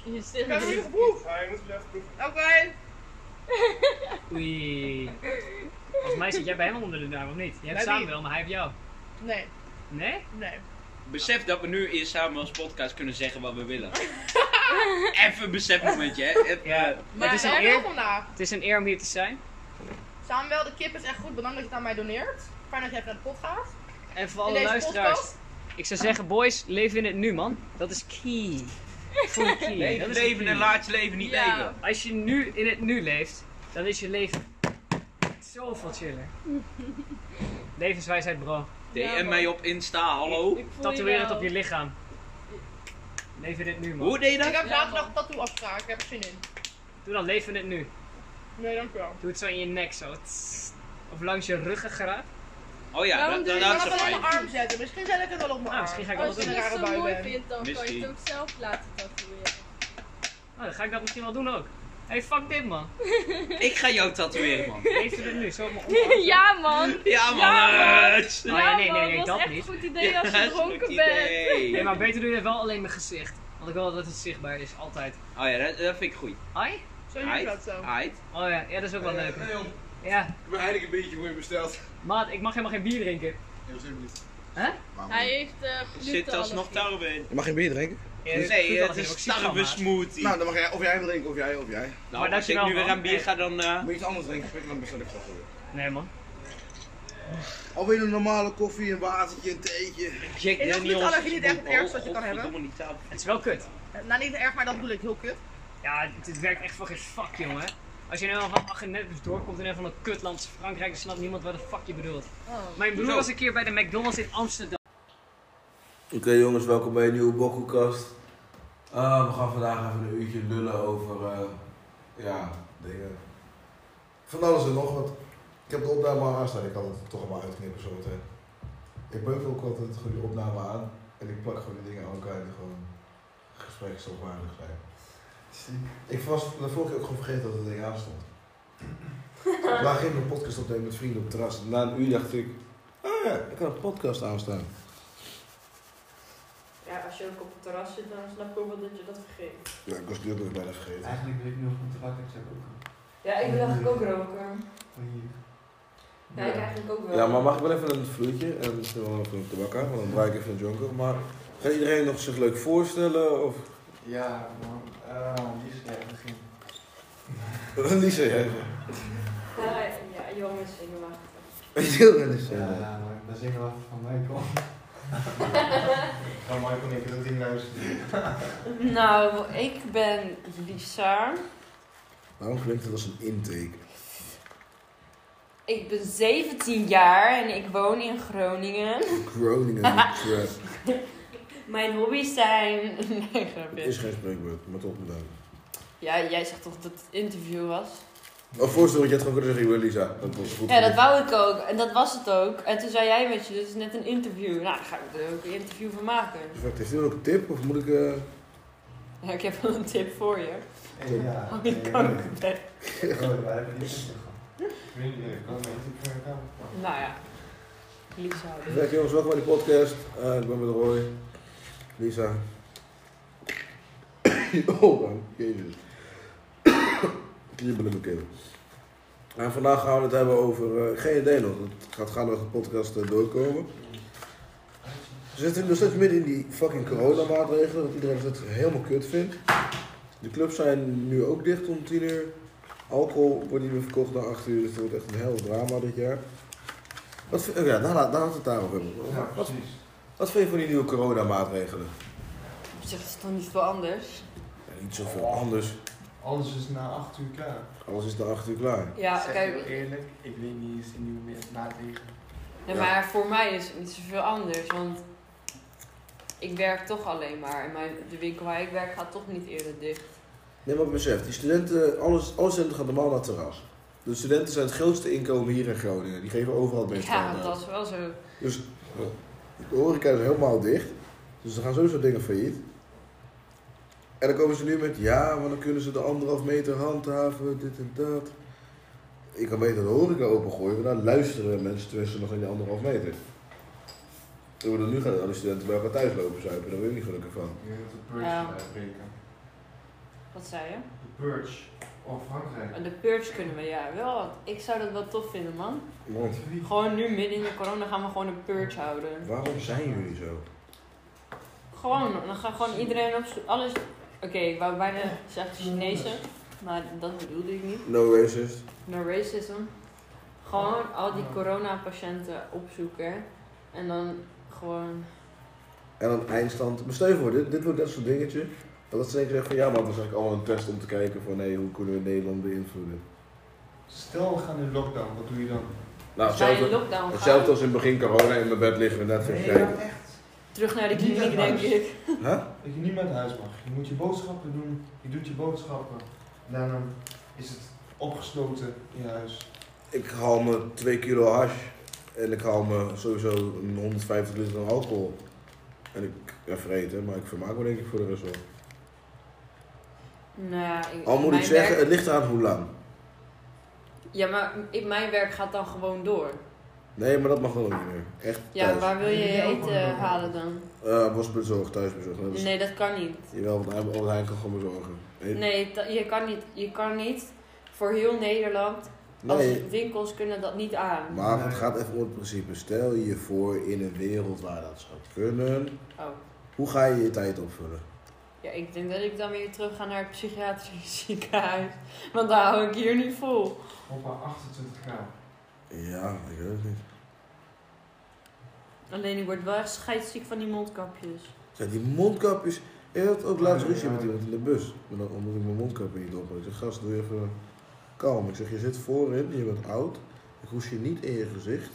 S9: Je
S8: Ik heb hem niet
S9: stil.
S8: geproefd.
S13: Ja, je moet hem even proeven.
S8: Oké.
S10: Oei. Volgens mij zit jij bij hem onder de duim, of niet? Je hebt
S8: Bij
S10: samen
S8: wie?
S10: wel, maar hij heeft jou.
S8: Nee.
S10: Nee?
S8: Nee.
S2: Besef dat we nu eerst samen als podcast kunnen zeggen wat we willen. Even een besefmomentje, hè? Even,
S5: eh,
S2: ja.
S8: Maar
S10: het, is een
S8: er
S10: eer,
S8: nog vandaag.
S10: het is een eer om hier te zijn.
S8: Samuel, de kip is echt goed. Bedankt dat je het aan mij doneert. Fijn dat je even naar de pot gaat.
S10: En voor
S8: In
S10: alle
S8: deze
S10: luisteraars.
S8: podcast?
S10: Ik zou zeggen, boys, leef in het nu, man. Dat is key. Voor de key.
S2: Leef
S10: dat
S2: het
S10: is de
S2: leven
S10: key.
S2: en laat je leven niet
S10: Ja.
S2: leven.
S10: Als je nu in het nu leeft, dan is je leven zoveel chiller. Levenswijsheid, bro.
S2: DM mij op Insta, hallo.
S10: Tatoeëer het op je lichaam. Leef in het nu, man.
S2: Hoe deed je dat?
S8: Ik heb zaterdag tattoo afspraak. Ik heb er zin in.
S10: Doe dan, leef in het nu.
S8: Nee, dankjewel.
S10: Doe het zo in je nek, zo. Tss. Of langs je ruggengraat.
S2: Oh ja,
S8: Waarom
S2: dat,
S8: doe
S2: dat,
S8: je
S2: dat is
S8: het
S2: een
S8: wel
S2: fijn.
S8: op mijn arm zetten? Misschien zet ik het wel op mijn
S10: Ah,
S8: arm.
S10: misschien ga ik wel
S8: Als
S10: wat
S8: je
S10: doen.
S8: een rare
S9: Als je het
S8: bui
S9: zo mooi
S8: bent.
S9: vindt, dan kan je
S2: Misschien.
S9: het ook zelf laten tatoeëren.
S10: Oh, dan ga ik dat misschien wel doen ook. Hey, fuck dit, man.
S2: Ik ga jou tatoeëren, man.
S10: Leef in het nu, zo op mijn
S9: ja, man.
S2: Ja, man.
S10: Oh, ja, nee, nee, nee,
S9: man,
S10: dat
S9: was echt
S10: niet.
S9: een goed idee als
S2: Ja,
S9: je
S2: is een
S9: dronken
S2: goed
S9: bent.
S2: idee.
S10: Nee, maar beter doe je wel alleen mijn gezicht. Want ik wil dat het zichtbaar is, altijd.
S2: Oh ja, dat, dat vind ik goed.
S10: Ai?
S8: Zo
S2: Aight, aight.
S10: Oh ja, ja dat is ook wel leuk.
S5: Nee, joh.
S10: Ja,
S5: Ik ben eigenlijk een beetje voor je besteld.
S10: maat, ik mag helemaal geen bier drinken.
S5: Nee, dat is helemaal niet.
S10: Hè?
S9: Hij heeft eh
S2: Zit alsnog tarwe in.
S1: Je mag geen bier drinken.
S2: Nee, het is tarwe smoothie.
S5: Nou, dan mag jij, of jij hem drinken, of jij, of jij.
S2: Nou, als ik
S10: dankjewel,
S2: nu weer
S10: man.
S2: aan bier ga, dan... eh,
S5: Moet je iets anders drinken, spreek dan bestel ik straks weer.
S10: Nee, man.
S5: Alweer een normale koffie, een watertje, een theetje.
S2: Jack
S8: Is dat niet
S2: Daniels.
S8: allergie niet echt het ergste wat je kan hebben?
S2: Godverdomme, die tafel.
S10: Het is wel kut.
S8: Nou, niet erg, maar dat bedoel ik heel kut.
S10: Ja, dit werkt echt voor geen fuck, jongen. Als je nou van Agenebus doorkomt in een van een kutland als Frankrijk, dan snapt niemand wat de fuck je bedoelt.
S9: Oh.
S10: Mijn broer
S2: Hoezo?
S10: was een keer bij de McDonald's in Amsterdam.
S1: Oké jongens, welkom bij een nieuwe Bokkoekast. Ah, we gaan vandaag even een uurtje lullen over, eh, ja,
S4: Dingen. Van alles en nog wat. Ik heb de opname al aanstaan, ik kan het toch allemaal uitknippen zo meteen. Ik beukel ook altijd gewoon die opname aan en ik plak gewoon die dingen aan elkaar die gewoon gespreksopwaardig zijn. Ik was de vorige keer ook gewoon vergeten dat het ding aan stond. Daar ging ik een podcast opnemen met vrienden op het terras. Na een uur dacht ik, ah ja, ik had een podcast aanstaan.
S17: Ja, als je ook op het terras zit, dan snap ik ook wel dat je dat vergeet.
S4: Ja, ik was die ook nog bijna vergeten.
S13: Eigenlijk wil ik nu op een trak, ik zeg ook.
S17: Ja, ik wil eigenlijk ook roken.
S13: Van hier.
S17: Ja, ik eigenlijk ook wel.
S1: Ja, maar mag ik wel even een vloertje en misschien wel even een tabak aan, want dan draai ik even een jonker. Maar gaat iedereen nog zich leuk voorstellen of
S13: Ja, man. Eh, die is echt begin.
S1: niet zo even?
S17: Ja, ja, jongens, ik wacht.
S1: Heel wel eens.
S13: Ja, maar dat is ik wel van Michael. Van Michael, ik wil het in huis.
S17: Nou, ik ben Lisa.
S1: Waarom klinkt het als een intake?
S17: Ik ben 17 jaar en ik woon in Groningen.
S1: Groningen crap.
S17: Mijn hobby's zijn... Nee, grapje.
S1: Het is geen spreekwoord, maar tot bedankt.
S17: Ja, jij zegt toch dat het interview was?
S1: Of voorstel dat je het gewoon kunnen zeggen, Lisa. Dat was goed.
S17: Ja, dat wou ik ook. En dat was het ook. En toen zei jij met je, dit is net een interview. Nou, daar ga ik er ook een interview van maken.
S1: Perfect. Heeft iemand ook een tip of moet ik... eh,
S17: Ja, ik heb wel een tip voor je.
S13: Ja.
S17: Hou je
S13: nee,
S17: kanker weg.
S13: nee. Oh, wij hebben niet gegaan. Vrienden, kom mee. Ik ga
S17: Nou ja. Lisa.
S1: Zeg jongens, welkom bij de podcast. Eh, ik ben met Roy. Lisa. oh man, jezus. Kriebel in mijn keel. En Nou, vandaag gaan we het hebben over eh, geen idee nog. Het gaat gaan nog een podcast eh, doorkomen. We zitten nog steeds midden in die fucking coronamaatregelen, dat iedereen het helemaal kut vindt. De clubs zijn nu ook dicht om 10 uur. Alcohol wordt niet meer verkocht na 8 uur, dus het wordt echt een heel drama dit jaar. Wat vind, oh ja, daar, laat- daar hadden we het daarover.
S13: Ja,
S1: wat,
S13: precies.
S1: wat vind je van die nieuwe coronamaatregelen?
S17: Op zich is het toch niet veel anders?
S1: Ja, niet zoveel anders.
S13: Alles is na 8 uur klaar.
S1: Alles is na 8 uur klaar.
S17: Ja,
S13: zeg
S17: kijk-
S13: heel eerlijk, ik weet niet eens de nieuwe meer- maatregelen.
S17: Nee,
S1: Ja.
S17: maar voor mij is het niet zoveel anders, want ik werk toch alleen maar. En mijn, de winkel waar ik werk gaat toch niet eerder dicht.
S1: Nee, wat ik besef, die studenten, alles, alle studenten gaan normaal naar het terras. De studenten zijn het grootste inkomen hier in Groningen. Die geven overal het meeste
S17: Ja,
S1: geld uit.
S17: dat is wel zo.
S1: Dus de horeca is helemaal dicht. Dus er gaan sowieso dingen failliet. En dan komen ze nu met, ja, maar dan kunnen ze de anderhalf meter handhaven, dit en dat. Ik kan beter de horeca opengooien, want dan luisteren mensen tenminste nog in die anderhalf meter. Ik bedoel, nu gaan alle studenten bij elkaar thuis lopen zuipen, daar ben ik niet gelukkig van.
S13: Ik denk dat de purge
S17: Ja.
S13: gaat uitbreken.
S17: Wat zei je?
S13: De purge of Oh, Frankrijk.
S17: Maar De purge kunnen we, ja. Wel, ik zou dat wel tof vinden, man.
S1: Want
S17: Gewoon nu midden in de corona gaan we gewoon een purge houden.
S1: waarom zijn jullie zo?
S17: Gewoon, dan gaan gewoon iedereen op zoek. Alles. Oké, ik wou bijna zeggen Chinezen, maar dat bedoelde ik niet.
S1: No racist.
S17: No racism. Gewoon al die coronapatiënten opzoeken en dan gewoon.
S1: En aan het eindstand, bestel je voor, dit, dit wordt net zo'n dingetje. Dat ze zeker zeggen van, ja, maar dat is eigenlijk allemaal een test om te kijken van, nee, hoe kunnen we Nederland beïnvloeden?
S13: Stel we gaan in lockdown, wat doe je dan?
S1: Nou,
S17: Ga je in
S1: hetzelfde,
S17: lockdown gaan?
S1: hetzelfde als in het begin corona in mijn bed liggen en net
S13: Nee,
S1: geen
S13: ja,
S1: kijken.
S13: echt.
S17: Terug naar de
S13: Niet uit
S17: kliniek, denk
S13: huis.
S17: ik.
S1: Huh?
S13: Dat je niet meer uit huis mag. Je moet je boodschappen doen, je doet je boodschappen. Daarna is het opgesloten in je huis.
S1: Ik haal me 2 kilo hash en ik haal me sowieso een 150 liter aan alcohol. En ik ja, vreten, maar ik vermaak me denk ik voor de rest wel.
S17: Nou, ik,
S1: Al moet ik
S17: mijn
S1: zeggen,
S17: werk-
S1: het ligt aan hoe lang.
S17: Ja, maar ik, mijn werk gaat dan gewoon door.
S1: Nee, maar dat mag dan ook niet meer. Echt
S17: Ja,
S1: thuis.
S17: waar wil je je eten halen dan?
S1: Eh, was bezorgd, thuis bezorgd. Dat is-
S17: Nee, dat kan niet.
S1: Jawel, want hij- want hij kan gewoon bezorgen.
S17: Nee, ta- je kan niet. Je kan niet voor heel Nederland.
S1: Nee.
S17: Als winkels kunnen dat niet aan.
S1: Maar het gaat even om het principe. Stel je voor in een wereld waar dat zou kunnen.
S17: Oh.
S1: Hoe ga je je tijd opvullen?
S17: Ja, ik denk dat ik dan weer terug ga naar het psychiatrisch ziekenhuis. Want daar hou ik hier niet vol.
S13: Hoppa, 28 graden.
S1: Ja, ik weet het niet.
S17: Alleen ik word wel echt scheidsziek van die mondkapjes.
S1: Ja, die mondkapjes. Ik had ook laatst ruzie met iemand in de bus. Maar dan, omdat ik mijn mondkapje niet op had. Ik zeg, gast, doe even kalm. Ik zeg, je zit voorin, je bent oud. Ik hoes je niet in je gezicht.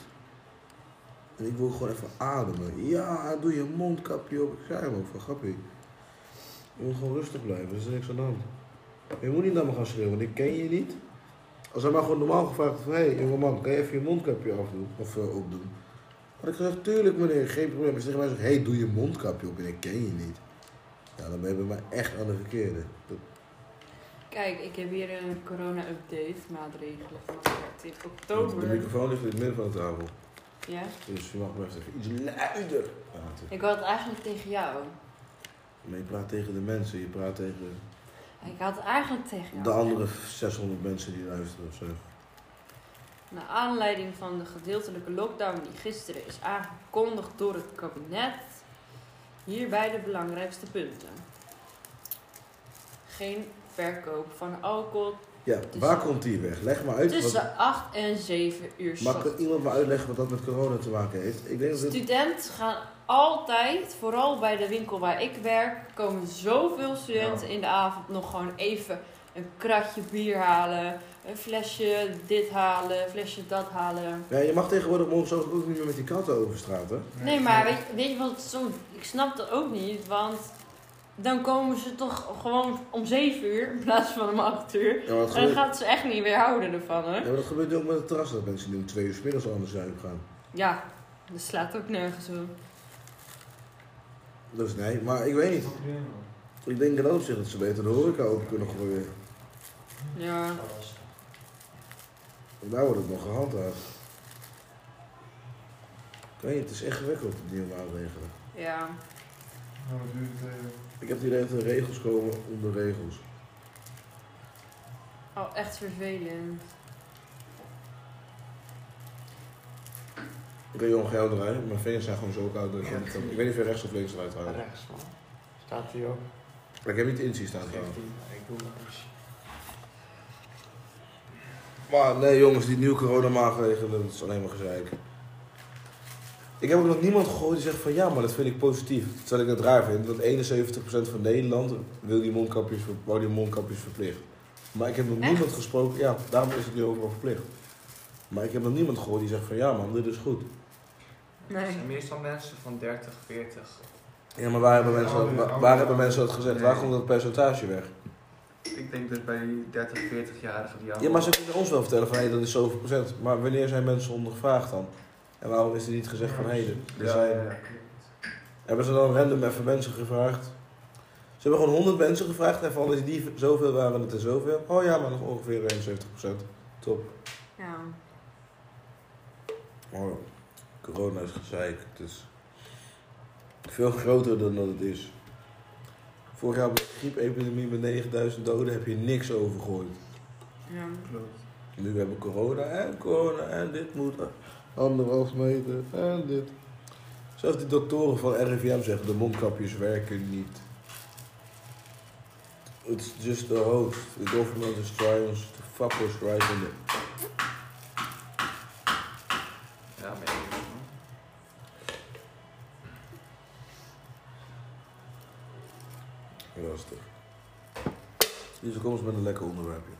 S1: En ik wil gewoon even ademen. Ja, doe je mondkapje op. Ik zei hem ook van, grappie. Je moet gewoon rustig blijven, er is niks aan de hand. Je moet niet naar me gaan schreeuwen, want ik ken je niet. Als hij mij gewoon normaal gevraagd had van, hé hey, jongeman, kan je even je mondkapje afdoen? Of eh, opdoen? Had ik gezegd, tuurlijk meneer, geen probleem. Als je tegen mij zegt, hé, hey, doe je mondkapje op en ik ken je niet. Ja, dan ben je bij mij echt aan de verkeerde. Dat-
S17: Kijk, ik heb hier een corona-update maatregelen van 30
S1: de
S17: oktober.
S1: microfoon ligt in het midden van de tafel.
S17: Ja?
S1: Dus je mag best even iets luider praten.
S17: Ik had het eigenlijk tegen jou.
S1: Maar je praat tegen de mensen, je praat tegen
S17: Ik had het eigenlijk tegen jou.
S1: de andere 600 mensen die luisteren of zo.
S17: Naar aanleiding van de gedeeltelijke lockdown die gisteren is aangekondigd door het kabinet, hierbij de belangrijkste punten. Geen verkoop van alcohol
S1: Ja,
S17: Dus-
S1: waar komt die weg? Leg maar uit. wat-
S17: tussen 8 en 7 uur.
S1: Maar
S17: ochtends.
S1: kan iemand me uitleggen wat dat met corona te maken heeft? Ik denk dat het...
S17: Studenten gaan altijd, vooral bij de winkel waar ik werk, komen zoveel studenten in de avond nog gewoon even een kratje bier halen, een flesje dit halen, een flesje dat halen.
S1: Ja, je mag tegenwoordig morgens ook niet meer met die katten over straat, hè?
S17: Nee, maar weet, weet je wat, soms, ik snap dat ook niet, want dan komen ze toch gewoon om 7 uur in plaats van om 8 uur.
S1: Ja, maar dat
S17: en dan
S1: gebeurt-
S17: gaat ze echt niet weer houden ervan hoor.
S1: Ja, maar dat gebeurt nu ook met het terras dat mensen nu om twee uur 's middags al aan de zuip gaan.
S17: Ja, dat slaat ook nergens op.
S1: Dat is nee, maar ik weet niet. Ik denk in dat opzicht dat ze beter de horeca open kunnen gooien.
S17: Ja.
S1: En daar wordt het nog gehandhaafd. Ik weet niet, het is echt gewikkeld, die nieuwe maatregelen.
S17: Ja.
S13: Nou, wat duurt het? eh,
S1: Ik heb het idee dat er regels komen om de regels.
S17: Oh, echt vervelend.
S1: Ik wil jong geld draaien. Mijn vingers zijn gewoon zo koud. Dat ik, niet kan- ik weet niet of je rechts of links eruit haalt.
S13: Rechts, man. Staat hij ook.
S1: Ik heb niet de inzien staan gehaald.
S13: Ik doe maar.
S1: Maar nee jongens, die nieuwe coronamaatregelen, dat is alleen maar gezeik. Ik heb ook nog niemand gehoord die zegt van ja, maar dat vind ik positief. Terwijl ik dat raar vind, want 71% van Nederland wil die mondkapjes, ver- wou die mondkapjes verplicht. Maar ik heb nog niemand gesproken, ja, daarom is het nu overal verplicht. Maar ik heb nog niemand gehoord die zegt van ja man, dit is goed.
S17: Nee.
S18: Het zijn meestal mensen van 30, 40.
S1: Ja, maar waar hebben mensen dat,
S18: Oude-
S1: waar,
S18: oude-
S1: waar hebben mensen dat gezegd?
S18: Nee.
S1: Waar komt dat percentage weg?
S18: Ik denk dus bij die 30, 40-jarigen die
S1: Ja, maar ze kunnen ons wel vertellen van hé, dat is zoveel procent. Maar wanneer zijn mensen ondervraagd dan? En waarom is er niet gezegd van hé, er
S18: Ja,
S1: zijn...
S18: ja, ja.
S1: Hebben ze dan random even mensen gevraagd? Ze hebben gewoon 100 mensen gevraagd en van als die zoveel waren het er zoveel. Oh ja, maar nog ongeveer 71%. Top.
S17: Ja.
S1: Oh, corona is gezeik. Het is veel groter dan dat het is. Vorig jaar bij de griepepidemie met 9000 doden heb je niks over gehoord.
S17: Ja.
S1: Nu hebben we corona en corona en dit moet anderhalf meter en dit. Zelfs die doktoren van RIVM zeggen de mondkapjes werken niet. It's just a hoax. The government is trying to fuck us right in the...
S18: Ja, maar ja.
S1: Lastig. Dus kom eens met een lekker onderwerpje.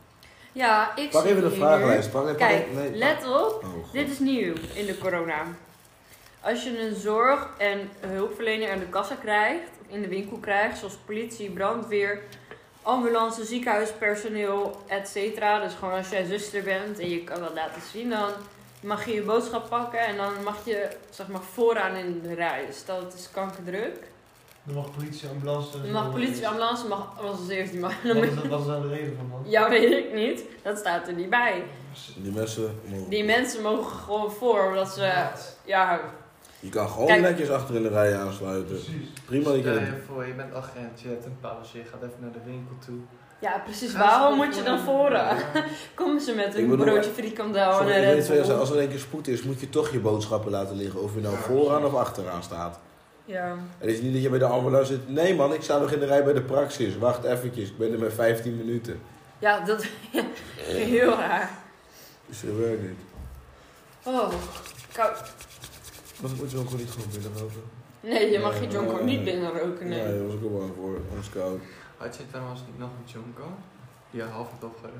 S17: Ja, ik
S1: Pak
S17: zie
S1: even de
S17: hier-
S1: vragenlijst, pak even-
S17: Kijk,
S1: nee, pak-
S17: let op.
S1: Oh, God.
S17: dit is nieuw in de corona. Als je een zorg- en hulpverlener aan de kassa krijgt, of in de winkel krijgt, zoals politie, brandweer, ambulance, ziekenhuispersoneel, etc. Dus gewoon als jij zuster bent en je kan dat laten zien, dan mag je je boodschap pakken en dan mag je zeg maar, vooraan in de rij. Stel, het is kankerdruk.
S13: Dan mag politie, ambulance...
S17: Dan mag politie, ambulance, mag alles als eerste. Maar dan
S13: Wat
S17: moet
S13: is, dat- wat is daar de reden van dan?
S17: Ja, weet ik niet. Dat staat er niet bij.
S1: Ah, Die mensen, mogen-
S17: Die mensen mogen gewoon voor, omdat ze... Ja,
S1: je kan gewoon
S17: Kijk.
S1: netjes achter in de rij aansluiten. Prima, je
S18: Dus Stel
S1: kan
S18: je voor, je bent agent, je hebt een pauze, je gaat even naar de winkel toe.
S17: ja precies.
S18: Gaan
S17: Waarom
S18: ze
S17: moet je dan
S18: gewoon-
S17: vooraan? Komen ze met
S1: Ik
S17: een
S1: bedoel, eh,
S17: broodje frikandel en
S1: Sorry,
S17: een
S1: ik weet
S17: Red
S1: wel,
S17: Bull?
S1: als er een keer spoed is, moet je toch je boodschappen laten liggen. Of je nou vooraan of achteraan staat.
S17: Ja.
S1: Het is niet dat je bij de ambulance zit. Nee man, ik sta nog in de rij bij de praxis. Wacht eventjes, ik ben er met 15 minuten.
S17: ja, dat heel raar.
S1: Dus dat werkt niet.
S17: Oh, koud.
S1: Maar ik moet je ook gewoon niet gewoon binnenlopen.
S17: Nee, je mag je jonko
S1: eh,
S17: niet binnenroken, nee.
S1: Nee, dat was ik ook wel aan voor. Ons koud.
S18: Had je trouwens niet nog een Junko? Die je half hebt opgerookt.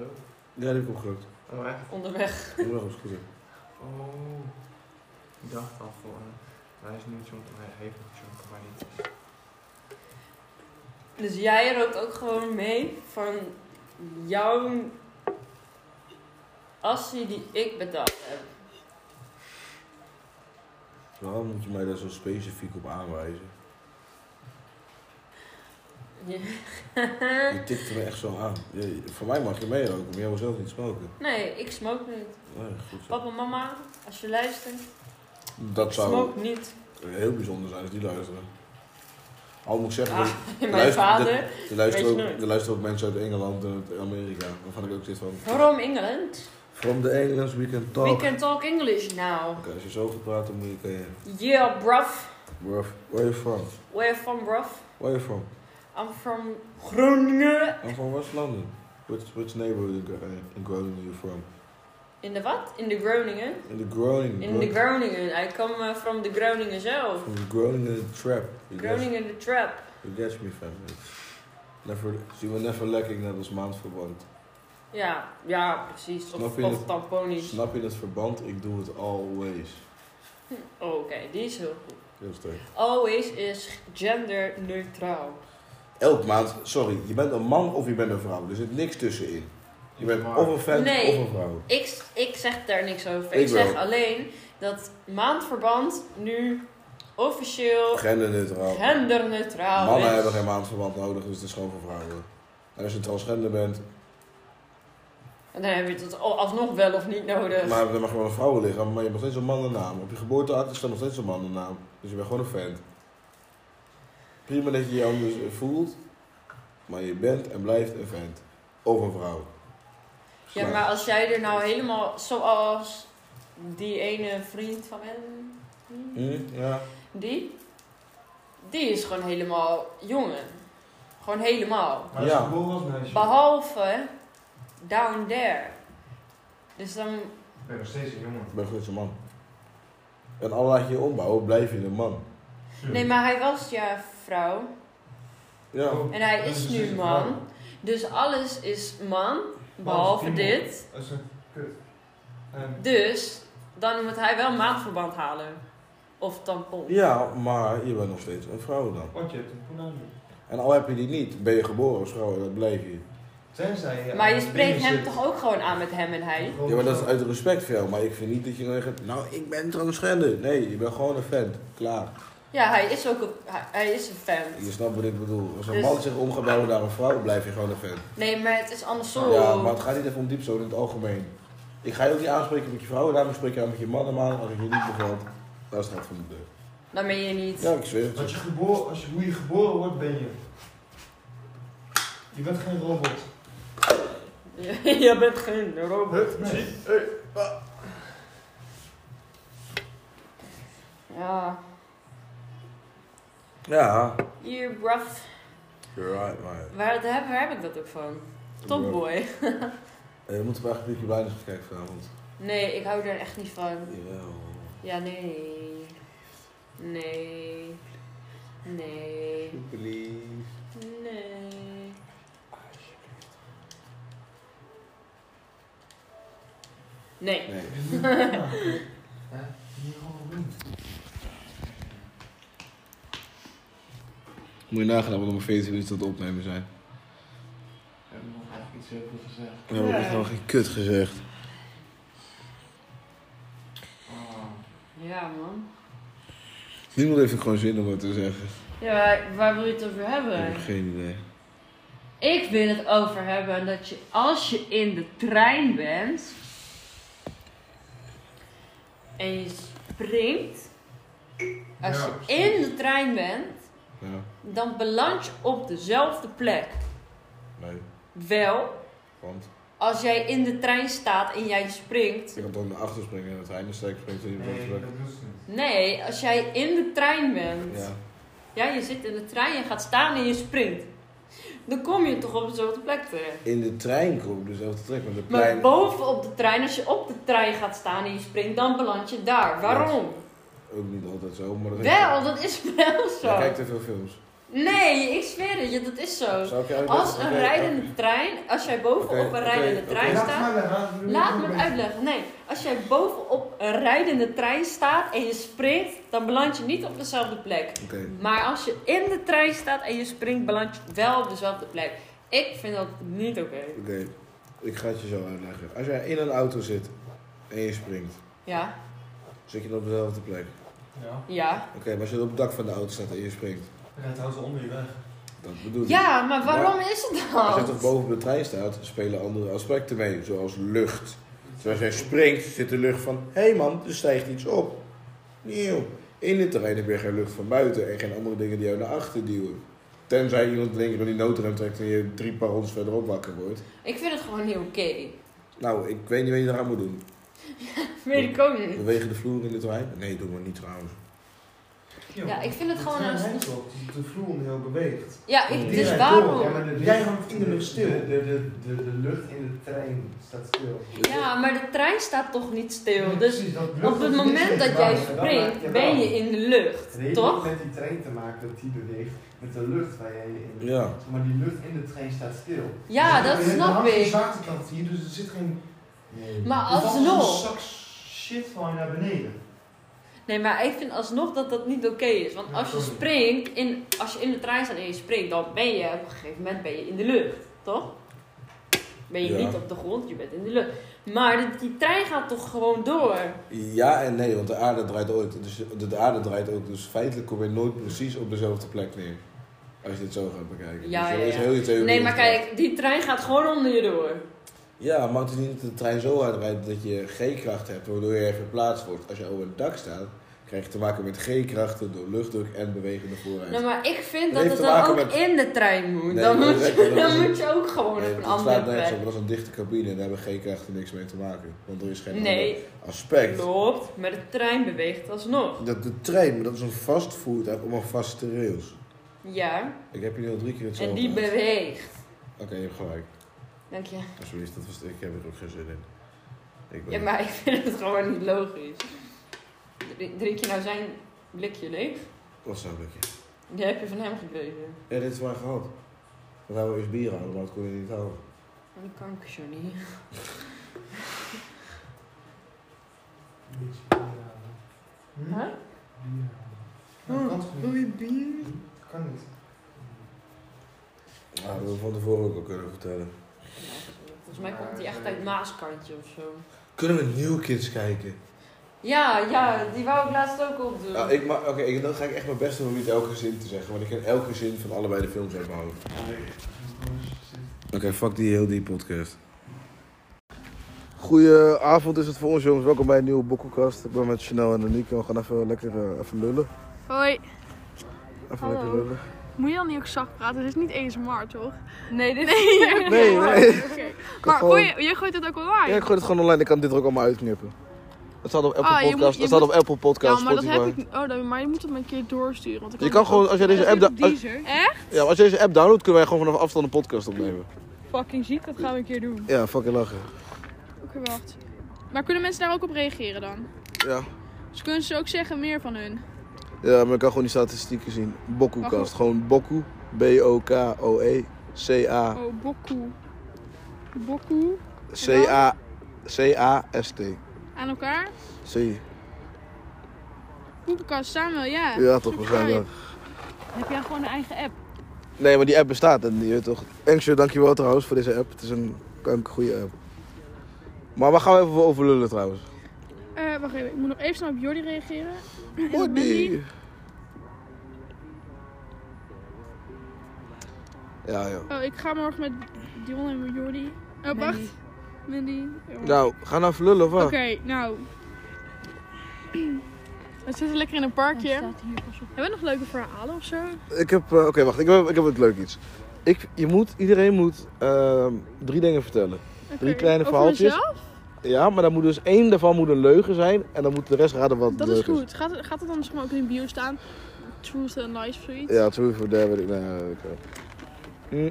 S1: Ja, die heb ik opgerukt.
S18: Oh, echt?
S17: Onderweg.
S1: Onderweg was goed.
S18: Oh. Ik dacht al voor. Maar hij is nu Junko, hij heeft nog Junko, maar niet.
S17: Dus jij rookt ook gewoon mee van jouw assie die ik betaald heb.
S1: Waarom moet je mij daar zo specifiek op aanwijzen?
S17: Ja.
S1: Je tikte me echt zo aan. Je- voor mij mag je meeroken, maar jij wil zelf niet smoken.
S17: nee, ik smoke niet.
S1: Nee, goed zo.
S17: Papa, mama, als je luistert,
S1: Dat zou...
S17: smoke niet.
S1: heel bijzonder zijn als die luisteren. Al moet ik zeggen,
S17: Ah,
S1: dat-
S17: mijn
S1: luister-
S17: vader,
S1: dat- er luisteren,
S17: weet je
S1: ook,
S17: nooit.
S1: er luisteren ook mensen uit Engeland en uit Amerika. Waarvan ik ook zit van.
S17: Waarom Engeland?
S1: From the Englands we can talk.
S17: We can talk English now.
S1: Oké, als je zo gaat praten, moet je kan je.
S17: Yeah, bruv.
S1: Where, where are you from?
S17: Where you from, bruv?
S1: Where are you from?
S17: I'm from Groningen.
S1: I'm from West London. Which, which neighborhood in, Gro- eh, in Groningen are you from?
S17: In de wat? In de Groningen.
S1: In the Groningen.
S17: In de Groningen. I come uh, from the Groningen zelf.
S1: From the Groningen trap. You guess-
S17: Groningen the trap.
S1: You catch me, fam. Never, she will never lacking, net als maandverband.
S17: Ja, ja, precies. Of,
S1: Snap je
S17: of
S1: het?
S17: tamponies.
S1: Snap je het verband? Ik doe het always.
S17: Oh, Oké, die is heel goed.
S1: Heel sterk.
S17: Always is genderneutraal.
S1: Elk maand, sorry, je bent een man of je bent een vrouw. Er zit niks tussenin. Je bent
S18: Maar-
S1: of een vent
S17: Nee.
S1: of een vrouw.
S17: Ik, ik zeg daar niks over. Ik,
S1: Ik
S17: zeg
S1: wel.
S17: alleen dat maandverband nu officieel
S1: Genderneutraal.
S17: genderneutraal
S1: Mannen
S17: is.
S1: hebben geen maandverband nodig, dus het is gewoon voor vrouwen. En als je transgender bent,
S17: En dan heb je het al- alsnog wel of niet nodig.
S1: maar dan mag je wel een vrouwenlichaam, maar je hebt nog steeds een mannennaam. Op je geboorteakte staat nog steeds een mannennaam. Dus je bent gewoon een vent. Prima dat je je anders voelt, maar je bent en blijft een vent. Of een vrouw.
S17: ja, maar als jij er nou helemaal zoals die ene vriend van hem,
S5: Hm.
S1: ja.
S17: Die? Die is gewoon helemaal jongen. Gewoon helemaal.
S13: Maar als het een boel was, meisje.
S17: Behalve down there. Dus dan.
S13: Ik ben nog steeds een jongen.
S1: Ik ben goed een man. En al laat je je ombouwen, blijf je een man.
S17: Nee, maar hij was ja vrouw.
S1: Ja.
S17: En hij is
S13: dus
S17: nu man. Dus alles is man. Behalve dit.
S13: Dat is een kut. En
S17: Dus dan moet hij wel een maandverband halen. Of tampon.
S1: Ja, maar je bent nog steeds een vrouw dan.
S13: Want je hebt een poen
S1: En al heb je die niet, ben je geboren als vrouw en dat blijf je.
S13: Tenzij eh, je.
S17: Maar
S13: aan
S17: je
S13: het
S17: spreekt
S13: binnen
S17: hem
S13: zit.
S17: toch ook gewoon aan met hem en hij?
S1: Ja, maar dat is uit respect voor jou. Maar ik vind niet dat je dan zegt, nou ik ben transgender. Nee, je bent gewoon een vent. Klaar.
S17: Ja, hij is ook een, hij, hij is een fan.
S1: Je snapt wat ik bedoel. Als een
S17: Dus-
S1: man zich omgebouwd naar een vrouw, blijf je gewoon een vent.
S17: Nee, maar het is andersom.
S1: Ja, maar het gaat niet even om diepzoon in het algemeen. Ik ga je ook niet aanspreken met je vrouw, en daarom spreek je aan met je man en man. Als het je niet bevalt, dan staat het van de deur.
S17: Dan ben je niet.
S1: Ja, ik zweer het.
S13: Wat je geboren, als je, hoe je geboren wordt, ben je. Je bent geen robot.
S17: je bent geen robot. Ja,
S1: Ja.
S17: hier, bruv.
S1: You're right, maar.
S17: Waar, daar heb, waar heb ik dat ook van? Topboy.
S1: Eh, we moeten maar eigenlijk een bijna gaan kijken vanavond.
S17: nee, ik hou daar echt niet van.
S1: Jawel.
S17: Ja, nee. Nee. Nee.
S1: Please.
S17: Nee. Nee.
S1: Nee. Moet je nagaan dat we nog maar 14 minuten aan het opnemen zijn.
S18: We hebben nog eigenlijk iets heel veel gezegd.
S1: We hebben echt nog geen kut gezegd.
S17: Ja, man.
S1: Niemand heeft er gewoon zin om het te zeggen.
S17: Ja, waar, waar wil je het over
S1: Ik
S17: hebben?
S1: heb geen idee.
S17: Ik wil het over hebben dat je als je in de trein bent en je springt, als
S1: Ja,
S17: je in de trein bent,
S1: Ja,
S17: dan beland je op dezelfde plek.
S1: nee.
S17: Wel,
S1: Want
S17: als jij in de trein staat en jij springt.
S1: je kan toch naar achter springen en het einde steek springt en je
S13: Nee,
S1: bent
S13: dat doet ze niet.
S17: Nee, als jij in de trein bent.
S1: Ja.
S17: Ja, je zit in de trein, je gaat staan en je springt. Dan kom je toch op dezelfde plek terecht.
S1: In de trein komt dezelfde trek, maar de
S17: Maar
S1: plein...
S17: boven op de trein, als je op de trein gaat staan en je springt, dan beland je daar. Waarom?
S1: Ook niet altijd zo, maar dat heeft-
S17: Wel, dat is wel
S1: Je
S17: zo.
S1: kijkt te veel films.
S17: Nee, ik zweer het je, dat is zo.
S1: Zou ik je uitleggen?
S17: Als een
S1: Oké,
S17: rijdende trein, als jij bovenop
S1: Oké,
S17: een
S1: oké,
S17: rijdende
S1: oké.
S17: trein
S1: Laat
S17: staat. Laat me het uitleggen. Nee, als jij bovenop een rijdende trein staat en je springt, dan beland je niet op dezelfde plek.
S1: Oké.
S17: Maar als je in de trein staat en je springt, beland je wel op dezelfde plek. Ik vind dat niet oké.
S1: Oké, ik ga het je zo uitleggen. Als jij in een auto zit en je springt,
S17: Ja,
S1: zit je dan op dezelfde plek.
S13: Ja.
S17: ja.
S1: Oké, maar als je op het dak van de auto staat en je springt,
S13: En het houdt ze onder je weg.
S1: dat bedoel ik.
S17: Ja, maar waarom is het
S1: Als je toch
S17: dan?
S1: boven op de trein staat, spelen andere aspecten mee, zoals lucht. Terwijl jij springt, zit de lucht van, hé hey man, er stijgt iets op. Nieuw. In dit terrein heb je geen lucht van buiten en geen andere dingen die jou naar achter duwen. Tenzij iemand denk ik door die noodrem trekt en je drie parons verderop wakker wordt.
S17: Ik vind het gewoon niet oké.
S1: Nou, ik weet niet wat je eraan moet doen.
S17: Weet ik ook niet.
S1: Bewegen de vloer in de trein? Nee, doen we niet trouwens.
S17: Ja, ik vind het
S13: De
S17: gewoon
S13: trein
S17: een-
S13: rijdt toch, die- De vloer heel beweegt.
S17: Ja, ik-
S13: Die
S17: dus
S13: rijdt
S17: waarom?
S13: door. Ja, maar de- de- Jij hangt in de
S17: de-
S13: lucht stil.
S17: de-
S13: de, de lucht in de trein staat stil.
S17: Ja, maar de trein staat toch niet stil. Dus
S13: lucht
S17: op het
S13: is niks
S17: moment
S13: tegen
S17: dat
S13: te
S17: jij
S13: maken. Dat maakt
S17: springt,
S13: het
S17: ben
S13: wel.
S17: je in de lucht,
S13: Het heeft
S17: toch?
S13: niet met die trein te maken dat die beweegt met de lucht waar jij in.
S1: Ja.
S13: Zeg Maar die lucht in de trein staat stil.
S17: Ja,
S13: Dus
S17: dat
S13: er- er
S17: snap
S13: hangt geen
S17: ik.
S13: zwaartekracht hier, dus er zit geen. Nee.
S17: Maar
S13: Er valt
S17: alsnog.
S13: een zak shit van je naar beneden.
S17: Nee, maar ik vind alsnog dat dat niet oké is. Want als je springt, in, als je in de trein staat en je springt, dan ben je op een gegeven moment ben je in de lucht, toch? Ben je
S1: Ja.
S17: niet op de grond, je bent in de lucht. Maar die, die trein gaat toch gewoon door?
S1: Ja en nee, want de aarde draait ooit. Dus de, de aarde draait ook. Dus feitelijk kom je nooit precies op dezelfde plek neer. Als je dit zo gaat bekijken.
S17: Ja,
S1: dus
S17: ja,
S1: er is
S17: ja.
S1: heel je theorie
S17: Nee, maar
S1: ontkracht.
S17: kijk, die trein gaat gewoon onder je door.
S1: Ja, maar het is niet dat de trein zo hard rijdt dat je G-kracht hebt, waardoor je verplaatst wordt. Als je over het dak staat, Krijg je te maken met G-krachten door luchtdruk en bewegende vooruit.
S17: Nou, maar ik vind
S1: Dat
S17: dat
S1: heeft
S17: het
S1: te
S17: dan
S1: maken
S17: ook
S1: met-
S17: in de trein moet.
S1: Nee,
S17: dan
S1: dat
S17: moet,
S1: is
S17: je,
S1: echt- dat
S17: dan
S1: is-
S17: moet je ook gewoon
S1: Nee,
S17: op een
S1: dat slaat
S17: andere
S1: nergens
S17: plek.
S1: op, want dat is een dichte cabine en daar hebben G-krachten niks mee te maken. Want er is geen
S17: Nee.
S1: ander aspect.
S17: Klopt, maar de trein beweegt alsnog.
S1: Dat de trein, maar dat is een vast voertuig om een vaste rails.
S17: Ja,
S1: Ik heb hier al drie keer hetzelfde.
S17: en die
S1: gehad.
S17: beweegt.
S1: Oké, je hebt gelijk.
S17: Dank je.
S1: Alsjeblieft, dat was, ik heb er ook geen zin in. Ik ben-
S17: Ja, maar ik vind het gewoon niet logisch. Dri- Drink je nou zijn blikje leeg?
S1: Wat zou lukken?
S17: Die heb je van hem gekregen.
S1: Ja, dit is waar gehad. We wouden eerst bier houden, maar dat kon je niet houden.
S17: Die kanker, Johnny.
S13: Huh?
S17: Oh,
S13: kan toch niet?
S17: wil je bier?
S13: Kan niet.
S1: Ja, dat hadden we van tevoren ook al kunnen vertellen.
S17: Volgens mij komt die echt uit Maaskantje of zo.
S1: Kunnen we New Kids kijken?
S17: Ja, ja, die wou ik laatst ook opdoen.
S1: Ja, ik ma- Oké, ik- dan ga ik echt mijn best doen om niet elke zin te zeggen, want ik ken elke zin van allebei de films uit mijn hoofd. Oké, fuck die heel die podcast. Goedenavond is het voor ons jongens, welkom bij een nieuwe bokkelkast. Ik ben met Chanel en Nico, we gaan even lekker eh, even lullen.
S8: Hoi.
S1: Even
S8: Hallo.
S1: lekker lullen.
S8: Moet je dan niet ook zacht praten? Dit is niet ASMR, toch?
S17: Nee, dit
S8: is
S1: niet Nee, ASMR. nee.
S8: Oké.
S1: Kan
S8: Maar
S1: gewoon-
S8: gooi je, je gooit het ook online?
S1: Ja, ik gooi het gewoon online, ik kan dit er ook allemaal uitknippen. Het staat op Apple
S8: Ah, je
S1: Podcast,
S8: moet- je
S1: het staat
S8: moet-
S1: op Apple Podcast,
S8: Ja, maar dat
S1: Spotify.
S8: heb ik niet. Oh, dan- maar je moet het maar een keer doorsturen. Want ik
S1: Je kan gewoon, als jij deze app... da- als-
S8: Echt?
S1: Ja, maar als je deze app downloadt, kunnen wij gewoon vanaf afstand een podcast opnemen.
S8: Fucking ziek, dat gaan we een keer doen.
S1: Ja, fucking lachen.
S8: Oké, wacht. Maar kunnen mensen daar ook op reageren dan?
S1: Ja.
S8: Dus kunnen ze ook zeggen meer van hun?
S1: Ja, maar ik kan gewoon die statistieken zien.
S8: Maar
S1: Bokkoekast.
S8: goed.
S1: Gewoon Bokkoe. B-O-K-O-E. C-A.
S8: Oh, bokkoe. Bokkoe.
S1: C-A. C-A-S-T.
S8: Aan elkaar.
S1: C.
S8: Koekenkast samen, ja.
S1: Ja, toch waarschijnlijk.
S8: Heb jij gewoon een eigen app?
S1: Nee, maar die app bestaat en die eh, toch. Engsje, dankjewel trouwens voor deze app. Het is een goede app. Maar waar gaan we even over lullen trouwens?
S8: Eh, wacht even. Ik moet nog even snel op Jordi reageren. Jordi.
S1: Ja, joh.
S8: Oh, ik ga morgen met Dion en Jordi. Oh, wacht. Mandy. Oh.
S1: Nou, gaan we even lullen of
S8: Oké,
S1: wat?
S8: nou. We zitten lekker in een parkje. Hebben we nog leuke verhalen of zo?
S1: Ik heb, eh, oké, wacht. Ik heb, ik heb het leuk iets. Ik, je moet, iedereen moet ehm, drie dingen vertellen. Drie kleine
S8: Over
S1: verhaaltjes.
S8: mezelf?
S1: Ja, maar dan moet dus één daarvan moet een leugen zijn en dan moet de rest raden wat
S8: Dat
S1: leuk
S8: is goed. Gaat, het- gaat het dan zeg maar ook in de bio staan? Truth and lies of zoiets?
S1: Ja, True for Dare weet ik. Nee, weet ik wel. nou, Hm.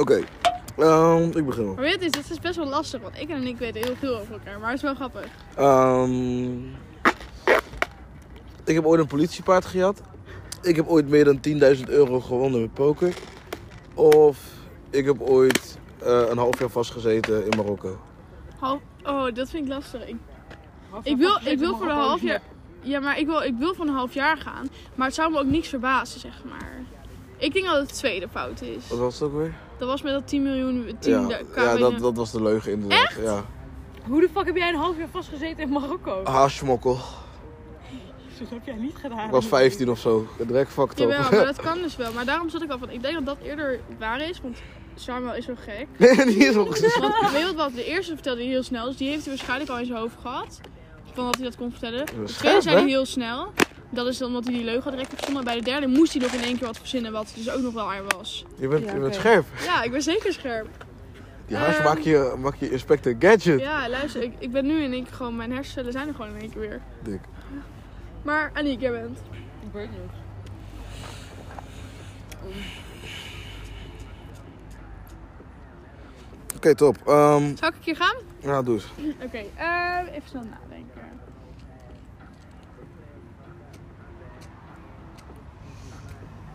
S1: Oké, Ehm, ik begin wel.
S8: Maar weet je, dat is best wel lastig, want ik en ik weten heel veel over elkaar, maar het is wel grappig.
S1: Ehm, ik heb ooit een politiepaard gejat. Ik heb ooit meer dan 10.000 euro gewonnen met poker. Of ik heb ooit eh, een half jaar vastgezeten in Marokko.
S8: Half, oh, dat vind ik lastig. Ik,
S19: jaar
S8: ik wil,
S19: vastgezeten
S8: ik wil
S19: mag
S8: voor een
S19: ook
S8: half
S19: niet.
S8: jaar. Ja, maar ik wil, ik wil voor een half jaar gaan, maar het zou me ook niks verbazen, zeg maar. Ik denk dat het tweede fout is.
S1: Wat was het ook weer?
S8: Dat was met dat 10 miljoen, 10
S1: ja,
S8: k-
S1: ja dat,
S8: binnen.
S1: dat was de leugen inderdaad. Ja.
S19: Hoe de fuck heb jij een half jaar vastgezeten in Marokko?
S1: Haasmokkel.
S8: Dat heb jij niet gedaan.
S1: Ik was 15 of zo. Direct fucked up.
S8: Jawel, maar dat kan dus wel. Maar daarom zat ik al van, ik denk dat dat eerder waar is, want Samuel is zo gek.
S1: Nee, die is ook gezien.
S8: Want weet je wat de eerste vertelde hij heel snel, dus die heeft hij waarschijnlijk al in zijn hoofd gehad. Van dat hij dat kon vertellen.
S1: is
S8: De tweede
S1: scherp,
S8: zei hij
S1: hè?
S8: heel snel. Dat is dan omdat hij die leugen direct verzonnen. En bij de derde moest hij nog in één keer wat verzinnen, wat dus ook nog wel aan was.
S1: Je bent- je bent scherp.
S8: Ja, ik ben zeker scherp.
S1: Die haas
S8: Ehm,
S1: maak, je, maak je Inspector Gadget.
S8: Ja, luister, ik, ik ben nu in één keer gewoon, mijn hersenen zijn er gewoon in één keer weer.
S1: Dik.
S8: Maar Annie, jij bent.
S19: Ik weet niet.
S1: Oké, top. Ehm
S8: Zal ik een keer gaan?
S1: nou, doe eens.
S8: Oké, eh, even snel nadenken.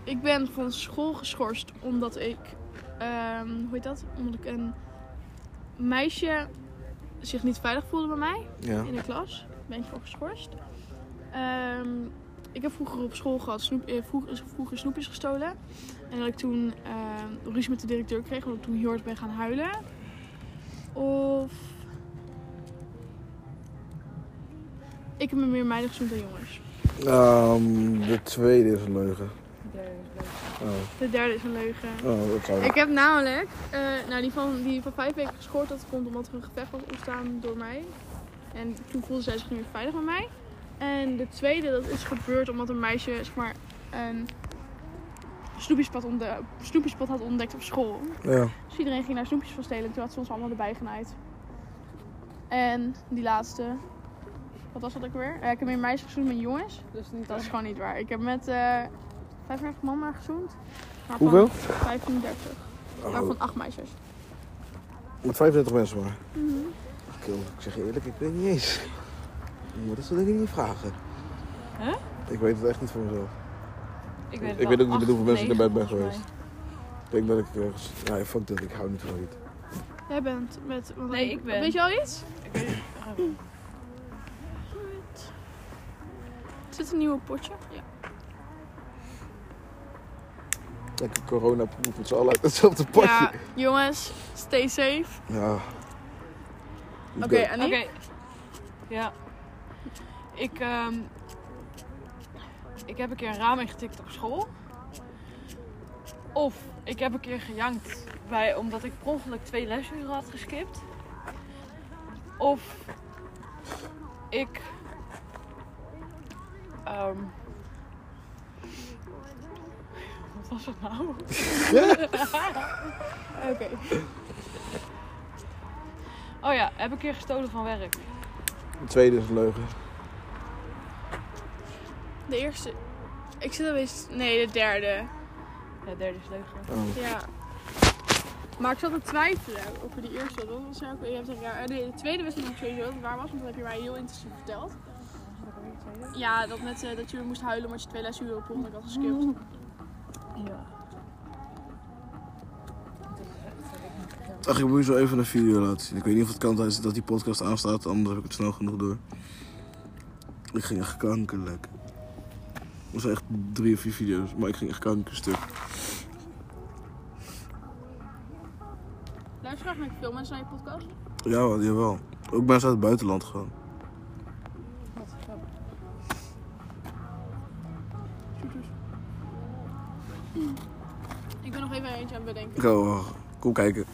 S8: Ik ben van school geschorst omdat ik, ehm, hoe heet dat? Omdat ik een meisje zich niet veilig voelde bij mij
S19: Ja.
S8: in de klas. Ben ik voor geschorst. Ehm, ik heb vroeger op school gehad snoep, eh, vroeger, vroeger snoepjes gestolen. En dat ik toen ehm ruzie met de directeur kreeg omdat ik toen heel hard ben gaan huilen. Of Ik heb me meer meiden gezoend dan jongens.
S1: Ehm, de tweede is een leugen. Oh.
S8: De derde is een leugen.
S1: Oh, dat zou-
S8: ik heb namelijk, eh, nou die van, die van vijf weken gescoord, dat komt omdat er een gevecht was ontstaan door mij. En toen voelde zij zich niet meer veilig met mij. En de tweede, dat is gebeurd omdat een meisje zeg maar, een snoepjespad, ontde- snoepjespad had ontdekt op school.
S1: Ja.
S8: Dus iedereen ging daar snoepjes van stelen en toen had ze ons allemaal erbij genaaid. En die laatste, wat was dat ook weer? Eh, ik heb meer meisjes gezoend met jongens. Dus dat is gewoon niet waar. Ik heb met eh 35 man maar gezoend. Maar van
S1: Hoeveel?
S8: 35.
S1: Oh.
S8: Waarvan 8 meisjes.
S1: Met 35 mensen maar.
S8: Mhm.
S1: Kill, ik zeg je eerlijk, ik weet niet eens. Je moet dat soort dingen niet vragen.
S17: Huh?
S1: Ik weet het echt niet voor mezelf.
S17: Ik weet het
S1: ik weet
S17: wel,
S1: ook niet met
S17: acht,
S1: hoeveel mensen ik
S17: negen,
S1: naar bed ben
S17: volgens
S1: geweest. Ik denk dat ik ergens... Nee, fuck dat, ik hou niet van dit.
S8: Jij bent met. want-
S17: Nee, ik ben-
S8: Weet je al iets? Ah,
S17: Ik weet het.
S8: Er zit een nieuwe potje. Ja.
S1: Lekker corona proef met z'n allen uit hetzelfde potje.
S8: Ja, jongens, stay safe.
S1: Ja.
S8: Oké,
S1: Oké.
S8: Annie?
S19: Oké. Ja. Ik, ehm, ik heb een keer een raam ingetikt op school. Of ik heb een keer gejankt bij, omdat ik per ongeluk twee lesuren had geskipt. Of ik. ehm, wat was het nou?
S8: Oké.
S19: Oh ja, heb een keer gestolen van werk.
S1: De tweede is een leugen.
S8: De eerste. Ik zit alweer. Nee, de derde.
S19: De derde is leugen.
S1: Oh.
S8: Ja. Maar ik zat te twijfelen over die eerste. Dat was ook, je hebt een raar, eh, nee, de tweede wist ik nog sowieso dat het waar was, want dat heb je mij heel intensief verteld. Ja, dat, met, eh, dat je moest huilen omdat je twee lesuren op honderd had geskipt.
S19: Ja.
S1: Ach, ik moet je zo even een video laten zien. Ik weet niet of het kan tijdens dat die podcast aanstaat, anders heb ik het snel genoeg door. Ik ging echt kankerlijk. Er zijn echt drie of vier video's, maar ik ging echt kankerstuk.
S8: Luister graag naar veel mensen naar je podcast.
S1: Ja, wel, jawel. Ook mensen uit het buitenland gewoon.
S8: Ik ben nog even eentje aan het bedenken.
S1: Ik hou, oh, kom kijken.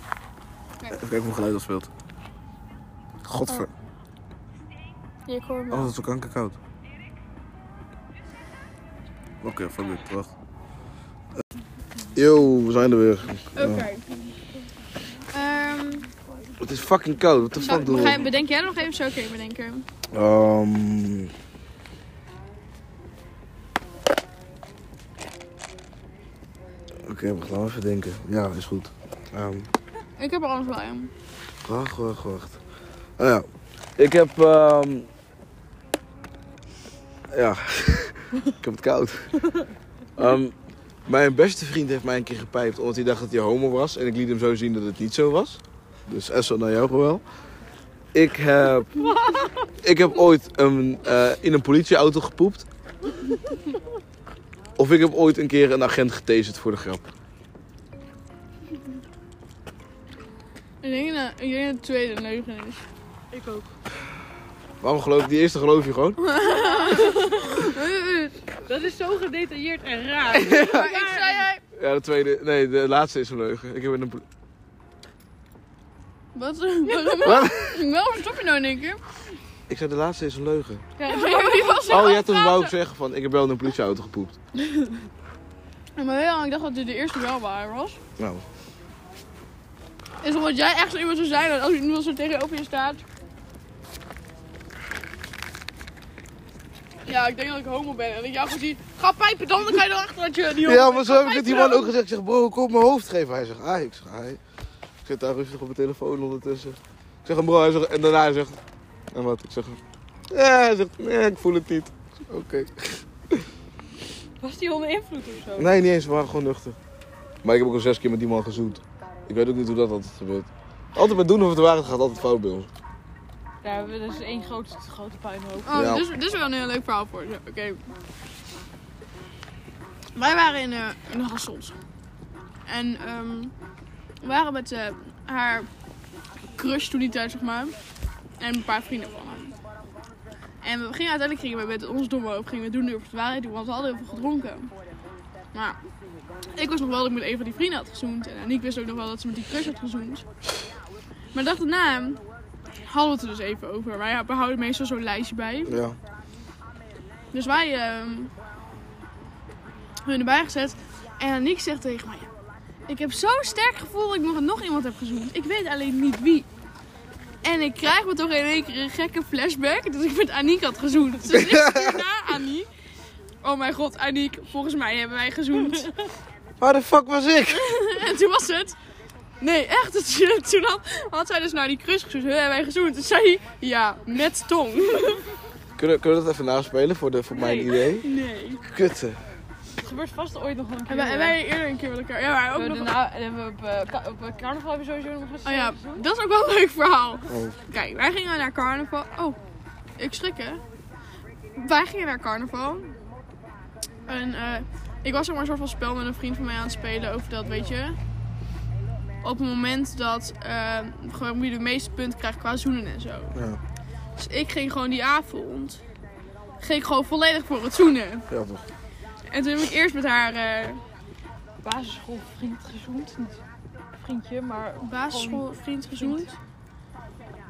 S8: Kijk.
S1: Even kijken hoeveel geluid dat speelt. Godver.
S8: Oh, Ja, ik hoor hem
S1: Oh,
S8: wel.
S1: dat is zo kankerkoud. Oké, fuck it, wacht. Eh, Yo, we zijn er weer.
S8: Oké.
S1: Ja.
S8: Ehm,
S1: Het is fucking koud, wat de
S8: zou-
S1: fuck doen
S8: ga
S1: we?
S8: je- bedenk jij er nog even zo kun je bedenken?
S1: Ehm. Oké, we gaan even denken. Ja, is goed. Ehm,
S8: Ik heb er alles bij hem.
S1: wacht, wacht, wacht. Oh ja, ik heb. ehm, Ja, ik heb het koud. Ehm, mijn beste vriend heeft mij een keer gepijpt omdat hij dacht dat hij homo was. En ik liet hem zo zien dat het niet zo was. Dus SO naar jou gewoon. Ik heb ik heb ooit een, eh, in een politieauto gepoept. Of ik heb ooit een keer een agent getaserd voor de grap.
S8: Ik denk dat, ik denk dat de tweede een leugen is. Ik ook.
S1: Waarom geloof ik die eerste geloof je gewoon?
S19: dat is zo gedetailleerd en raar.
S1: Maar
S19: ik zei jij.
S1: Ja, de tweede. Nee, de laatste is een leugen. Ik heb in een. poli-
S8: Wat? Waarom?
S1: Wat?
S8: Waarom stop je nou in één keer?
S1: Ik zei de laatste is een leugen.
S8: Ja, die was
S1: Oh ja, toen wou ik zeggen van ik heb wel in een politieauto gepoept.
S8: Maar heel lang, ik dacht dat dit de eerste wel waar was.
S1: Nou,
S8: Is omdat jij echt zo iemand zou zijn dat als iemand zo tegenover je staat. Ja, ik denk dat ik homo ben en dat ik jou gewoon zie. Ga pijpen dan, dan ga je erachter dat je die homo
S1: Ja,
S8: bent.
S1: maar zo
S8: Ga
S1: heb ik het die man
S8: pijpen
S1: ook
S8: dan.
S1: gezegd. Ik zeg, bro, ik wil op mijn hoofd geven. Hij zegt, ah, ik zeg, ah. Ik zit daar rustig op mijn telefoon ondertussen. Ik zeg hem, bro, hij zegt, en daarna hij zegt, en wat? Ik zeg, ja, hij zegt, nee, ik voel het niet. Ik zeg, Oké.
S19: Was die onder invloed of zo?
S1: Nee, niet eens, we waren gewoon nuchter. Maar ik heb ook al zes keer met die man gezoend. Ik weet ook niet hoe dat altijd gebeurt. Altijd met doen of het waar gaat, gaat altijd fout bij ons.
S19: Daar hebben we dus één grote, grote puinhoop.
S8: Oh,
S1: Ja.
S8: dit, is, dit is wel een heel leuk verhaal voor je. Oké. Wij waren in, eh in Hasselt. En ehm, we waren met eh, haar crush toen die tijd, zeg maar. En een paar vrienden van haar. En we gingen uiteindelijk gingen we met ons domme hoofd gingen we doen over de waarheid doen, want we hadden heel veel gedronken. Maar ik was nog wel dat ik met een van die vrienden had gezoend. En Aniek wist ook nog wel dat ze met die crush had gezoend. Maar de dag daarna hadden we het er dus even over. Wij behouden meestal zo'n lijstje bij.
S1: Ja.
S8: Dus wij ehm hun erbij gezet. En Nick zegt tegen mij: Ik heb zo'n sterk gevoel dat ik nog, nog iemand heb gezoend. Ik weet alleen niet wie. En ik krijg me toch in één keer een gekke flashback. Dus ik met Aniek had gezoend. Dus ik stuur na Aniek. Oh mijn god, Aniek, volgens mij hebben wij gezoend.
S20: Waar de fuck was ik?
S8: en toen was het. Nee, echt. het- Toen had, had zij dus naar die crush gezoend. Hebben wij gezoend? Toen zei hij, ja, met tong.
S5: Kunnen, kunnen we dat even naspelen voor, de, voor mijn idee?
S8: Nee.
S5: Kutte.
S19: Het gebeurt vast ooit nog wel een keer.
S8: En wij, en wij eerder een keer met elkaar. Ja, wij ook
S19: we
S8: nog.
S19: daarna- en hebben we op, eh, ka- op eh, carnaval hebben we sowieso nog eens.
S8: Oh ja, dat is ook wel een leuk verhaal.
S19: Oh.
S8: Kijk, wij gingen naar carnaval. Oh, ik schrik hè. Wij gingen naar carnaval. En eh, ik was ook maar een soort van spel met een vriend van mij aan het spelen over dat, weet je. Op het moment dat eh, gewoon wie de meeste punten krijgt qua zoenen en zo.
S5: Nou,
S1: Ja,
S8: Dus ik ging gewoon die avond. Ging ik gewoon volledig voor het zoenen.
S1: ja toch.
S8: En toen heb ik eerst met haar. eh,
S19: basisschoolvriend gezoend. Niet vriendje, maar.
S8: basisschoolvriend gezoend.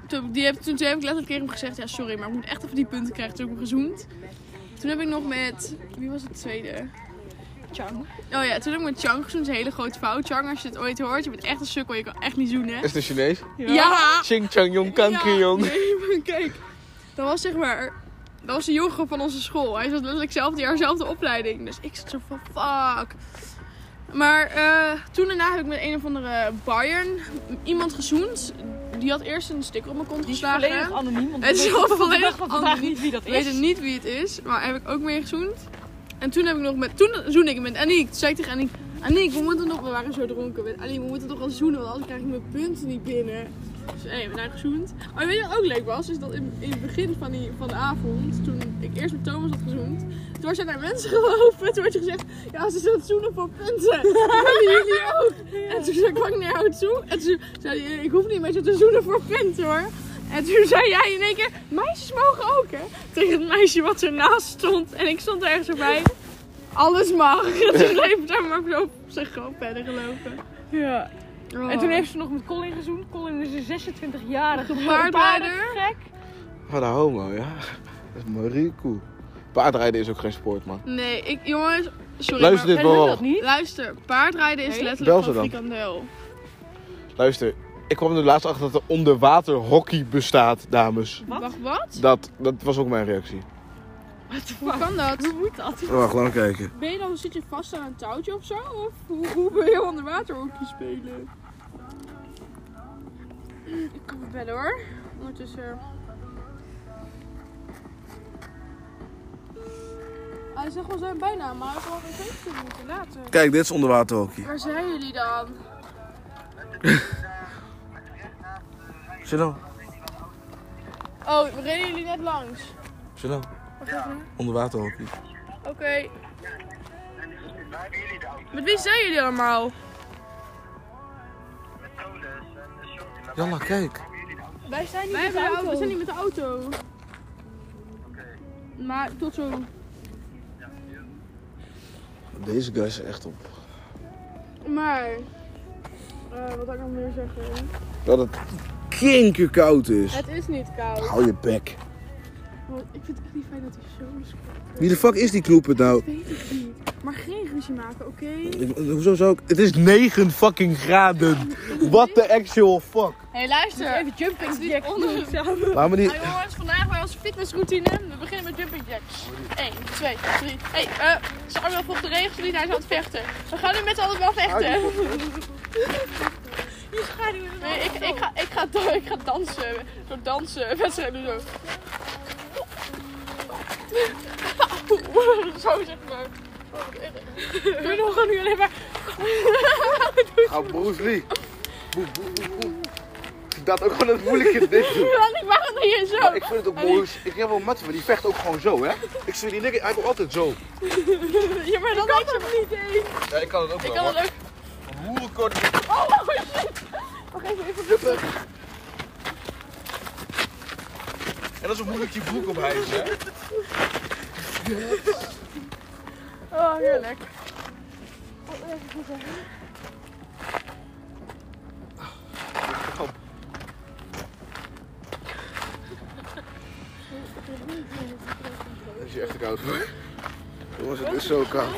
S8: Toen, die heb, toen, toen heb ik letterlijk tegen hem gezegd, ja sorry, maar ik moet echt even die punten krijgen. Toen heb ik hem gezoend. Toen heb ik nog met, wie was het tweede? Chang. Oh ja, toen heb ik met Chang gezoend. Dat is een hele grote fout. Chang, als je het ooit hoort, je bent echt een sukkel. Je kan echt niet zoenen.
S5: Is het een Chinees?
S8: Ja. Ja.
S5: Ching Chang Yong Kanker Jong.
S8: Nee, maar kijk. Dat was zeg maar... Dat was een jongen van onze school. Hij zat letterlijk zelfde jaar, zelfde opleiding. Dus ik zat zo van, fuck. Maar eh, toen daarna heb ik met een of andere Bayern iemand gezoend. Die had eerst een sticker op mijn kont geslagen.
S19: volledig anoniem, want we
S8: Het is
S19: weten
S8: ook
S19: tot op de
S8: volledig
S19: dag van vandaag
S8: anoniem.
S19: niet wie dat
S8: We
S19: is.
S8: weten niet wie het is, maar heb ik ook mee gezoend. En toen heb ik nog met, toen zoen ik met Aniek. Toen zei ik tegen Aniek, Aniek, we moeten nog, we waren zo dronken. Met Aniek, we moeten toch wel zoenen, want anders krijg ik mijn punten niet binnen. Dus hé, we zijn gezoend. Maar weet je wat ook leuk was? Is dat in, in het begin van, die, van de avond, toen ik eerst met Thomas had gezoend, toen was jij naar mensen gelopen. Toen werd je gezegd, ja, ze zullen zoenen voor punten. Willen jullie ook? En toen zei ik, ik naar jou toe. En toen zei hij, ik hoef niet met je te zoenen voor punten hoor. En toen zei jij in één keer, meisjes mogen ook hè? Tegen het meisje wat ernaast stond. En ik stond ergens erbij. Alles mag. En toen heeft hij maar zo op zijn gewoon verder gelopen.
S19: Ja.
S8: Oh.
S19: En toen heeft ze nog met Colin gezoend. Colin is een 26-jarige
S8: Een paardrijder.
S19: gek.
S5: Wat een homo, ja. Dat is Marico. Paardrijden is ook geen sport, man.
S8: Nee, ik, jongens, sorry.
S5: Luister
S8: maar,
S5: dit wel. Wij doen dat
S19: niet.
S8: Luister, paardrijden is
S19: Nee?
S5: Bel
S8: letterlijk
S5: ze
S8: gewoon
S5: dan.
S8: frikandel.
S5: Luister, ik kwam er laatst achter dat er onderwater hockey bestaat, dames.
S8: Wacht, wat?
S5: Dat, dat was ook mijn reactie.
S8: Hoe kan dat? Hoe moet dat?
S1: Oh, Wacht, laat me kijken.
S8: Ben je dan, zit je vast aan een touwtje of zo? Of hoe, hoe ben je onder water hockey spelen? Mm, Ik kan het bellen hoor. Ondertussen. Hij zegt wel zijn bijnaam, maar hij zal het even moeten laten.
S1: Kijk, dit is onderwaterhockey.
S8: Waar zijn jullie dan?
S1: Zit nou. dan,
S8: Oh, we reden jullie net langs.
S1: zit dan.
S8: Wacht even.
S1: Onderwaterhockey.
S8: Oké. Met wie zijn jullie allemaal?
S1: Jalla, kijk.
S8: Wij zijn niet,
S19: Wij
S8: met, de
S19: hebben de
S8: auto.
S19: auto.
S8: We zijn niet met de auto. Maar tot zo.
S1: Deze guy is echt op.
S8: Maar. eh, wat had ik nog meer zeggen?
S1: Dat het kinkerkoud is.
S8: Het is niet koud.
S1: Hou je bek.
S8: Want ik vind het echt niet fijn dat hij zo is.
S1: Wie de fuck is die knoepert nou?
S8: Weet ik niet. Maar geen ruzie maken, oké?
S1: Ik- Hoezo zou ik... Het is 9 fucking graden. What the actual fuck.
S8: Hé, hey, luister. Even jumping jack onder samen.
S1: Laat me die-
S8: Hey, jongens, vandaag bij onze fitnessroutine. We beginnen met jumping jacks. 1, 2, 3. Hé, hey, eh Samuel volgt de regels niet. Hij is aan het vechten. We gaan nu met z'n allen wel vechten.
S19: Hou
S8: Je schaduw Nee, ik, ik, ga, ik, ga, dan- ik ga dansen. Zo dansen. Wedstrijd doen zo. Auw, zo zeg maar. Doe nog gewoon nu alleen maar.
S5: Ga Bruce Lee. Boe, boe, boe, boe. Dat ook gewoon het moeilijke ding doen.
S8: Laat ik maar niet hier zo.
S5: Maar ik vind het ook mooi. Ik heb wel matje, maar die vecht ook gewoon zo, hè? Ik zie die nigger, hij komt altijd zo.
S8: Ja, maar dat kan toch niet eens.
S5: Ja, ik kan het ook
S8: Ik
S5: wel.
S8: kan het ook.
S5: Hoerenkort.
S8: Oh, shit. Wacht even, even zoeken.
S5: En dat is ook moeilijk je broek op hijs, hè?
S8: Oh, heerlijk.
S5: Dat is je echt een
S1: koud. Jongens, het is zo koud.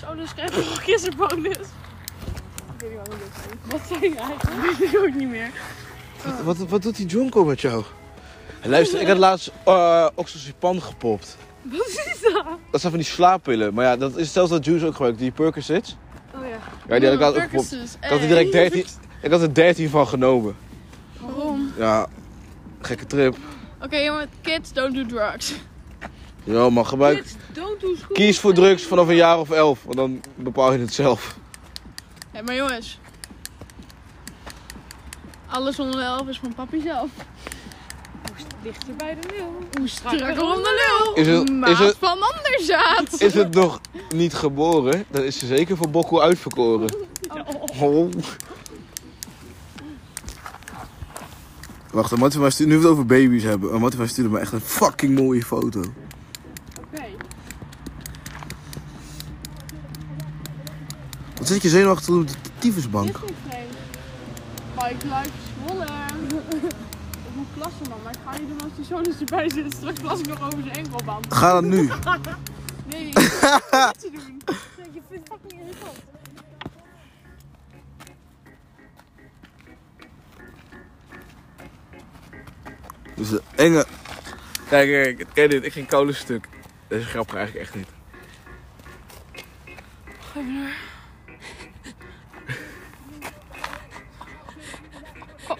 S8: Zo, dus krijg je nog eens een bonus. Ik weet niet waarom dit zijn. Wat zei je eigenlijk? Dat weet ik ook niet meer.
S1: Wat, wat doet die Jonko met jou? Luister, ik had laatst eh oxazepam gepopt.
S8: Wat is dat?
S1: Dat zijn van die slaappillen. Maar ja, dat is zelfs dat Juice ook gebruikt. Die Percocets.
S8: Oh ja.
S1: Ja, die had ik
S8: Oh,
S1: laatst ook gepopt.
S8: Percocets. eh,
S1: Ik had er direct
S8: Hey.
S1: 13, ik had er 13 van genomen.
S8: Waarom?
S1: Ja, gekke trip.
S8: Oké jongen, kids, don't do drugs.
S1: Ja, maar gebruik...
S8: Don't do school.
S1: Kies voor drugs vanaf een jaar of elf. Want dan bepaal je het zelf.
S8: Hé, maar jongens. Alles onder de elf is van papi zelf.
S19: Dichter bij de nul.
S8: Hoe strakker onder de lul.
S1: Is het- is
S8: Maat
S1: het-
S8: van anderzaad.
S1: Is het nog niet geboren, dan is ze zeker voor Bokko uitverkoren. Oh. Wacht, en Martin, wij sturen- nu we het over baby's hebben. En Martin, wij stuurde me echt een fucking mooie foto. Wat zit je zenuwachtig te doen op de tyfusbank?
S8: Bike life Zwolle. Ik moet plassen man, maar ik ga niet doen als die zoon is erbij zit. Dus Straks plas ik nog over zijn enkelband.
S1: Ga dan nu.
S8: nee, ik ga niet te doen.
S19: Je vindt fucking irritant.
S1: Dus de enge. Kijk, kijk, kijk, ken dit. Ik ging koude stuk. Dat is grappig eigenlijk echt niet.
S8: Ga even door.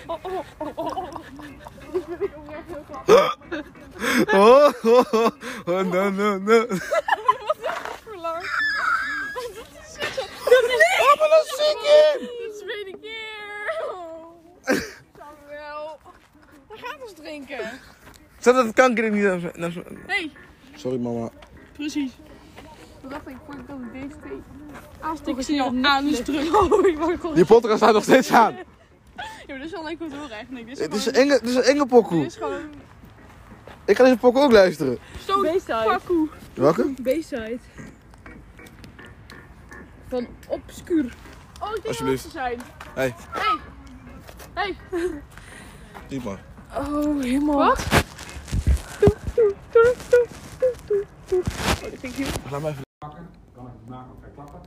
S8: Oh, oh, oh, oh, oh, oh. Die ben ik ook echt heel grappig.
S1: Oh, oh, oh, oh, no, no, no.
S8: Wat is dat voor lang? Dat is echt zo...
S19: Dat is-
S8: Oh, maar dat
S19: zie ik
S8: Dat is de tweede keer. Oh. Samuel. Hij gaat ons drinken.
S1: Zat dat het kanker niet aan z'n- aan z'n-
S8: Hé, hey,
S1: Sorry mama.
S8: precies. Toen dacht ik, voordat ik dat deze twee aanstikken,
S19: Ik
S8: zie
S19: zie
S8: je
S19: jou
S8: al aan
S19: anus
S8: is
S19: terug.
S8: terug. Oh, ik word gewoon-
S1: Die podcast staat nog steeds aan.
S8: Ja, maar dat is wel leuk om te horen eigenlijk. Dit is
S1: Dit is een
S8: gewoon-
S1: enge, dit is een enge pokoe.
S8: Dit is gewoon...
S1: Ik ga deze pokoe ook luisteren.
S8: Stoot. Pakkoe.
S1: Welke?
S8: B-side. Van obscuur. Oh, ik denk dat
S1: Alsjeblieft.
S8: ze zijn.
S1: Hey,
S8: Hey. Hey.
S1: niet maar.
S8: Oh, helemaal. Wat?
S19: Oh, dat vind ik heel...
S1: Laat me even.
S11: pakken, kan ik maken of verklappen.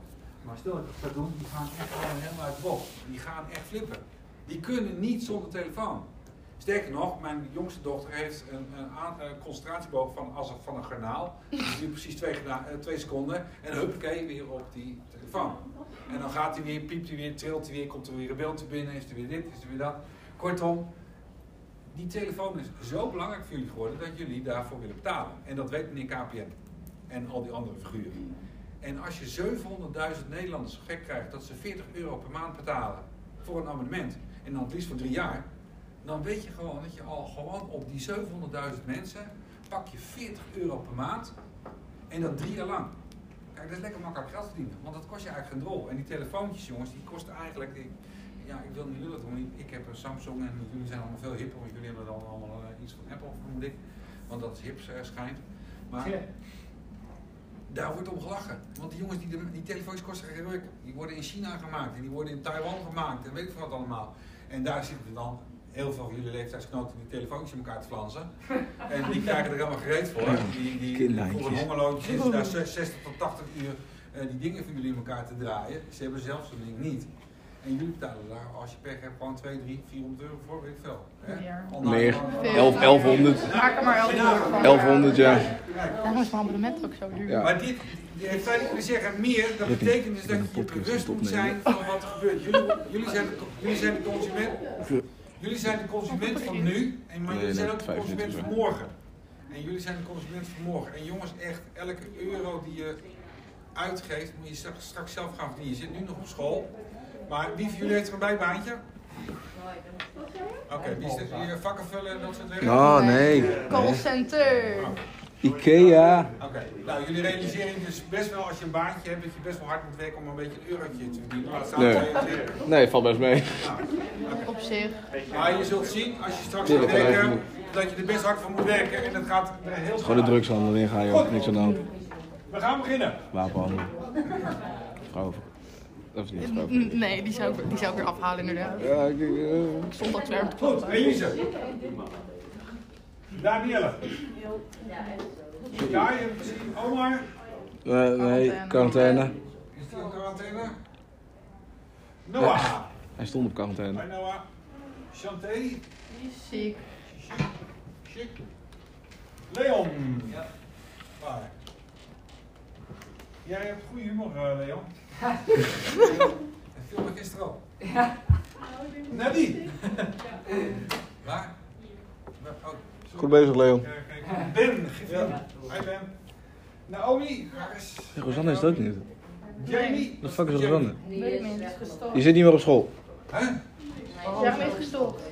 S11: Maar stel dat ik dat ga doen, die gaan echt allemaal helemaal uit het bol. Die gaan echt flippen. Die kunnen niet zonder telefoon. Sterker nog, mijn jongste dochter heeft een, een, aan- een concentratieboog van, als een- van een garnaal. Dus die precies twee, geda- eh, twee seconden. En huppakee, weer op die telefoon. En dan gaat hij weer, piept hij weer, trilt hij weer, komt er weer een beeld te binnen, is er weer dit, is er weer dat. Kortom, die telefoon is zo belangrijk voor jullie geworden dat jullie daarvoor willen betalen. En dat weet meneer KPN en al die andere figuren. En als je 700.000 Nederlanders zo gek krijgt dat ze 40 euro per maand betalen voor een abonnement, en dan het liefst voor drie jaar, dan weet je gewoon dat je al gewoon op die 700.000 mensen pak je 40 euro per maand en dat drie jaar lang. Kijk, dat is lekker makkelijk geld verdienen, want dat kost je eigenlijk geen drol. En die telefoontjes, jongens, die kosten eigenlijk, ik, ja, ik wil niet lullen doen, ik- ik heb een Samsung en jullie zijn allemaal veel hipper, want jullie hebben dan allemaal eh, iets van Apple, vermoed ik, want dat is hips eh, schijnt. Maar daar wordt om gelachen. Want die jongens, die, de- die telefoons kosten geen ruk. Die worden in China gemaakt en die worden in Taiwan gemaakt en weet ik veel wat allemaal. En daar zitten dan heel veel van jullie leeftijdsgenoten die telefoontjes in elkaar te flansen. En die krijgen er helemaal gereed voor. Die, die, die
S1: Kinderlijntjes.
S11: voor een hongerloontje zitten
S21: Oh.
S11: daar zes- 60 tot 80 uur eh, die dingen voor jullie in elkaar te draaien. Ze hebben zelf zo'n ding niet. En jullie betalen daar, als je pech hebt, gewoon 2, 3, 400 euro voor, weet ik veel. hè? Online-
S1: Meer. Elf- 1100.
S21: Maak er maar 1100 van.
S1: 1100, ja.
S21: Daarom is mijn abonnement ook zo duur.
S1: Ja.
S11: Maar dit, ik zou niet kunnen zeggen meer, dat
S1: Jippie.
S11: betekent dus dat
S1: ben
S11: je bewust moet zijn van Oh, wat er gebeurt. Jullie, jullie, zijn, de, jullie zijn de consument. Jullie zijn de consument van nu, en maar
S1: Nee,
S11: jullie zijn
S1: nee,
S11: ook de
S1: vijf
S11: consument
S1: minuten
S11: van
S1: zo.
S11: morgen. En jullie zijn de consument van morgen. En jongens, echt, elke euro die je uitgeeft, moet je straks, straks zelf gaan verdienen. Je zit nu nog op school. Maar wie van jullie heeft er een bijbaantje? Oké, wie is er? Jullie vakken vullen en dat soort dingen?
S1: Oh, nee. Nee.
S21: Callcenter.
S1: Ikea.
S11: Oké, nou jullie realiseren dus best wel als je een baantje hebt dat je best wel hard moet werken om een beetje een eurotje te verdienen. Maar dat staat
S1: Nee.
S11: twee of drie.
S1: Nee, valt best mee.
S21: Op zich.
S11: Maar je zult zien als je straks
S1: Ja,
S11: gaat
S1: dat kan
S11: werken
S1: eigenlijk
S11: dat je er best hard voor moet werken en dat gaat eh, heel snel.
S1: Gewoon de drugshandel in gaan, joh. Niks aan de hand.
S11: We gaan beginnen.
S1: Wapenhandel. Vrouw. Dat is niet vrouw.
S21: N- Nee, die zou, ik, die zou ik weer afhalen inderdaad.
S1: Ja, ik denk. eh,
S21: Zondags weer.
S11: Goed, Elise. Danielle. Ja, je hebt gezien. Omar.
S20: Nee, nee, quarantaine.
S11: Is die in quarantaine?
S20: Ja,
S11: Noah.
S20: Hij stond op
S11: Hoi
S20: quarantaine.
S11: Noah. Chanté. Die
S17: is ziek.
S11: Chic. Leon. Ja. Waar? Jij hebt goede humor, eh, Leon. Dat viel me gisteren al.
S17: Ja.
S11: Nadine. Waar? Oh, sorry.
S1: Goed bezig, Leon.
S11: Kijk, kijk. Ben, geef ja. Hi Ben. Naomi, waar is...
S1: Hey, Rosanne is het ook niet.
S11: Jamie.
S1: Wat de fuck is Rosanne?
S21: Weet ik niet.
S1: Je zit niet meer op school.
S21: Jij bent gestopt.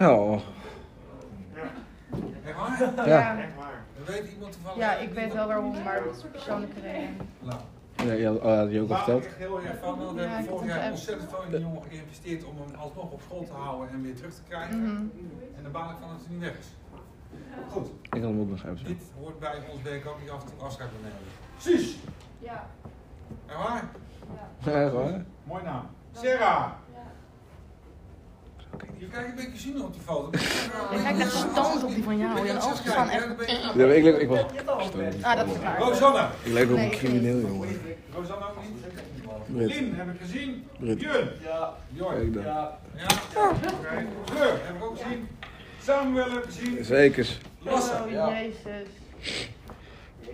S1: Oh.
S11: Echt waar?
S1: Ja.
S11: Echt waar. Weet iemand toevallig?
S21: Ja, ik weet wel waarom, maar dat is een persoonlijke reden.
S1: Ja, ja, oh, dat had je ook al
S11: Waar ik
S1: verteld.
S11: echt heel erg van wil, we
S21: Ja,
S11: hebben
S21: ik
S11: vorig
S21: heb
S11: jaar
S21: het
S11: ontzettend veel in die jongen geïnvesteerd om hem alsnog op school te houden en weer terug te krijgen.
S21: Mhm.
S11: En dan baal ik van dat hij niet weg is. Goed,
S1: Ik had hem ook nog even.
S11: dit hoort bij ons werk ook niet af en toe afscheid van nemen. Suus!
S21: Ja.
S11: Echt waar?
S1: Echt waar?
S11: Mooi naam. Sarah! Je kijkt een beetje zin op die foto.
S21: Ik kijk echt stand op die van jou. Je ogen staan echt...
S1: Ja, maar ik, leek- ik was.
S21: Ah, dat is waar.
S11: Rosanna!
S1: Ik leek op
S21: Nee,
S1: een
S21: ik
S1: crimineel, jongen.
S11: Rosanna ook niet?
S1: Brit.
S11: Lin, heb ik gezien.
S1: Brit.
S11: Jun. Ja.
S1: Kijk
S11: Jor.
S1: dan.
S11: Ja. Ja. Oké. Fleur, heb ik ook gezien. Samuel heb ik gezien.
S1: Zekers.
S11: Lasse.
S21: Oh, jezus.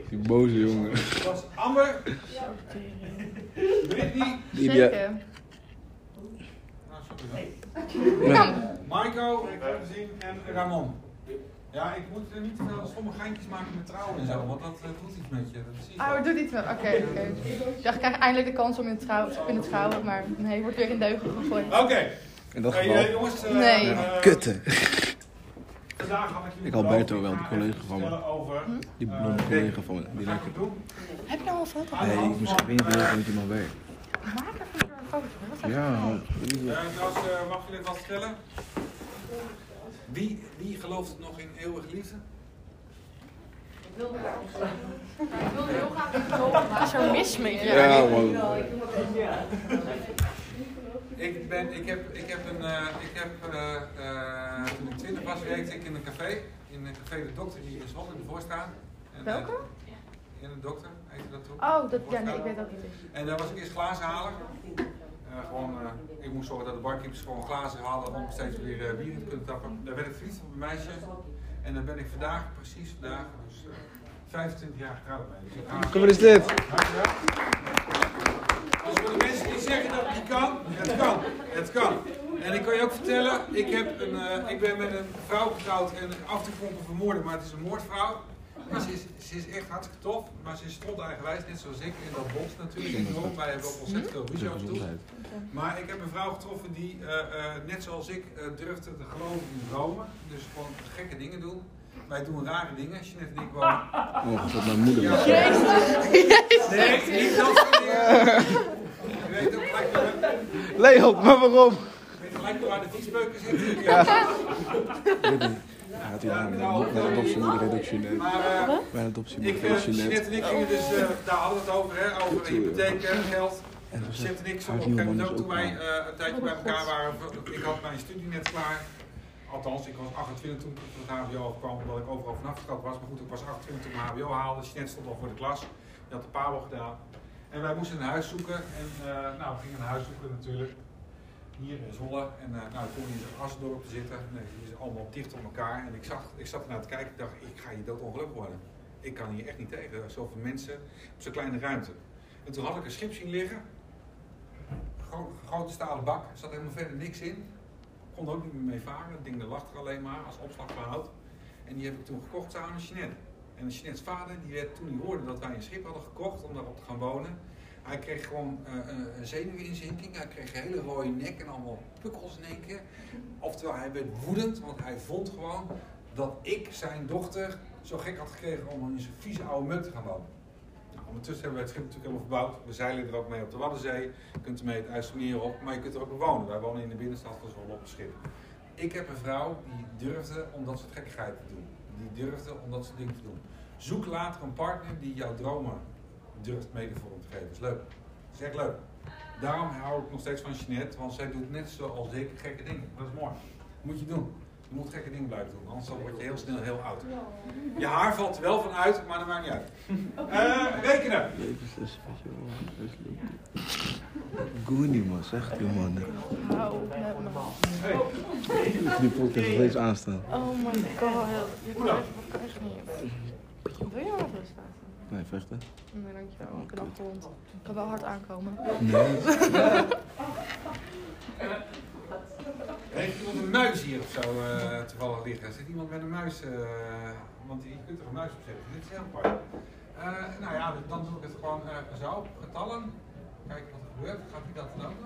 S1: Die boze jongen.
S11: Lasse. Amber. Brittany.
S1: Die heb jij-
S11: Nou, sorry
S1: Nee.
S11: dan. Maiko heb ik ook gezien. En Ramon. Ja, ik moet er niet te veel sommige geintjes maken met trouwen en zo, want dat eh, doet iets met je. Dat zie je
S21: Oh,
S11: wel.
S21: dat doet iets wel. Oké, oké. Ik dacht, ik krijg eindelijk de kans om in trouw, te kunnen trouwen, maar nee, ik word weer in deugen gegooid.
S11: Oké.
S1: In dat
S11: Hey,
S1: geval.
S11: eh, jongens, eh,
S21: Nee.
S11: eh,
S1: Kutten.
S11: Vandaag had ik jullie
S1: Ik had Berto
S11: beloofd,
S1: wel,
S11: ik
S1: een
S11: ga
S1: collega
S11: even
S1: van me.
S11: vertellen Over,
S1: Die
S11: eh,
S1: blonde
S11: dingen.
S1: collega van me. Die lekker.
S21: Heb je nou al foto's?
S1: Nee, ik moest geen werk, want je mag werk.
S21: Maak er voor een foto. Wat is dat?
S1: Ja.
S11: Eh, trouwens, eh, mag jullie wat vertellen? Wie, wie gelooft het nog in eeuwige liefde?
S17: Ik wilde heel graag een geloven.
S19: Wat is er mis mee?
S1: Ja, man.
S11: Ik, ben, ik heb, ik heb een, eh, ik heb, eh, eh, toen ik twintig was werkte ik in een café, in een café de dokter die in Zwolle in de voorstaan. En, eh,
S21: Welke?
S11: In de dokter, heette dat toch?
S21: Oh, dat, ja, nee, ik weet dat niet.
S11: En daar was ik eerst glazenhaler. Eh, gewoon, eh, ik moest zorgen dat de barkeepers gewoon glazen hadden om steeds weer eh, bier in te kunnen tappen. Daar werd ik verliefd op een meisje. En daar ben ik vandaag, precies vandaag, dus eh, 25 jaar getrouwd mee. Dus ik ga-
S1: Kom, wat is dit?
S11: Dankjewel. Dus voor de mensen die zeggen dat het niet kan, het kan, het kan. En ik kan je ook vertellen, ik, heb een, eh, ik ben met een vrouw getrouwd en af te komen vermoorden, maar het is een moordvrouw. En ze, is, ze is echt hartstikke tof, maar ze is stront eigenwijs, net zoals ik. En dat botst natuurlijk enorm, wij hebben ook ontzettend veel ruzie af en toe. Maar ik heb een vrouw getroffen die, eh, eh, net zoals ik, eh, durfde te geloven in dromen. Dus gewoon gekke dingen doen. Wij doen rare dingen, Jeanette en ik wonen.
S1: Oh, dat mijn moeder.
S11: Ja.
S1: was.
S11: Nee, niet dat soort dingen. Je weet ook gelijk waar-
S1: Leon, maar waarom?
S11: je weet gelijk waar de viesbeuken zitten.
S1: Ja.
S11: Ja.
S1: Ik weet niet. Hij had eh, die naam niet. Mijn adoptiemoeder heet ook
S11: Maar, eh,
S1: Jeanette. Mijn
S11: Ik,
S1: adoptiemoeder
S11: eh,
S1: heet ook
S11: Jeanette en ik gingen
S1: Jeanette.
S11: dus, eh, daar hadden we het over, hè, over hypotheek, eh, geld.
S1: En dat is
S11: Jeanette en ik,
S1: het.
S11: zo op
S1: Haar
S11: een gegeven
S1: nieuwe
S11: moment
S1: man
S11: ook
S1: is
S11: toen
S1: ook
S11: wij
S1: klaar.
S11: eh, een tijdje bij elkaar waren, ik had mijn studie net klaar. Althans, ik was 28 toen ik van het HBO afkwam, omdat ik overal vanaf getrapt was. Maar goed, ik was 28 toen ik mijn HBO haalde. Jeanette stond al voor de klas. Die had de pabo gedaan. En wij moesten een huis zoeken. En eh, nou, we gingen een huis zoeken natuurlijk. Hier in Zwolle. En eh nou, ik kon niet in zo'n Asdorp zitten. Nee, die is allemaal dicht op elkaar. En ik, zag, ik zat ernaar te kijken. Ik dacht, ik ga hier doodongelukkig worden. Ik kan hier echt niet tegen. Zoveel mensen op zo'n kleine ruimte. En toen had ik een schip zien liggen. Gro- grote stalen bak. Er zat helemaal verder niks in. Kon er ook niet meer mee varen. Het ding dat lag er alleen maar als opslagbehoud. En die heb ik toen gekocht samen met Jeanette. En Jeanettes vader, die werd, toen hij hoorde dat wij een schip hadden gekocht om daarop te gaan wonen, hij kreeg gewoon eh, een- een zenuwinzinking, hij kreeg een hele rode nek en allemaal pukkels in één keer. Oftewel, hij werd woedend, want hij vond gewoon dat ik zijn dochter zo gek had gekregen om in zijn vieze oude muk te gaan wonen. Nou, ondertussen hebben wij het schip natuurlijk helemaal verbouwd. We zeilen er ook mee op de Waddenzee. Je kunt ermee het IJsselmeer op, maar je kunt er ook mee wonen. Wij wonen in de binnenstad van Zwolle op een schip. Ik heb een vrouw die durfde om dat soort gekkigheid te doen. Die durfde om dat soort dingen te doen. Zoek later een partner die jouw dromen durft mede vorm te geven. Dat is leuk. Dat is echt leuk. Daarom hou ik nog steeds van Jeanette, want zij doet net zoals ik gekke dingen. Dat is mooi. Moet je doen. Je moet gekke dingen blijven doen, anders dan word je heel snel heel oud. Je haar valt er wel van uit, maar dat maakt niet uit. Eh, rekenen!
S10: Goenie man, zegt u man.
S22: Hou op met me.
S10: Die podcast nog steeds aanstaan.
S8: Oh my god. Je
S11: Nou.
S8: kan echt niet.
S9: Wil je wat rustig?
S10: Nee, vechten.
S9: Nee, dankjewel. Ik ben afgerond. Ik kan wel hard aankomen.
S11: Heeft iemand een muis hier of zo eh, toevallig liggen? Zit iemand met een muis? eh, want je kunt er een muis op zetten. Dit is heel mooi. Eh, nou ja, dan doe ik het gewoon eh zo op getallen. Kijken wat er gebeurt. Gaat hij dat dan ook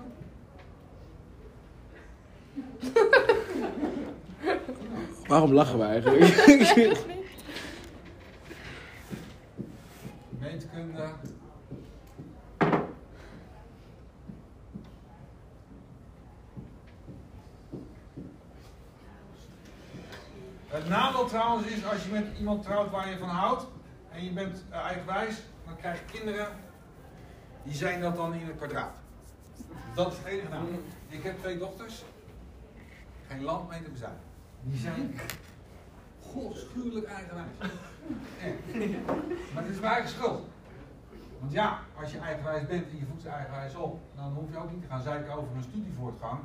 S11: doen?
S10: Waarom lachen we eigenlijk?
S11: Meetkunde. Het nadeel trouwens is als je met iemand trouwt waar je van houdt en je bent eh, eigenwijs, dan krijg je kinderen die zijn dat dan in het kwadraat. Dat is het enige nadeel. Ik heb twee dochters, geen land mee te bezuinigen. Die zijn godschuwelijk eigenwijs. Echt. Maar het is mijn eigen schuld. Want ja, als je eigenwijs bent en je voedt ze eigenwijs op, dan hoef je ook niet te gaan zeiken over een studievoortgang.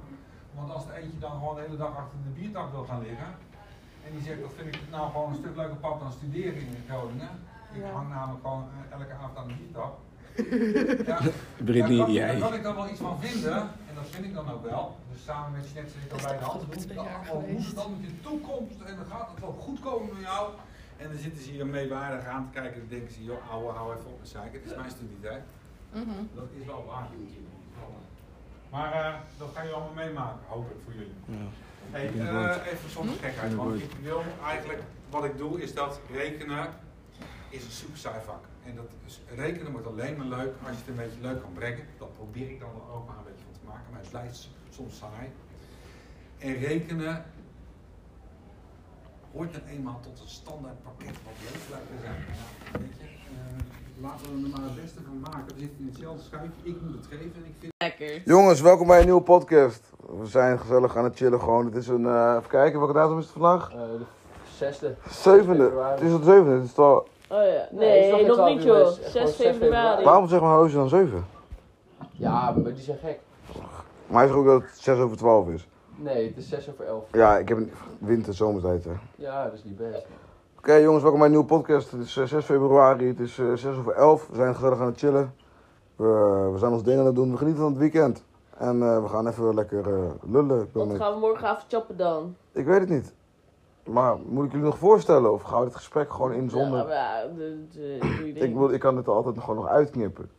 S11: Want als er eentje dan gewoon de hele dag achter de biertak wil gaan liggen, en die zegt, dat vind ik nou gewoon een stuk leuker pap dan studeren in Groningen. Ik hang namelijk gewoon eh, elke avond aan de biertak. Ja,
S10: Brittany,
S11: daar kan,
S10: jij.
S11: Daar kan ik dan wel iets van vinden, en dat vind ik dan ook wel. Dus samen met Snet zit ik dan bij de hand. Oh, Hoe Dan, al moet het dan moet je toekomst en dan gaat het wel goed komen met jou. En dan zitten ze hier een meewaardig aan te kijken en dan denken ze, joh, ouwe, hou even op met zeiken, het is mijn studietijd. Dat is wel waar. Maar eh, dat gaan jullie allemaal meemaken, hoop ik voor jullie. Hey,
S10: Ik ben
S11: eh,
S10: boos.
S11: even zonder gekheid,
S10: Ik ben
S11: want
S10: boos.
S11: ik wil eigenlijk, wat ik doe is dat rekenen is een super saai vak. En dat is- rekenen wordt alleen maar leuk als je het een beetje leuk kan brengen. Dat probeer ik dan wel ook maar een beetje van te maken, maar het blijft soms saai. En rekenen hoort nou eenmaal tot een standaard pakket wat leuk lijkt te zijn. Ja, weet je, eh, laten we er maar het beste van maken. We zitten in hetzelfde schuitje, ik moet het geven en ik vind... Lekker.
S1: Jongens, welkom bij een nieuwe podcast. We zijn gezellig aan het chillen gewoon. Het is een, eh, even kijken, welke datum is het vandaag?
S23: Eh, de zesde.
S1: Zevende. Het is het zevende. Het is al...
S23: Oh ja.
S9: Nee,
S23: het is
S9: nog
S23: geen
S9: niet,
S23: 12 uur,
S9: joh.
S23: het is echt
S9: 6
S23: gewoon
S9: februari.
S1: Waarom zeggen mijn hozen dan zeven?
S23: Ja, maar die zijn gek.
S1: Maar hij zegt ook dat het zes over twaalf is.
S23: Nee, het is 6 over 11.
S1: Ja, ik heb een winter zomertijd hè. Oké
S23: Ja, dat is niet best.
S1: jongens, welkom bij een nieuwe podcast. Het is eh, 6 februari, het is eh, 6 over 11. We zijn gezellig aan het chillen. We, we zijn ons dingen aan het doen, we genieten van het weekend. En eh, we gaan even lekker eh, lullen. Ik, ben
S9: Dan
S1: met-
S9: gaan we morgenavond chappen dan.
S1: ik weet het niet. Maar moet ik jullie nog voorstellen of gaan we dit gesprek gewoon in zonder...
S9: Ja, maar ja, de- de- doe je ding.
S1: Ik, wil, ik kan het er altijd nog gewoon nog uitknippen.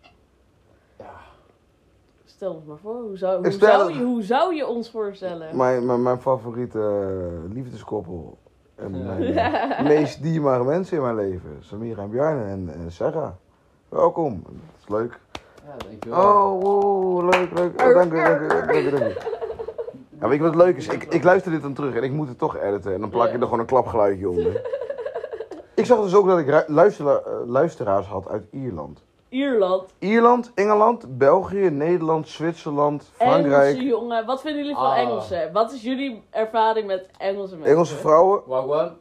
S9: Stel het maar voor. Hoe zou,
S1: Ik
S9: hoe,
S1: stel
S9: zou
S1: het-
S9: je, hoe zou je ons voorstellen?
S1: Mijn, mijn, mijn favoriete eh, liefdeskoppel. En mijn
S9: Ja.
S1: eh, meest dierbare mensen in mijn leven. Samira en Bjarne en, en Sarah. Welkom. Het is leuk.
S23: Ja, dankjewel.
S1: Oh, wow, leuk, leuk. Oh, dank u, dank u, dank u, dank u. Ja, weet je wat leuk is? Ik, ik luister dit dan terug en ik moet het toch editen. En dan plak ik er gewoon een klapgeluidje onder. Ik zag dus ook dat ik ru- luistera- eh, luisteraars had uit Ierland.
S9: Ierland.
S1: Ierland, Engeland, België, Nederland, Zwitserland, Frankrijk.
S9: Engelse jongen. Wat vinden jullie van
S1: Ah.
S9: Engelsen? Wat is jullie ervaring met Engelse mensen?
S1: Engelse vrouwen.
S23: Wagwan.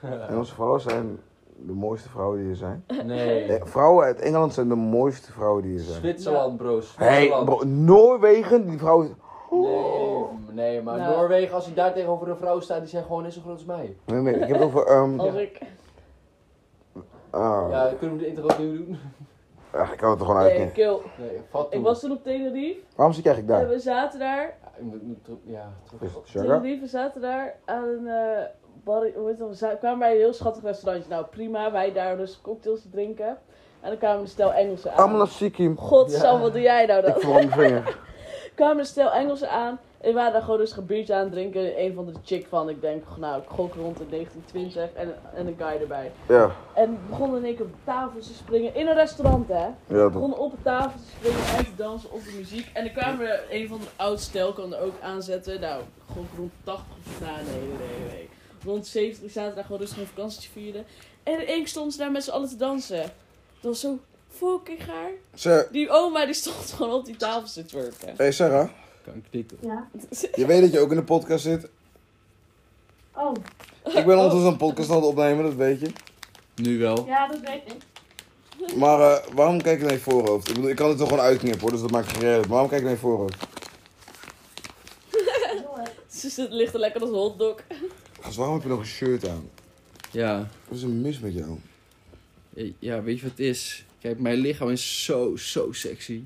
S1: Engelse vrouwen zijn de mooiste vrouwen die er zijn.
S23: Nee.
S1: Eh, Vrouwen uit Engeland zijn de mooiste vrouwen die er zijn.
S23: Zwitserland, bro's.
S1: Hey, bro, Noorwegen, die vrouw.
S23: Nee, nee, maar
S9: Nou.
S23: Noorwegen, als ik daar tegenover een vrouw sta, die zijn gewoon net zo groot als mij.
S1: Nee, nee, ik heb het over. ehm,
S23: Als
S9: ik...
S1: ah,
S23: Ja, kunnen we de intro opnieuw doen?
S1: ah, ik kan het er gewoon
S9: Nee,
S1: uitknippen.
S9: kill.
S23: Nee, vat toe.
S9: Ik was toen op Tenerife.
S1: Waarom zit je eigenlijk
S9: En
S1: daar?
S9: we zaten daar.
S23: Ja, ik moet- moet terug- ja, terug.
S1: Is het Sugar?
S9: Tenerife we zaten daar aan een... eh, barri- hoe heet dat? We za- kwamen bij een heel schattig restaurantje. Nou, prima. Wij daar dus cocktails te drinken. En dan kwamen een stel Engelsen aan.
S1: Amla Sikim.
S9: Godsam, wat doe jij nou dan?
S1: Ik verbrand mijn vinger.
S9: kwamen een stel Engelsen aan. En die waren daar gewoon dus gebiertje aan het drinken. Een van de chick van, ik denk, nou, ik gok rond de 1920 en, en een guy erbij.
S1: Ja.
S9: En begonnen in één keer op tafels te springen. In een restaurant, hè?
S1: dat-
S9: Begonnen op de tafel te springen en te dansen op de muziek. En dan kwamen er een van de oud stel, kan er ook aanzetten. Nou, gewoon rond 80 of nou, nee, nee, nee, nee. Rond 70 zaten daar gewoon rustig een vakantie vieren. En in één keer stonden ze daar met z'n allen te dansen. Dat was zo fucking gaar.
S1: Ze-
S9: Die oma die stond gewoon op die tafel te twerken.
S1: Hey Sarah,
S23: Kan ik dit
S9: Ja.
S1: je weet dat je ook in de podcast zit.
S9: Oh.
S1: Ik ben ondertussen een podcast aan het opnemen, dat weet je. Nu wel.
S9: Ja, dat weet ik.
S1: Maar eh, waarom kijk je naar je voorhoofd? Ik bedoel, ik kan het toch gewoon uitknippen hoor, dus dat maakt geen reden. uit. Maar waarom kijk je naar je voorhoofd?
S9: Ze ligt er lekker als een hotdog.
S1: Gast, waarom heb je nog een shirt aan?
S23: Ja. Eh,
S1: Wat is er mis met jou?
S23: Ja, weet je wat het is? Kijk, mijn lichaam is zo, zo sexy.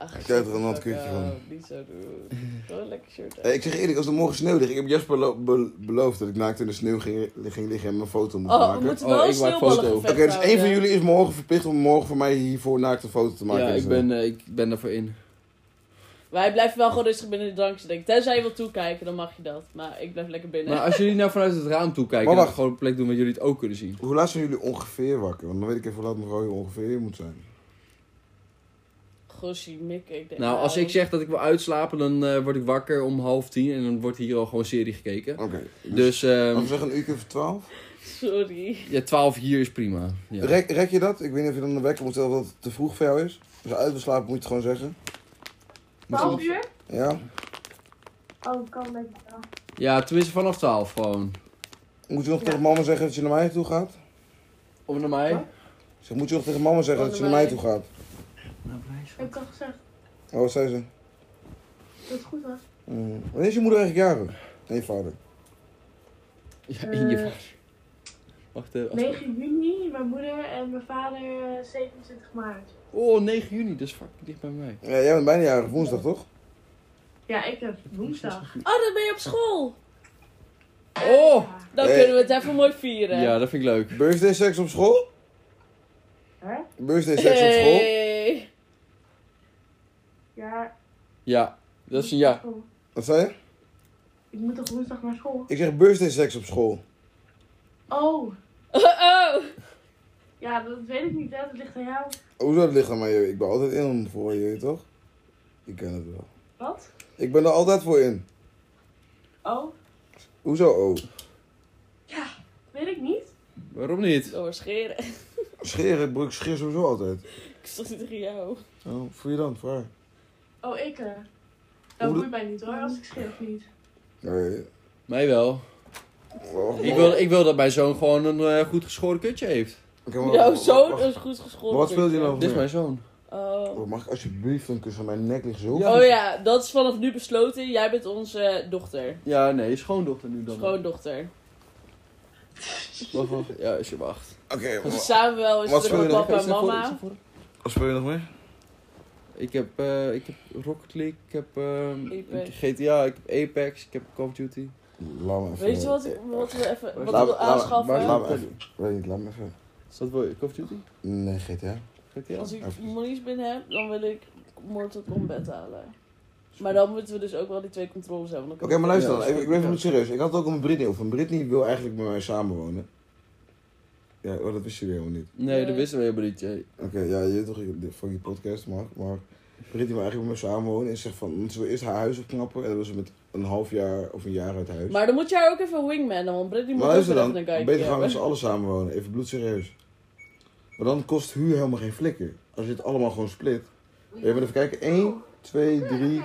S1: Ik krijg er een nat kutje van.
S9: eh, Niet zo doen. Gewoon lekker shirt.
S1: Hé, Eh, ik zeg eerlijk, als er morgen sneeuw ligt, ik heb Jasper lo- be- beloofd dat ik naakt in de sneeuw ging, ging liggen en mijn foto moest
S9: Oh, we
S1: maken.
S9: moeten wel Oh, ik maak sneeuwballen foto.
S1: Oké,
S9: gevecht
S1: dus één van
S9: houden.
S1: jullie is morgen verplicht om morgen voor mij hiervoor naakt een foto te maken.
S23: Ja,
S1: Dus,
S23: ik
S1: eh,
S23: ben, eh, ik ben daarvoor in.
S9: Maar hij blijft wel gewoon rustig binnen de drankjes denken. Tenzij je wil toekijken, dan mag je dat. Maar ik blijf lekker binnen.
S23: Maar als jullie nou vanuit het raam toe kijken,
S1: Maar
S23: dan
S1: wacht.
S23: gewoon een plek doen waar jullie het ook kunnen zien.
S1: Hoe laat zijn jullie ongeveer wakker? Want dan weet ik even hoe laat mevrouw hier ongeveer moet zijn.
S9: Gossie, mikken, ik denk...
S23: Nou, als ik zeg dat ik wil uitslapen, dan eh, word ik wakker om half tien en dan wordt hier al gewoon serie gekeken.
S1: Oké.
S23: Dus, ehm
S1: we zeggen een uurtje of twaalf?
S9: Sorry.
S23: Ja, twaalf hier is prima. Ja.
S1: Rek, rek je dat? Ik weet niet of je dan de wekker moet stellen of dat het te vroeg voor jou is. Als je uitgeslapen moet je het gewoon zeggen.
S9: Twaalf
S23: uur?
S1: Ja?
S9: Oh, kan dat wel.
S23: Ja, tenminste vanaf twaalf gewoon.
S1: Moet je nog tegen mama zeggen dat je naar mij toe gaat?
S23: Of naar mij?
S1: Ik Zeg, moet je nog tegen mama zeggen
S9: Oh,
S1: dat je
S9: naar
S1: naar mij
S9: mij.
S1: toe gaat?
S9: Ik heb al gezegd
S1: Oh, wat zei ze?
S9: dat het goed was.
S1: Mm. Wanneer is je moeder eigenlijk jarig? Nee, vader.
S23: Ja,
S9: in je Eh,
S23: Wacht even. als-
S9: 9 juni, mijn moeder en mijn vader 27 maart.
S23: Oh, 9 juni, dat is fucking dicht bij mij.
S1: Ja, jij bent bijna jarig, woensdag toch?
S9: Ja, ik heb woensdag. Oh, dan ben je op school.
S23: Oh!
S9: Dan
S1: Eh.
S9: kunnen we het even mooi vieren.
S23: Ja, dat vind ik leuk.
S1: Birthday seks op school?
S9: Hè?
S1: Birthday seks op school?
S9: Hey. Ja,
S23: Ja, dat is een ja.
S1: Wat zei je?
S9: Oh, ik moet toch woensdag naar school?
S1: Ik zeg birthday seks op school.
S9: Oh. Oh. Ja, dat weet ik niet, hè. dat ligt aan jou.
S1: Hoezo dat ligt aan mij? joh? Ik ben altijd in om voor je, weet je toch? Ik ken het wel.
S9: Wat?
S1: Ik ben er altijd voor in.
S9: Oh,
S1: Hoezo? Oh.
S9: weet ik niet.
S23: Waarom niet?
S9: Door scheren.
S1: Scheren, broek, scheer sowieso altijd.
S9: ik stond niet tegen jou.
S1: Oh, voel je dan, waar?
S9: Oh, ik eh.
S1: Hoe
S9: Dat
S1: de-
S9: boeit mij niet hoor, als ik scheer of niet.
S1: Nee.
S23: Mij wel.
S1: Oh.
S23: Ik wil, ik wil dat mijn zoon gewoon een eh, goed geschoren kutje heeft.
S9: Jouw zoon is goed geschoren.
S1: Wat speelt je nou?
S23: Dit is mijn zoon.
S9: Oh.
S1: Oh, mag ik alsjeblieft een kus aan mijn nek liggen? Zo?
S9: oh ja, dat is vanaf nu besloten. Jij bent onze dochter.
S23: Ja, nee, schoondochter nu dan.
S9: Schoondochter.
S23: Wacht, wacht. Ja, als je wacht.
S1: Oké,
S9: Dus Samuel is
S23: Wat
S9: terug
S23: speel je
S9: bij
S23: nog?
S9: papa en
S23: Is er voor-
S9: mama.
S1: Wat speel je nog meer?
S23: Ik heb, eh, ik heb Rocket League, ik heb ehm,
S9: Apex.
S23: GTA, ik heb Apex, ik heb Call of Duty.
S1: Laat me
S9: Weet je wat, ik- wat we even wat ik wil aanschaffen?
S1: Laat me even. Weet niet, laat me even.
S23: Is dat wel Call of Duty?
S1: Nee, GTA.
S23: GTA?
S9: Als ik monies binnen heb, dan wil ik Mortal Kombat halen. Maar dan moeten we dus ook wel die twee controles hebben.
S1: Oké, maar luister dan. Ik, ik ben even serieus. Ik had het ook om Britney over. Britney wil eigenlijk met mij samenwonen. Ja, oh, dat wist je weer helemaal niet.
S23: Nee, dat wisten we helemaal niet. jij.
S1: Oké, ja, je weet toch ik- van die podcast, maar, maar Britney wil eigenlijk met mij samenwonen. En zegt van, ze wil eerst haar huis opknappen. En dan was ze met een half jaar of een jaar uit huis.
S9: Maar dan moet jij ook even wingman, want Britney moet
S1: Maar
S9: ook
S1: luister
S9: weer
S1: dan,
S9: even een kijkje
S1: beter gaan we met z'n
S9: hebben.
S1: allen samenwonen. Even bloedserieus. Maar dan kost huur helemaal geen flikker. Als je het allemaal gewoon split. We hebben even kijken. 1, 2, 3,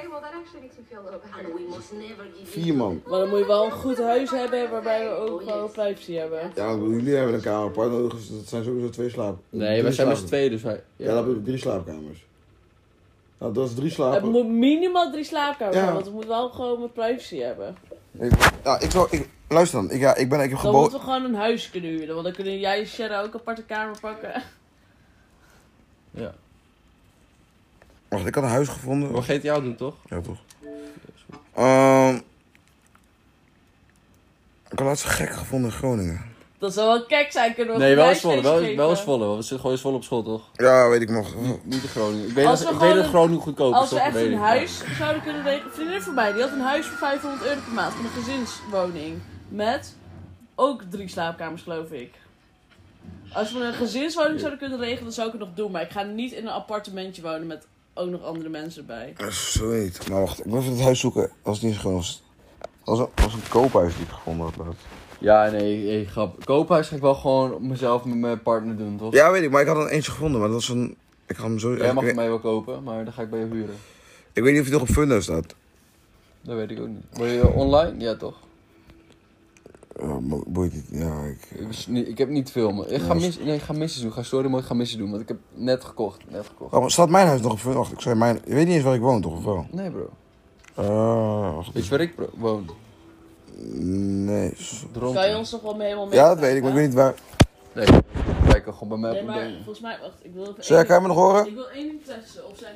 S1: vier man.
S9: Maar dan moet je wel een goed huis hebben waarbij we ook wel privacy hebben.
S1: Ja, maar ik bedoel, jullie hebben een kamer apart nodig, dus dat zijn sowieso twee slaap.
S23: Nee,
S1: drie
S23: wij zijn met
S1: slaap-
S23: z'n tweeën, dus wij-
S1: Ja, dan heb je drie slaapkamers. Nou, dat is
S23: Eh,
S1: drie
S9: Het
S1: slapen.
S9: moet minimaal drie slaapkamers
S1: Ja.
S9: zijn, want we moeten wel gewoon met privacy hebben.
S1: Ik, ja, ik wil, ik, luister dan, ik, ja, ik ben, ik heb
S9: Dan moeten we
S1: geboden.
S9: gewoon een huis kunnen huren, want dan kunnen jij en Sherra ook een aparte kamer pakken.
S1: Wacht, ik had een huis gevonden.
S23: Wat GTA doen toch?
S1: Ja, toch. Ehm ik had laatst een gek gevonden in Groningen.
S9: Dat zou wel kek zijn, kunnen we
S23: Nee,
S9: een
S23: wel eens Zwolle,
S9: prijsfeest
S23: wel,
S9: geven.
S23: wel eens Zwolle, want we zitten gewoon in Zwolle op school toch?
S1: Ja, weet ik nog.
S23: Niet in Groningen. Ik weet,
S9: Als
S23: dat,
S9: we
S23: ik weet
S9: gewoon
S23: dat
S9: een-
S23: Groningen goedkoop is
S9: Als we
S23: toch?
S9: echt
S23: weet
S9: een
S23: ik.
S9: huis zouden kunnen regelen. Een vriendin van mij die had een huis voor 500 euro per maand. Van een gezinswoning. Met ook drie slaapkamers, geloof ik. Als we een gezinswoning zouden kunnen regelen, dan zou ik het nog doen. Maar ik ga niet in een appartementje wonen met ook nog andere mensen bij.
S1: Eh, Zo niet. Maar wacht, ik moet even het huis zoeken. Als het niet is gewoon. Als, als, een, als een koophuis die ik gevonden had laatst.
S23: Ja, nee, nee, grap. Koophuis ga ik wel gewoon op mezelf met mijn partner doen toch?
S1: Ja, weet ik, maar ik had er eentje gevonden, maar dat was een. Ik had hem zo.
S23: Jij mag
S1: ik,
S23: het mij wel kopen, maar dan ga ik bij je huren.
S1: ik weet niet of hij nog op Fundo staat.
S23: Dat weet ik ook niet. Wil je online? Ja, toch? Oh, boeit het, ja. Ik, ik heb niet veel, maar ik ga, mis, nee, ik ga missen doen. Ga, sorry, maar ik ga missen doen, want ik heb net gekocht. Net gekocht.
S1: Oh, maar staat mijn huis nog op verwacht? Ik zei mijn... Je weet niet eens waar ik woon, toch? Of wel?
S23: Nee, bro. Ah.
S1: Eh, wacht.
S23: Weet je waar ik bro- woon?
S1: Nee.
S8: Kan je ons nog wel mee helemaal mee?
S1: Ja, dat weet ik, maar ik weet niet waar...
S23: Nee, wij kan gewoon bij mij
S8: Nee,
S23: op
S8: maar
S23: de-
S8: volgens mij, wacht, ik wil even.
S1: Zeg,
S8: één-
S1: kan je me nog horen?
S8: Ik wil één ding testen of zijn.